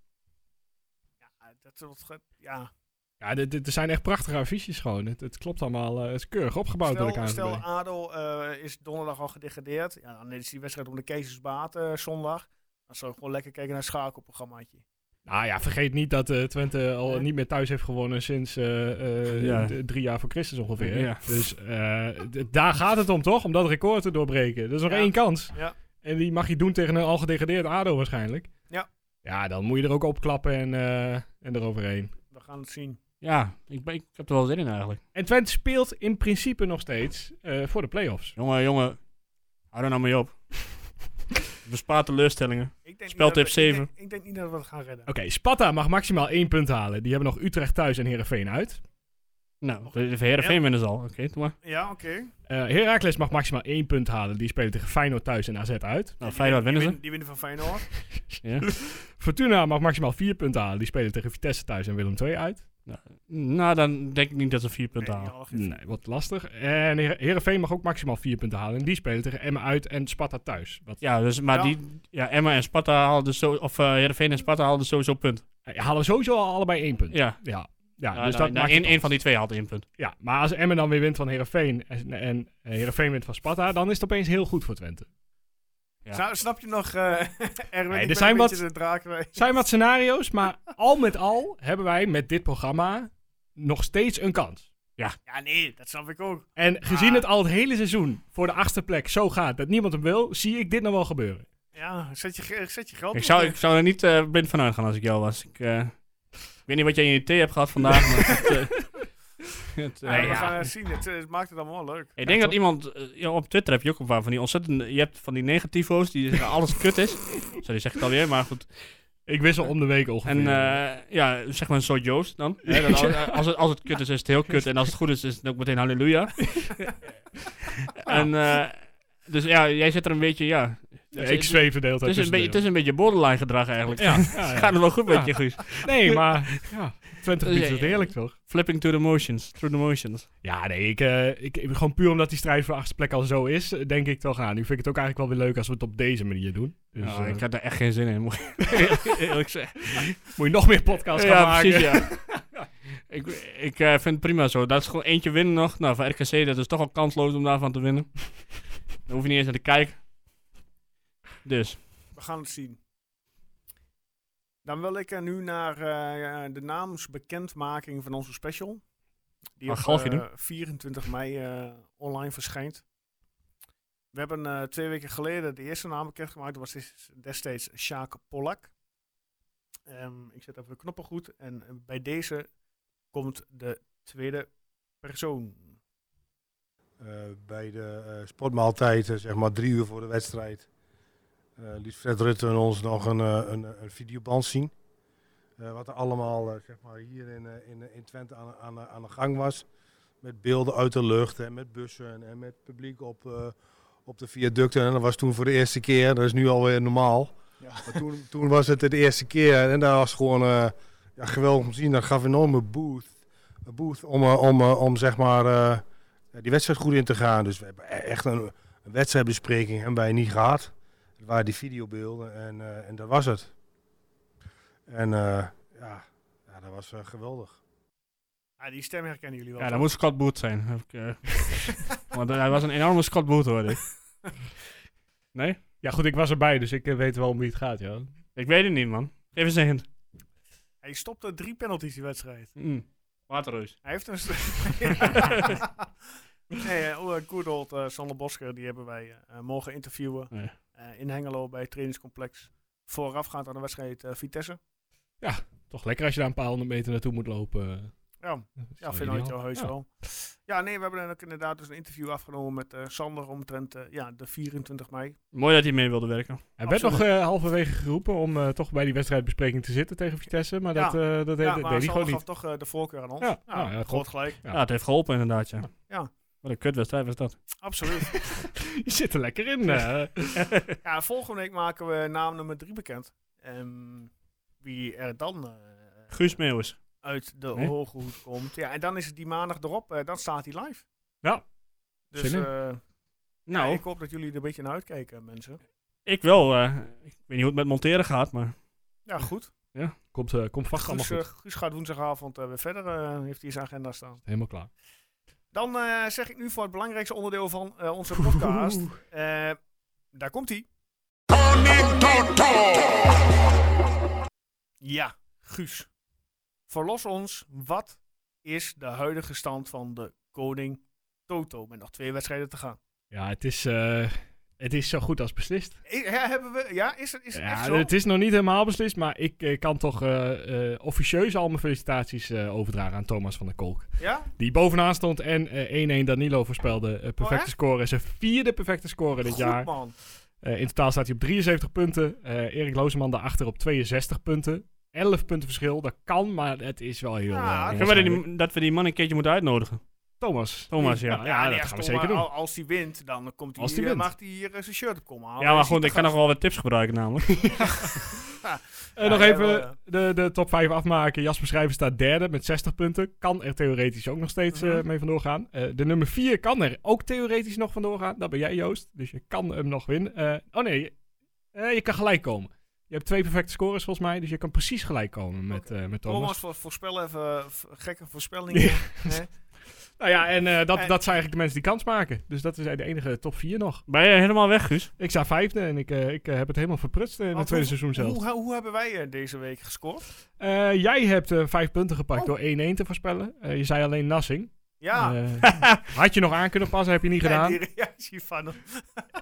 [SPEAKER 1] ja, dat wordt... ge- Ja,
[SPEAKER 3] Ja, dit, dit- er zijn echt prachtige affiches gewoon. Het, het klopt allemaal. eh, het is keurig opgebouwd door de
[SPEAKER 1] Stel,
[SPEAKER 3] KNVB.
[SPEAKER 1] stel ADO eh, is donderdag al gedegradeerd. Ja, dan is die wedstrijd om de Kezersbaat eh zondag. Dan zou ik gewoon lekker kijken naar een schakelprogrammaatje.
[SPEAKER 3] Nou ja, vergeet niet dat eh, Twente al
[SPEAKER 1] Hè?
[SPEAKER 3] niet meer thuis heeft gewonnen sinds eh, eh,
[SPEAKER 2] Ja.
[SPEAKER 3] d- drie jaar voor Christus ongeveer.
[SPEAKER 2] Ja.
[SPEAKER 3] Dus eh, d- daar gaat het om toch? Om dat record te doorbreken. Dat is nog
[SPEAKER 1] Ja.
[SPEAKER 3] één kans.
[SPEAKER 1] Ja.
[SPEAKER 3] En die mag je doen tegen een al gedegradeerd ADO waarschijnlijk.
[SPEAKER 1] Ja.
[SPEAKER 3] Ja, dan moet je er ook opklappen en, eh, en eroverheen.
[SPEAKER 1] We gaan het zien.
[SPEAKER 2] Ja, ik, ben- ik heb er wel zin in eigenlijk.
[SPEAKER 3] En Twente speelt in principe nog steeds eh, voor de play-offs.
[SPEAKER 2] Jongen, jongen. Hou er nou mee op. Bespaar teleurstellingen.
[SPEAKER 1] Ik denk
[SPEAKER 2] Speltip
[SPEAKER 1] niet dat we- ik
[SPEAKER 2] zeven.
[SPEAKER 1] denk- Ik denk niet dat we het gaan redden.
[SPEAKER 3] Oké, Sparta mag maximaal één punt halen. Die hebben nog Utrecht thuis en Heerenveen uit.
[SPEAKER 2] Nou, de, de Heerenveen winnen ze al. Oké, doe maar.
[SPEAKER 1] Ja, oké.
[SPEAKER 2] Nou,
[SPEAKER 3] Eh Heracles mag maximaal één punt halen. Die spelen tegen Feyenoord thuis en AZ uit.
[SPEAKER 2] Nou, Feyenoord
[SPEAKER 1] Die,
[SPEAKER 2] winnen ze.
[SPEAKER 1] win- die winnen van Feyenoord.
[SPEAKER 2] Ja.
[SPEAKER 3] Fortuna mag maximaal vier punten halen. Die spelen tegen Vitesse thuis en Willem II uit.
[SPEAKER 2] Nou, dan denk ik niet dat ze vier punten
[SPEAKER 1] Nee,
[SPEAKER 2] halen.
[SPEAKER 1] ja, geen-
[SPEAKER 3] Nee, wat lastig. En Her- Heerenveen mag ook maximaal vier punten halen. En die spelen tegen Emmen uit en Sparta thuis. Wat,
[SPEAKER 2] Ja, dus, maar
[SPEAKER 1] Ja.
[SPEAKER 2] Die, ja, Emma en Sparta haalden zo, of eh Heerenveen en Sparta haalden sowieso punt.
[SPEAKER 3] eh, halen sowieso al allebei één punt.
[SPEAKER 2] Ja,
[SPEAKER 3] Ja, ja,
[SPEAKER 2] Ja,
[SPEAKER 3] dus
[SPEAKER 2] nou,
[SPEAKER 3] dat
[SPEAKER 2] nou,
[SPEAKER 3] maakt
[SPEAKER 2] één-
[SPEAKER 3] het
[SPEAKER 2] één van die twee haalde één punt.
[SPEAKER 3] Ja, maar als Emmen dan weer wint van Heerenveen en, en eh, Heerenveen wint van Sparta, dan is het opeens heel goed voor Twente.
[SPEAKER 2] Ja.
[SPEAKER 1] Snap- Snap je nog, eh Erwin?
[SPEAKER 3] Nee,
[SPEAKER 1] ik
[SPEAKER 3] er
[SPEAKER 1] ben
[SPEAKER 3] zijn
[SPEAKER 1] een
[SPEAKER 3] wat-
[SPEAKER 1] beetje de draak bij.
[SPEAKER 3] Het zijn wat scenario's, maar al met al hebben wij met dit programma nog steeds een kans.
[SPEAKER 1] Ja, nee, dat snap ik ook.
[SPEAKER 3] En gezien
[SPEAKER 1] Ah.
[SPEAKER 3] het al het hele seizoen voor de achtste plek zo gaat dat niemand hem wil, zie ik dit nog wel gebeuren.
[SPEAKER 1] Ja, zet je, ge- zet je geld
[SPEAKER 2] Ik
[SPEAKER 1] op.
[SPEAKER 2] zou, ik zou er niet eh, blind van uitgaan als ik jou was. Ik, eh, ik weet niet wat jij in je thee hebt gehad vandaag, maar het, eh, het, eh,
[SPEAKER 1] Nee,
[SPEAKER 2] ja.
[SPEAKER 1] We gaan het zien. Het, eh, het maakt het allemaal wel leuk.
[SPEAKER 2] Ik denk dat iemand, eh, ja, op Twitter heb je ook een paar van die ontzettende, je hebt van die negativo's die zeggen alles kut is. Sorry, zeg ik het alweer, maar goed.
[SPEAKER 3] Ik wissel om de week ongeveer.
[SPEAKER 2] En eh, ja, zeg maar een soort Joost dan. Hè, dat als, als, het, als het kut is, is het heel kut. En als het goed is, is het ook meteen halleluja. en eh, dus ja, jij zit er een beetje, ja,
[SPEAKER 3] Ja, ik zweef de hele
[SPEAKER 2] Het
[SPEAKER 3] tijd
[SPEAKER 2] is, dus een
[SPEAKER 3] tussendoor.
[SPEAKER 2] beetje, het is een beetje borderline gedrag eigenlijk.
[SPEAKER 3] Ja, ja, ja.
[SPEAKER 2] Gaat het wel goed
[SPEAKER 3] Ja.
[SPEAKER 2] met je, Guus?
[SPEAKER 3] Nee, maar ja, 20
[SPEAKER 2] Dus
[SPEAKER 3] minuten is
[SPEAKER 2] ja, ja,
[SPEAKER 3] eerlijk toch?
[SPEAKER 2] Flipping to the motions, through the motions.
[SPEAKER 3] Ja, nee, ik, eh, ik, ik- gewoon puur omdat die strijd voor de achtste plek al zo is, eh, denk ik toch aan. Nu vind ik het ook eigenlijk wel weer leuk als we het op deze manier doen. Dus
[SPEAKER 2] Nou,
[SPEAKER 3] eh,
[SPEAKER 2] ik had daar echt geen zin in, moet ik eerlijk zeggen.
[SPEAKER 3] moet je nog meer podcasts gaan maken.
[SPEAKER 2] ja. ik ik eh, vind het prima zo. Dat is gewoon eentje winnen nog. Nou, van RKC, dat is toch al kansloos om daarvan te winnen. Daar hoef je niet eens naar te kijken. Dus,
[SPEAKER 1] We gaan het zien. Dan wil ik eh, nu naar eh, de naamsbekendmaking van onze special. Die
[SPEAKER 2] Van
[SPEAKER 1] op
[SPEAKER 2] Galgje
[SPEAKER 1] eh,
[SPEAKER 2] doen.
[SPEAKER 1] 24 mei eh, online verschijnt. We hebben eh, twee weken geleden de eerste naam bekendgemaakt. Dat was des- destijds Sjaak Pollak. Ehm, ik zet even de knoppen goed. En eh, bij deze komt de tweede persoon.
[SPEAKER 7] Eh, bij de eh, sportmaaltijd, eh, zeg maar drie uur voor de wedstrijd, eh, liet Fred Rutte en ons nog een, eh, een, eh, een videoband zien. Eh, wat er allemaal eh, zeg maar hier in, eh, in, eh, in Twente aan, aan, aan de gang was. Met beelden uit de lucht en met bussen en met publiek op, eh, op de viaducten. En dat was toen voor de eerste keer, dat is nu alweer normaal. Maar toen, toen was het de eerste keer en dat was gewoon eh, ja, geweldig om te zien. Dat gaf een enorme boost, boost om, eh, om, eh, om zeg maar... eh, ja, die wedstrijd goed in te gaan. Dus we hebben e- echt een, een wedstrijdbespreking hebben wij niet gehad. Het waren die videobeelden en, eh, en dat was het. En eh, ja, ja, dat was eh, geweldig.
[SPEAKER 1] Ah, die stem herkennen jullie wel.
[SPEAKER 2] ja, dat
[SPEAKER 1] toch?
[SPEAKER 2] moet Scott Boot zijn. Heb ik, eh. Want hij was een enorme Scott Boot, hoorde ik. Nee?
[SPEAKER 3] Ja, goed, ik was erbij, dus ik eh, weet wel om wie het gaat, ja.
[SPEAKER 2] Ik weet het niet, man. Geef eens een hint.
[SPEAKER 1] Hij stopte drie penalties die wedstrijd.
[SPEAKER 2] Mm. Waterreus.
[SPEAKER 1] Hij heeft een. st- nee, eh, Oeh Koerdold, eh Sander Bosker, die hebben wij eh, mogen interviewen.
[SPEAKER 2] Ja.
[SPEAKER 1] eh, in Hengelo bij het trainingscomplex. Voorafgaand aan de wedstrijd eh, Vitesse.
[SPEAKER 3] Toch lekker als je daar een paar honderd meter naartoe moet lopen.
[SPEAKER 1] Ja,
[SPEAKER 3] Dat is
[SPEAKER 1] ja
[SPEAKER 3] wel
[SPEAKER 1] vind ik
[SPEAKER 3] ideaal.
[SPEAKER 1] wel heus
[SPEAKER 3] Ja.
[SPEAKER 1] wel. Ja, nee, we hebben dan ook inderdaad dus een interview afgenomen met eh, Sander omtrent eh, ja, de 24 mei.
[SPEAKER 2] Mooi dat hij mee wilde werken.
[SPEAKER 3] Hij werd nog
[SPEAKER 1] Absoluut.
[SPEAKER 3] eh, halverwege geroepen om eh, toch bij die wedstrijdbespreking te zitten tegen Vitesse, maar
[SPEAKER 1] Ja.
[SPEAKER 3] dat, eh, dat
[SPEAKER 1] ja,
[SPEAKER 3] deed, deed hij
[SPEAKER 1] gaf
[SPEAKER 3] gewoon niet.
[SPEAKER 1] toch eh, de voorkeur aan ons.
[SPEAKER 3] Ja,
[SPEAKER 1] Ja,
[SPEAKER 3] nou ja,
[SPEAKER 1] groot gelijk.
[SPEAKER 3] Ja.
[SPEAKER 2] Ja, het heeft geholpen inderdaad, ja.
[SPEAKER 1] Ja.
[SPEAKER 2] Wat een kutwedstrijd was dat.
[SPEAKER 1] Absoluut.
[SPEAKER 3] Je zit er lekker in. eh.
[SPEAKER 1] ja, volgende week maken we naam nummer 3 bekend. Ehm, wie er dan eh,
[SPEAKER 2] Guus Meeuwis.
[SPEAKER 1] uit de
[SPEAKER 2] Nee?
[SPEAKER 1] hoge hoed komt. Ja, en dan is het die maandag erop. eh, dan staat hij live.
[SPEAKER 2] Ja.
[SPEAKER 1] Dus
[SPEAKER 3] Zin in.
[SPEAKER 1] eh,
[SPEAKER 2] Nou,
[SPEAKER 1] ja, ik
[SPEAKER 2] ik,
[SPEAKER 1] hoop dat jullie er een beetje naar uitkijken, mensen.
[SPEAKER 2] wel. eh, ik weet niet hoe het met monteren gaat, maar...
[SPEAKER 1] Ja, goed.
[SPEAKER 3] komt, eh, komt vast allemaal
[SPEAKER 1] Guus,
[SPEAKER 3] goed.
[SPEAKER 1] eh, Guus gaat woensdagavond eh, weer verder. eh, heeft hij zijn agenda staan.
[SPEAKER 3] Helemaal klaar.
[SPEAKER 1] Dan eh, zeg ik nu voor het belangrijkste onderdeel van eh, onze podcast. Eh, daar komt hij. Ja, Guus. Verlos ons. Wat is de huidige stand van de koning Toto? Met nog twee wedstrijden te gaan.
[SPEAKER 3] Ja, het is, eh, het is zo goed als beslist.
[SPEAKER 1] I- ja, hebben we, ja is het, is het echt
[SPEAKER 3] Ja,
[SPEAKER 1] zo?
[SPEAKER 3] het is nog niet helemaal beslist, maar ik eh, kan toch eh, eh, officieus al mijn felicitaties eh, overdragen aan Thomas van der Kolk.
[SPEAKER 1] Ja?
[SPEAKER 3] Die bovenaan stond en eh, 1-1 Danilo voorspelde. eh, perfecte
[SPEAKER 1] Oh, echt?
[SPEAKER 3] score. Zijn vierde perfecte score dit
[SPEAKER 1] Goed,
[SPEAKER 3] jaar.
[SPEAKER 1] man.
[SPEAKER 3] Eh, in totaal staat hij op 73 punten. Eh, Erik Looseman daarachter op 62 punten. 11 punten verschil, dat kan, maar het is wel heel...
[SPEAKER 1] Ja,
[SPEAKER 3] eh,
[SPEAKER 1] dat
[SPEAKER 3] heel
[SPEAKER 1] kan
[SPEAKER 2] Kunnen we
[SPEAKER 3] waarschijnlijk.
[SPEAKER 2] die- dat we die man een keertje moeten uitnodigen.
[SPEAKER 3] Thomas.
[SPEAKER 2] Thomas, ja.
[SPEAKER 3] Ja, ja,
[SPEAKER 1] nee,
[SPEAKER 3] dat gaan
[SPEAKER 1] stom,
[SPEAKER 3] we zeker
[SPEAKER 1] maar
[SPEAKER 3] doen.
[SPEAKER 1] eh, al- Als hij wint, dan komt hij
[SPEAKER 3] Als die
[SPEAKER 1] hier,
[SPEAKER 3] wint.
[SPEAKER 1] mag hij hier eh, zijn shirt op komen halen.
[SPEAKER 2] Ja, maar
[SPEAKER 1] Hij
[SPEAKER 2] goed,
[SPEAKER 1] ziet
[SPEAKER 2] ik kan
[SPEAKER 1] er
[SPEAKER 2] nog wel wat tips gebruiken namelijk.
[SPEAKER 3] Eh,
[SPEAKER 1] Ja,
[SPEAKER 3] nog
[SPEAKER 1] ja,
[SPEAKER 3] even
[SPEAKER 1] wel, ja.
[SPEAKER 3] de, de top 5 afmaken. Jasper Schrijver staat derde met 60 punten. Kan er theoretisch ook nog steeds eh,
[SPEAKER 1] Mhm.
[SPEAKER 3] mee vandoor gaan. Eh, de nummer 4 kan er ook theoretisch nog vandoor gaan. Dat ben jij, Joost. Dus je kan hem nog winnen. Eh, oh nee, je- eh, je kan gelijk komen. Je hebt twee perfecte scores volgens mij. Dus je kan precies gelijk komen met, eh, met Thomas.
[SPEAKER 1] Thomas, vo- voorspel even eh, v- gekke voorspellingen. hè?
[SPEAKER 3] Nou ja, en eh, dat,
[SPEAKER 1] En-
[SPEAKER 3] dat zijn eigenlijk de mensen die kans maken. Dus dat is eh, de enige top 4 nog.
[SPEAKER 2] Ben je helemaal weg, Guus?
[SPEAKER 3] Ik sta vijfde en ik, eh, ik eh, heb het helemaal verprutst eh, in het
[SPEAKER 1] Want
[SPEAKER 3] tweede
[SPEAKER 1] hoe-
[SPEAKER 3] seizoen zelf.
[SPEAKER 1] Hoe, hoe hebben wij eh, deze week gescoord?
[SPEAKER 3] Eh, jij hebt eh, vijf punten gepakt
[SPEAKER 1] Oh.
[SPEAKER 3] door 1-1 te voorspellen. Eh, je zei alleen Nassing.
[SPEAKER 1] Ja,
[SPEAKER 3] Eh, had je nog aan kunnen passen, heb je niet
[SPEAKER 1] ja,
[SPEAKER 3] gedaan.
[SPEAKER 1] die reactie van hem.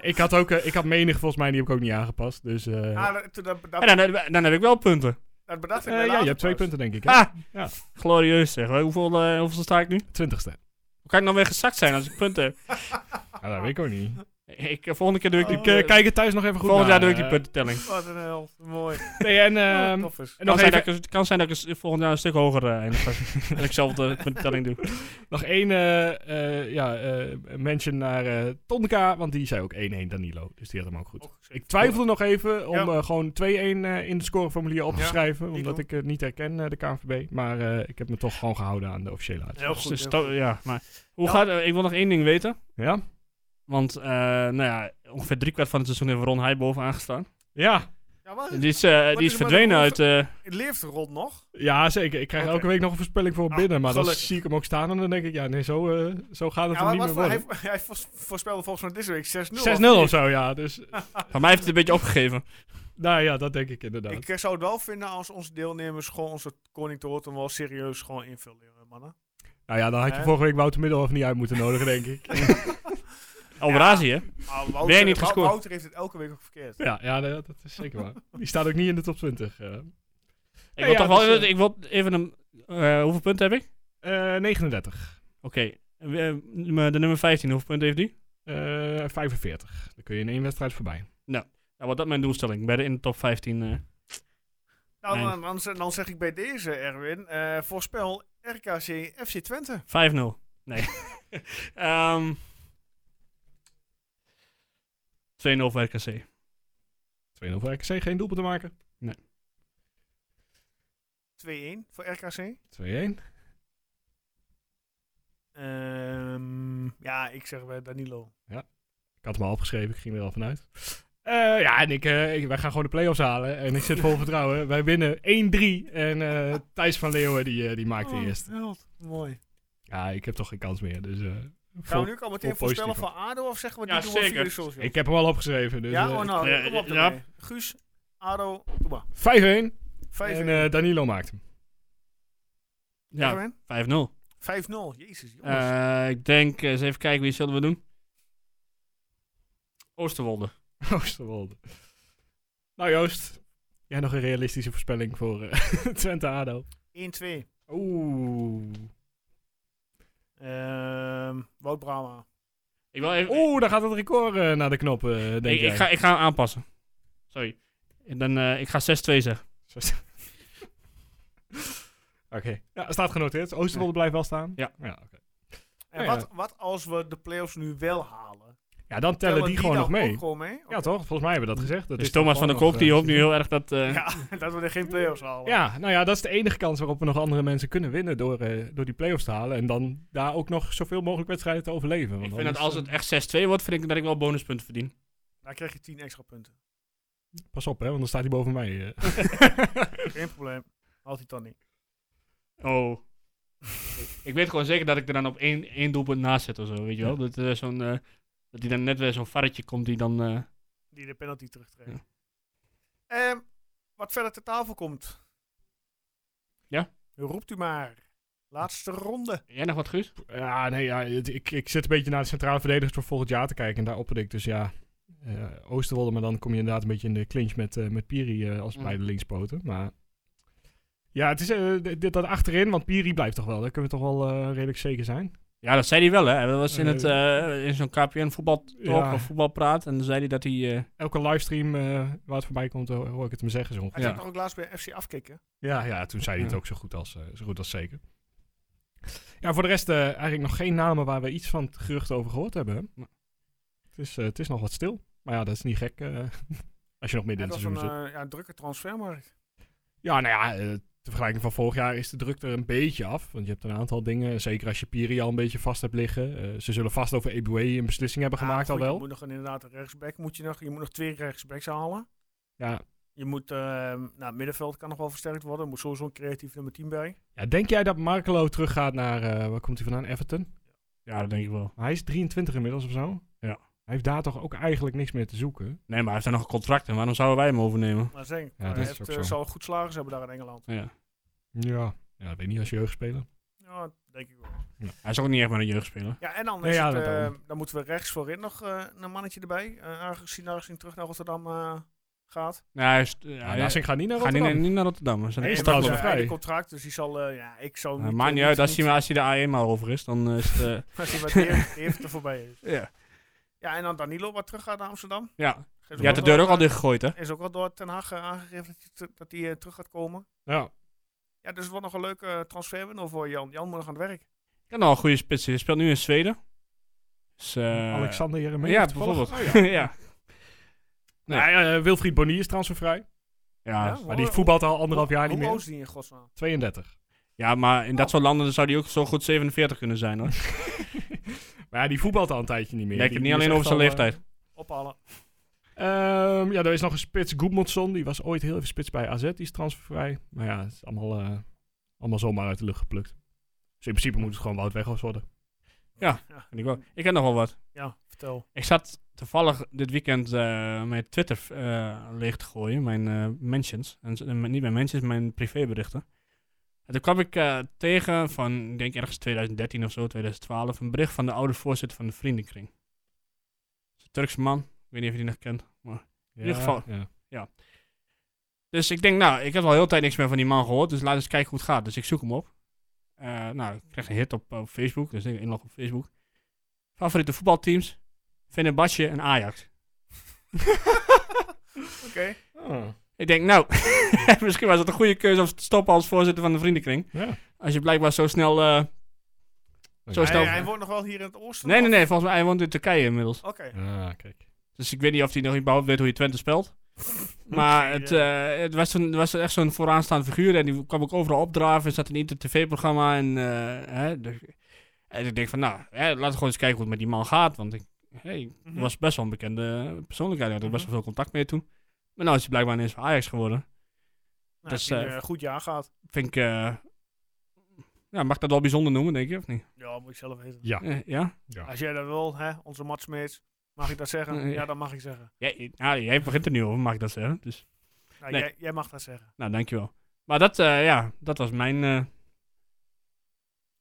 [SPEAKER 3] Ik had ook, eh, ik had menig volgens mij, die heb ik ook niet aangepast. Dus, eh,
[SPEAKER 1] Ah, dat, toen dat, dat,
[SPEAKER 2] En dan, dan heb ik wel punten.
[SPEAKER 1] dat bedacht ik
[SPEAKER 3] eh,
[SPEAKER 1] mij
[SPEAKER 3] ja,
[SPEAKER 1] later
[SPEAKER 3] je hebt twee
[SPEAKER 1] pas.
[SPEAKER 3] punten denk ik. Hè?
[SPEAKER 2] Ah,
[SPEAKER 3] Ja.
[SPEAKER 2] glorieus zeg. Hoeveel, eh, hoeveel sta ik nu?
[SPEAKER 3] Twintigste.
[SPEAKER 2] Hoe kan ik nou weer gezakt zijn als ik punten heb?
[SPEAKER 3] Ja, dat weet ik ook niet.
[SPEAKER 2] Ik ik, volgende keer doe ik die...
[SPEAKER 1] Oh,
[SPEAKER 3] Ik eh, kijk het thuis nog even goed
[SPEAKER 1] nou,
[SPEAKER 2] volgend
[SPEAKER 3] na,
[SPEAKER 2] jaar doe ik die
[SPEAKER 3] eh.
[SPEAKER 2] puntentelling.
[SPEAKER 1] Wat een hel. Mooi.
[SPEAKER 3] Nee, en, eh,
[SPEAKER 1] Ja,
[SPEAKER 3] en
[SPEAKER 1] tof is.
[SPEAKER 2] Het kan,
[SPEAKER 3] nog,
[SPEAKER 2] zijn
[SPEAKER 3] even-
[SPEAKER 2] dat ik, het kan zijn dat ik eens volgend jaar een stuk hoger eh, eindig. als- dat ik zelf de puntentelling doe.
[SPEAKER 3] nog één eh, eh, ja, eh, mention naar eh, Tonka, want die zei ook 1-1 Danilo. Dus die had hem ook goed.
[SPEAKER 1] Ook zeker.
[SPEAKER 3] Ik twijfelde nog even om
[SPEAKER 1] Ja.
[SPEAKER 3] eh, gewoon 2-1 eh, in de scoreformulier op te
[SPEAKER 1] Ja,
[SPEAKER 3] schrijven.
[SPEAKER 1] ik
[SPEAKER 3] Omdat
[SPEAKER 1] ook.
[SPEAKER 3] ik het niet herken, eh, de KNVB. Maar eh, ik heb me toch gewoon gehouden aan de officiële uitslag.
[SPEAKER 1] Heel
[SPEAKER 2] Dus
[SPEAKER 1] goed.
[SPEAKER 2] het is
[SPEAKER 1] heel
[SPEAKER 2] to-
[SPEAKER 1] goed.
[SPEAKER 2] ja, maar hoe
[SPEAKER 1] Ja.
[SPEAKER 2] gaat... eh, ik wil nog één ding weten.
[SPEAKER 3] Ja?
[SPEAKER 2] Want, eh, nou ja, ongeveer driekwart van het seizoen heeft Ron Heij bovenaan gestaan.
[SPEAKER 3] Ja.
[SPEAKER 1] Ja, wat,
[SPEAKER 2] Die is, eh, die
[SPEAKER 1] is
[SPEAKER 2] is
[SPEAKER 1] er
[SPEAKER 2] verdwenen
[SPEAKER 1] met
[SPEAKER 2] uit...
[SPEAKER 1] de
[SPEAKER 2] eh,
[SPEAKER 1] het leeft rond nog.
[SPEAKER 3] ja, zeker. Ik krijg
[SPEAKER 1] Oké.
[SPEAKER 3] elke week nog een voorspelling voor
[SPEAKER 1] Ah,
[SPEAKER 3] binnen. Maar dan
[SPEAKER 1] gelukkig.
[SPEAKER 3] zie ik hem ook staan en dan denk ik, ja nee, zo, eh, zo gaat het
[SPEAKER 1] Ja,
[SPEAKER 3] hem
[SPEAKER 1] maar
[SPEAKER 3] niet meer
[SPEAKER 1] wat, hij,
[SPEAKER 3] worden.
[SPEAKER 1] hij voors- voorspelde volgens mij deze week 6-0.
[SPEAKER 3] 6-0 of zo, ja. Dus
[SPEAKER 2] van mij heeft het een beetje opgegeven.
[SPEAKER 3] nou ja, dat denk ik inderdaad.
[SPEAKER 1] Ik eh, zou het wel vinden als onze deelnemers gewoon onze koning te hoort wel serieus gewoon invullen, eh, mannen.
[SPEAKER 3] nou ja, dan had je
[SPEAKER 1] Eh?
[SPEAKER 3] vorige week Wouter Middelhoff niet uit moeten nodigen, denk ik.
[SPEAKER 2] Alberazi, hè?
[SPEAKER 1] Maar Wouter,
[SPEAKER 2] Ben je niet
[SPEAKER 1] Wou-
[SPEAKER 2] gescoord?
[SPEAKER 1] Wouter heeft het elke week ook verkeerd.
[SPEAKER 3] ja, ja nee, dat is zeker waar. Die staat ook niet in de top 20. eh.
[SPEAKER 2] Ik
[SPEAKER 3] Ja,
[SPEAKER 2] wil
[SPEAKER 3] ja,
[SPEAKER 2] toch wel...
[SPEAKER 3] dus, eh,
[SPEAKER 2] ik wil even een... eh, hoeveel punten heb ik?
[SPEAKER 3] Eh, 39.
[SPEAKER 2] Oké. En wie- eh, nummer- De nummer 15, hoeveel punten heeft die?
[SPEAKER 3] Eh, 45. Dan kun je in één wedstrijd voorbij.
[SPEAKER 2] Nou, wat dat mijn doelstelling. Bij de in de top 15... eh,
[SPEAKER 1] Nou,
[SPEAKER 2] Nee.
[SPEAKER 1] dan, dan, z- dan zeg ik bij deze, Erwin, eh, voorspel RKC FC Twente.
[SPEAKER 2] 5-0. Nee. Ehm 2-0 voor RKC.
[SPEAKER 3] 2-0 voor RKC, geen doelpunt te maken.
[SPEAKER 1] 2-1 voor RKC.
[SPEAKER 3] 2-1.
[SPEAKER 1] Ehm, ja, ik zeg bij Danilo.
[SPEAKER 3] Ik had hem al opgeschreven, ik ging er al vanuit. Eh, ja, en ik, eh, ik- wij gaan gewoon de play-offs halen. En ik zit vol vertrouwen. Wij winnen 1-3. En eh Thijs van Leeuwen, die, eh, die maakt de
[SPEAKER 1] Oh,
[SPEAKER 3] eerste.
[SPEAKER 1] held. Mooi.
[SPEAKER 3] Ja, ik heb toch geen kans meer. Dus, eh,
[SPEAKER 1] Gaan
[SPEAKER 3] vol-
[SPEAKER 1] we nu ook al meteen
[SPEAKER 3] vol positief
[SPEAKER 1] voorspellen van ADO of zeggen we
[SPEAKER 2] Ja,
[SPEAKER 1] die doen we
[SPEAKER 2] zeker.
[SPEAKER 1] via de social?
[SPEAKER 3] ik heb hem al opgeschreven. Dus,
[SPEAKER 1] ja,
[SPEAKER 3] eh,
[SPEAKER 1] oh nou,
[SPEAKER 2] Ja,
[SPEAKER 1] kom op
[SPEAKER 2] ja.
[SPEAKER 1] daarmee. Guus, ADO, doe maar.
[SPEAKER 3] 5-1.
[SPEAKER 1] 5
[SPEAKER 3] En eh, Danilo maakt hem.
[SPEAKER 2] Ja, 5-0.
[SPEAKER 1] 5-0, jezus jongens.
[SPEAKER 2] Eh, ik denk, eens even kijken, wie zullen we doen? Oosterwolde.
[SPEAKER 3] Oosterwolde. Nou Joost, jij nog een realistische voorspelling voor eh, Twente ADO.
[SPEAKER 1] 1-2.
[SPEAKER 3] Oeh.
[SPEAKER 1] Ehm Wout Brama.
[SPEAKER 2] Ik, wil even,
[SPEAKER 3] Oeh, daar gaat het record eh, naar de knop, eh, denk
[SPEAKER 2] ik, ik,
[SPEAKER 3] jij.
[SPEAKER 2] ga, ik ga hem aanpassen. Sorry. En dan, eh, ik ga 6-2 zeggen.
[SPEAKER 3] Oké. Ja, staat genoteerd. Oosterwolde blijft wel staan.
[SPEAKER 2] Ja.
[SPEAKER 3] Ja, oké.
[SPEAKER 1] En
[SPEAKER 3] Oh Ja, ja.
[SPEAKER 1] wat, wat als we de playoffs nu wel halen?
[SPEAKER 3] ja dan tellen die, gewoon nog
[SPEAKER 1] dan
[SPEAKER 3] mee.
[SPEAKER 1] ook gewoon mee? Oké.
[SPEAKER 3] Ja, toch? Volgens mij hebben we dat gezegd. Dat
[SPEAKER 2] Dus
[SPEAKER 3] dan
[SPEAKER 2] Thomas van der
[SPEAKER 3] gewoon
[SPEAKER 2] Kolk
[SPEAKER 3] nog,
[SPEAKER 2] die
[SPEAKER 3] eh,
[SPEAKER 2] hoopt nu heel erg dat... eh,
[SPEAKER 1] Ja, dat we er geen playoffs halen.
[SPEAKER 3] Ja, nou ja, dat is de enige kans waarop we nog andere mensen kunnen winnen door, eh, door die play-offs te halen. En dan daar ook nog zoveel mogelijk wedstrijden te overleven. Want
[SPEAKER 2] Ik vind dat
[SPEAKER 3] anders,
[SPEAKER 2] als het echt 6-2 wordt, vind ik dat ik wel bonuspunten verdien.
[SPEAKER 1] Dan krijg je 10 extra punten.
[SPEAKER 3] eh, Pas op, hè, want dan staat hij boven mij. eh.
[SPEAKER 1] Geen probleem. Haalt hij dan niet.
[SPEAKER 2] Oh. Ik- ik weet gewoon zeker dat ik er dan op één, één doelpunt naast zet of zo, weet je wel. Dat, er zo'n, eh, dat die dan net weer zo'n varretje komt die dan... eh,
[SPEAKER 1] Die de penalty terugtrekt.
[SPEAKER 2] Ja.
[SPEAKER 1] Ehm, wat verder ter tafel komt.
[SPEAKER 2] Ja?
[SPEAKER 1] Roept u maar. Laatste ronde.
[SPEAKER 2] Jij nog wat, Guus?
[SPEAKER 3] Ja, nee, ja, het- ik, ik zit een beetje naar de centrale verdedigers voor volgend jaar te kijken. En daar opperde ik dus ja, eh, Oosterwolde. Maar dan kom je inderdaad een beetje in de clinch met, eh, met Piri eh, als
[SPEAKER 2] Mm.
[SPEAKER 3] beide linkspoten. Maar ja, het is eh, d- dit, dat achterin, want Piri blijft toch wel. Daar kunnen we toch wel eh, redelijk zeker zijn.
[SPEAKER 2] Ja, dat zei hij wel, hè. Dat was in,
[SPEAKER 3] Eh,
[SPEAKER 2] het, eh, in zo'n KPN voetbal
[SPEAKER 3] ja.
[SPEAKER 2] of voetbalpraat. En dan zei hij dat hij... eh,
[SPEAKER 3] Elke livestream eh, waar het voorbij komt, ho- hoor ik het hem zeggen zo
[SPEAKER 1] Hij
[SPEAKER 3] ongeveer.
[SPEAKER 1] ja.
[SPEAKER 2] Ja.
[SPEAKER 1] ging toch ook laatst bij FC afkicken?
[SPEAKER 3] Ja, ja, toen zei hij het
[SPEAKER 2] Ja.
[SPEAKER 3] ook zo goed als, eh, zo goed als zeker. Ja, voor de rest eh, eigenlijk nog geen namen waar we iets van het gerucht over gehoord hebben. hè?
[SPEAKER 2] Nee.
[SPEAKER 3] Het, is, eh, het is nog wat stil. Maar ja, dat is niet gek eh, als je
[SPEAKER 1] Ja,
[SPEAKER 3] nog midden in het
[SPEAKER 1] dat was
[SPEAKER 3] seizoen
[SPEAKER 1] een eh,
[SPEAKER 3] zit.
[SPEAKER 1] ja, drukke transfermarkt.
[SPEAKER 3] Ja, nou ja, eh, te vergelijking van vorig jaar is de druk er een beetje af. Want je hebt een aantal dingen, zeker als je Piri al een beetje vast hebt liggen. Eh, ze zullen vast over Eboué een beslissing hebben gemaakt
[SPEAKER 1] Ja,
[SPEAKER 3] al
[SPEAKER 1] goed,
[SPEAKER 3] wel.
[SPEAKER 1] Je moet nog een, inderdaad een rechtsback. Moet je, nog, je moet nog twee rechtsbacks halen.
[SPEAKER 3] Ja.
[SPEAKER 1] Je moet, ehm nou, het middenveld kan nog wel versterkt worden. Er moet sowieso een creatief nummer 10 bij.
[SPEAKER 3] ja, denk jij dat Markelo teruggaat naar, eh, waar komt hij vandaan, Everton?
[SPEAKER 2] ja, dat denk ik wel.
[SPEAKER 3] Maar hij is 23 inmiddels of zo.
[SPEAKER 2] Ja.
[SPEAKER 3] Hij heeft daar toch ook eigenlijk niks meer te zoeken.
[SPEAKER 2] Nee, maar hij heeft dan nog een contract. En waarom zouden wij hem overnemen?
[SPEAKER 1] Maar zeg,
[SPEAKER 3] Ja, dat
[SPEAKER 1] hij
[SPEAKER 3] is
[SPEAKER 1] heeft,
[SPEAKER 3] ook
[SPEAKER 1] eh,
[SPEAKER 3] zo.
[SPEAKER 1] zou goed slagers hebben daar in Engeland.
[SPEAKER 2] Ja.
[SPEAKER 3] Ja. Ja, dat weet ik niet als jeugdspeler.
[SPEAKER 1] Ja, dat denk ik wel.
[SPEAKER 2] Hij is ook niet echt maar een jeugdspeler.
[SPEAKER 1] Ja, en dan,
[SPEAKER 3] Nee,
[SPEAKER 1] is
[SPEAKER 3] ja,
[SPEAKER 1] het,
[SPEAKER 3] dat
[SPEAKER 1] eh,
[SPEAKER 3] ook.
[SPEAKER 1] dan moeten we rechts voorin nog eh, een mannetje erbij. eh, aangezien aangezien terug naar Rotterdam eh, gaat.
[SPEAKER 2] Nee, hij is,
[SPEAKER 3] Ja,
[SPEAKER 2] ja,
[SPEAKER 3] ja,
[SPEAKER 2] hij
[SPEAKER 3] gaat niet naar
[SPEAKER 2] gaat niet,
[SPEAKER 3] Rotterdam.
[SPEAKER 2] niet naar Rotterdam. Hij, zijn
[SPEAKER 3] Nee,
[SPEAKER 2] echt
[SPEAKER 3] is
[SPEAKER 1] maar
[SPEAKER 3] trouwens
[SPEAKER 1] hij
[SPEAKER 2] wel-
[SPEAKER 1] is
[SPEAKER 3] vrij.
[SPEAKER 1] einde contract, dus die zal... eh, ja, ik zou
[SPEAKER 2] Eh,
[SPEAKER 1] niet...
[SPEAKER 2] maakt
[SPEAKER 1] eh,
[SPEAKER 2] niet uit, als
[SPEAKER 1] niet-
[SPEAKER 2] hij, als hij de A1 maar over is, dan eh, is het... eh,
[SPEAKER 1] Als hij wat heeft, er voorbij is.
[SPEAKER 2] ja.
[SPEAKER 1] Ja, en dan Danilo wat terug gaat naar Amsterdam.
[SPEAKER 2] Ja,
[SPEAKER 1] Geeft
[SPEAKER 2] je had de
[SPEAKER 1] door-
[SPEAKER 2] deur ook al dichtgegooid, hè?
[SPEAKER 1] eh, Is ook al door Ten Hag eh, aangegeven dat hij te- dat hij eh, terug gaat komen.
[SPEAKER 3] Ja.
[SPEAKER 1] Ja, dus het wordt nog een leuke transferwindow voor Jan. Jan moet nog aan het werk.
[SPEAKER 2] Ja, nou, een goede spits. Hij speelt nu in Zweden. Dus, eh,
[SPEAKER 3] Alexander Oh, Jeremie.
[SPEAKER 2] Ja, bijvoorbeeld. ja. ja. Nee.
[SPEAKER 3] eh, Wilfried Bonnier is transfervrij.
[SPEAKER 2] Ja.
[SPEAKER 1] Ja.
[SPEAKER 3] Maar die voetbalt al anderhalf
[SPEAKER 1] Hoe-
[SPEAKER 3] jaar niet
[SPEAKER 1] Hoe oud
[SPEAKER 3] meer.
[SPEAKER 1] is die in godsnaam?
[SPEAKER 3] 32.
[SPEAKER 2] maar in dat soort landen zou die ook zo goed 47 kunnen zijn, hoor.
[SPEAKER 3] Maar ja, die voetbalt al een tijdje niet meer.
[SPEAKER 2] Nee, ik
[SPEAKER 3] Die-
[SPEAKER 2] heb
[SPEAKER 3] die
[SPEAKER 2] niet
[SPEAKER 3] is
[SPEAKER 2] alleen
[SPEAKER 3] echt
[SPEAKER 2] over
[SPEAKER 3] al,
[SPEAKER 2] zijn
[SPEAKER 3] eh,
[SPEAKER 2] leeftijd.
[SPEAKER 1] Ophalen.
[SPEAKER 3] Ehm, ja, er is nog een spits, Goedmondson. Die was ooit heel even spits bij AZ. Die is transfervrij. Maar ja, het is allemaal, eh, allemaal zomaar uit de lucht geplukt. Dus in principe moet het gewoon Wout Weghorst worden.
[SPEAKER 2] Vind Ik, wel. ik heb nog wel wat.
[SPEAKER 1] Ja, vertel.
[SPEAKER 2] Ik zat toevallig dit weekend eh, mijn Twitter eh, leeg te gooien. Mijn eh, mentions. En, z- en niet mijn mentions, mijn privéberichten. En toen kwam ik eh, tegen van, ik denk ergens 2013 of zo, 2012, een bericht van de oude voorzitter van de vriendenkring. Een Turks man. Ik weet niet of je die nog kent.
[SPEAKER 3] In
[SPEAKER 2] ieder geval.
[SPEAKER 3] Ja.
[SPEAKER 2] Dus ik denk, nou, ik heb al heel de tijd niks meer van die man gehoord. Dus laat eens kijken hoe het gaat. Dus ik zoek hem op. Eh, nou, ik kreeg een hit op, op Facebook. Dus ik inlog op Facebook. Favoriete voetbalteams? Fenerbahce en Ajax.
[SPEAKER 1] Oké.
[SPEAKER 2] Ik denk, nou, misschien was het een goede keuze om te stoppen als voorzitter van de vriendenkring.
[SPEAKER 3] Ja.
[SPEAKER 2] Als je blijkbaar zo snel... eh, Zo
[SPEAKER 1] Hij,
[SPEAKER 2] snel-
[SPEAKER 1] hij woont nog wel hier in het oosten?
[SPEAKER 2] Nee,
[SPEAKER 1] of-
[SPEAKER 2] nee, nee. Volgens mij, hij woont in Turkije inmiddels.
[SPEAKER 1] Oké.
[SPEAKER 3] Ah, kijk.
[SPEAKER 2] Dus ik weet niet of hij nog überhaupt weet hoe je Twente speelt. Maar het, eh, het was, een, was echt zo'n vooraanstaand figuur. En die kwam ook overal opdraven. Er zat in ieder tv-programma. En, eh, hè, de- en ik denk van, nou, hè, laten we gewoon eens kijken hoe het met die man gaat. Want ik hè, ik
[SPEAKER 1] Mhm.
[SPEAKER 2] was best wel een bekende persoonlijkheid. Ik had er best
[SPEAKER 1] Mhm.
[SPEAKER 2] wel veel contact mee toen. Maar nou is hij blijkbaar ineens van Ajax geworden.
[SPEAKER 1] Nou,
[SPEAKER 2] Dus,
[SPEAKER 1] dat
[SPEAKER 2] eh,
[SPEAKER 1] een goed jaar gehad.
[SPEAKER 2] Vind ik... eh, ja, mag ik dat wel bijzonder noemen, denk je, of niet?
[SPEAKER 1] Ja, moet ik zelf weten.
[SPEAKER 3] Ja.
[SPEAKER 2] Eh, ja?
[SPEAKER 3] Ja.
[SPEAKER 1] Als jij dat wil, hè, onze matsmeets, mag ik dat zeggen?
[SPEAKER 2] Nee.
[SPEAKER 1] Ja, dat mag ik zeggen.
[SPEAKER 2] Ja, je- nou, jij begint er nu over, mag ik dat zeggen. Dus,
[SPEAKER 1] Nou,
[SPEAKER 2] Nee.
[SPEAKER 1] jij, jij mag dat zeggen.
[SPEAKER 2] nou, dankjewel. Maar dat, eh, ja, dat was mijn eh,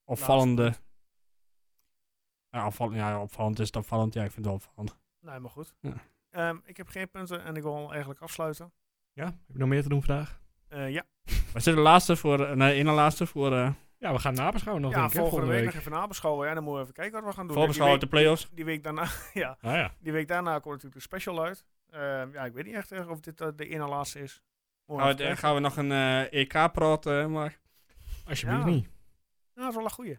[SPEAKER 2] opvallende... Ja, opvallend, ja, opvallend is het opvallend. Ja, ik vind het wel opvallend.
[SPEAKER 1] Nee, maar goed.
[SPEAKER 2] Ja.
[SPEAKER 1] Ehm, ik heb geen punten en ik wil eigenlijk afsluiten.
[SPEAKER 3] ja, heb je nog meer te doen vandaag?
[SPEAKER 1] Eh, ja,
[SPEAKER 2] We zitten de laatste voor... eh, nee, in de laatste voor... eh
[SPEAKER 3] Ja, we gaan nabeschouwen nog,
[SPEAKER 1] ja
[SPEAKER 3] denk ik, hè,
[SPEAKER 1] volgende week nog even nabeschouwen. Ja, dan moeten we even kijken wat we gaan doen.
[SPEAKER 2] voorbeschouwen
[SPEAKER 1] die,
[SPEAKER 2] de play-offs.
[SPEAKER 1] week, die week daarna, ja,
[SPEAKER 3] Ah ja.
[SPEAKER 1] die week daarna komt natuurlijk de special uit. Ehm, ja, ik weet niet echt eh, of dit eh, de ene laatste is. Moeten
[SPEAKER 2] Gaan
[SPEAKER 1] we even
[SPEAKER 2] we,
[SPEAKER 1] kijken.
[SPEAKER 2] gaan we nog een eh, EK-prot eh maken?
[SPEAKER 3] Alsjeblieft
[SPEAKER 1] Ja.
[SPEAKER 3] niet.
[SPEAKER 1] Ja, Nou, dat is wel een goeie.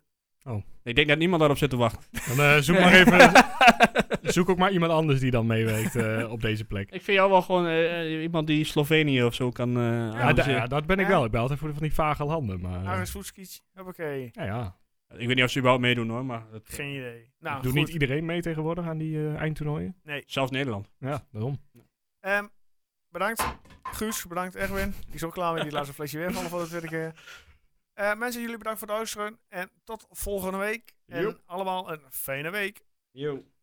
[SPEAKER 2] Ik denk dat niemand daarop zit te wachten.
[SPEAKER 3] Dan eh, zoek maar even... zoek ook maar iemand anders die dan meewerkt eh, op deze plek.
[SPEAKER 2] Ik vind jou wel gewoon eh, eh, iemand die Slovenië of zo kan eh
[SPEAKER 3] Ja, da-
[SPEAKER 2] analyseren.
[SPEAKER 3] ja, dat ben ik
[SPEAKER 1] dus Ja. Nou,
[SPEAKER 3] wel. Ik ben altijd voor van die vage landen, maar... eh,
[SPEAKER 1] Aris Voetskic, hoppakee.
[SPEAKER 3] ja, ja.
[SPEAKER 2] Ik weet niet of ze überhaupt meedoen hoor, maar... dat-
[SPEAKER 1] Geen idee. Nou,
[SPEAKER 3] Doet
[SPEAKER 1] goed.
[SPEAKER 3] niet iedereen mee tegenwoordig aan die eh, eindtoernooien?
[SPEAKER 2] Zelfs Nederland.
[SPEAKER 3] Ja, daarom.
[SPEAKER 1] Ehm, bedankt Guus, bedankt Erwin. Die is ook klaar met die laatste flesje weer vallen voor de tweede keer. Eh, mensen, jullie bedankt voor het luisteren. En tot volgende week. En allemaal een fijne week.
[SPEAKER 2] Yo.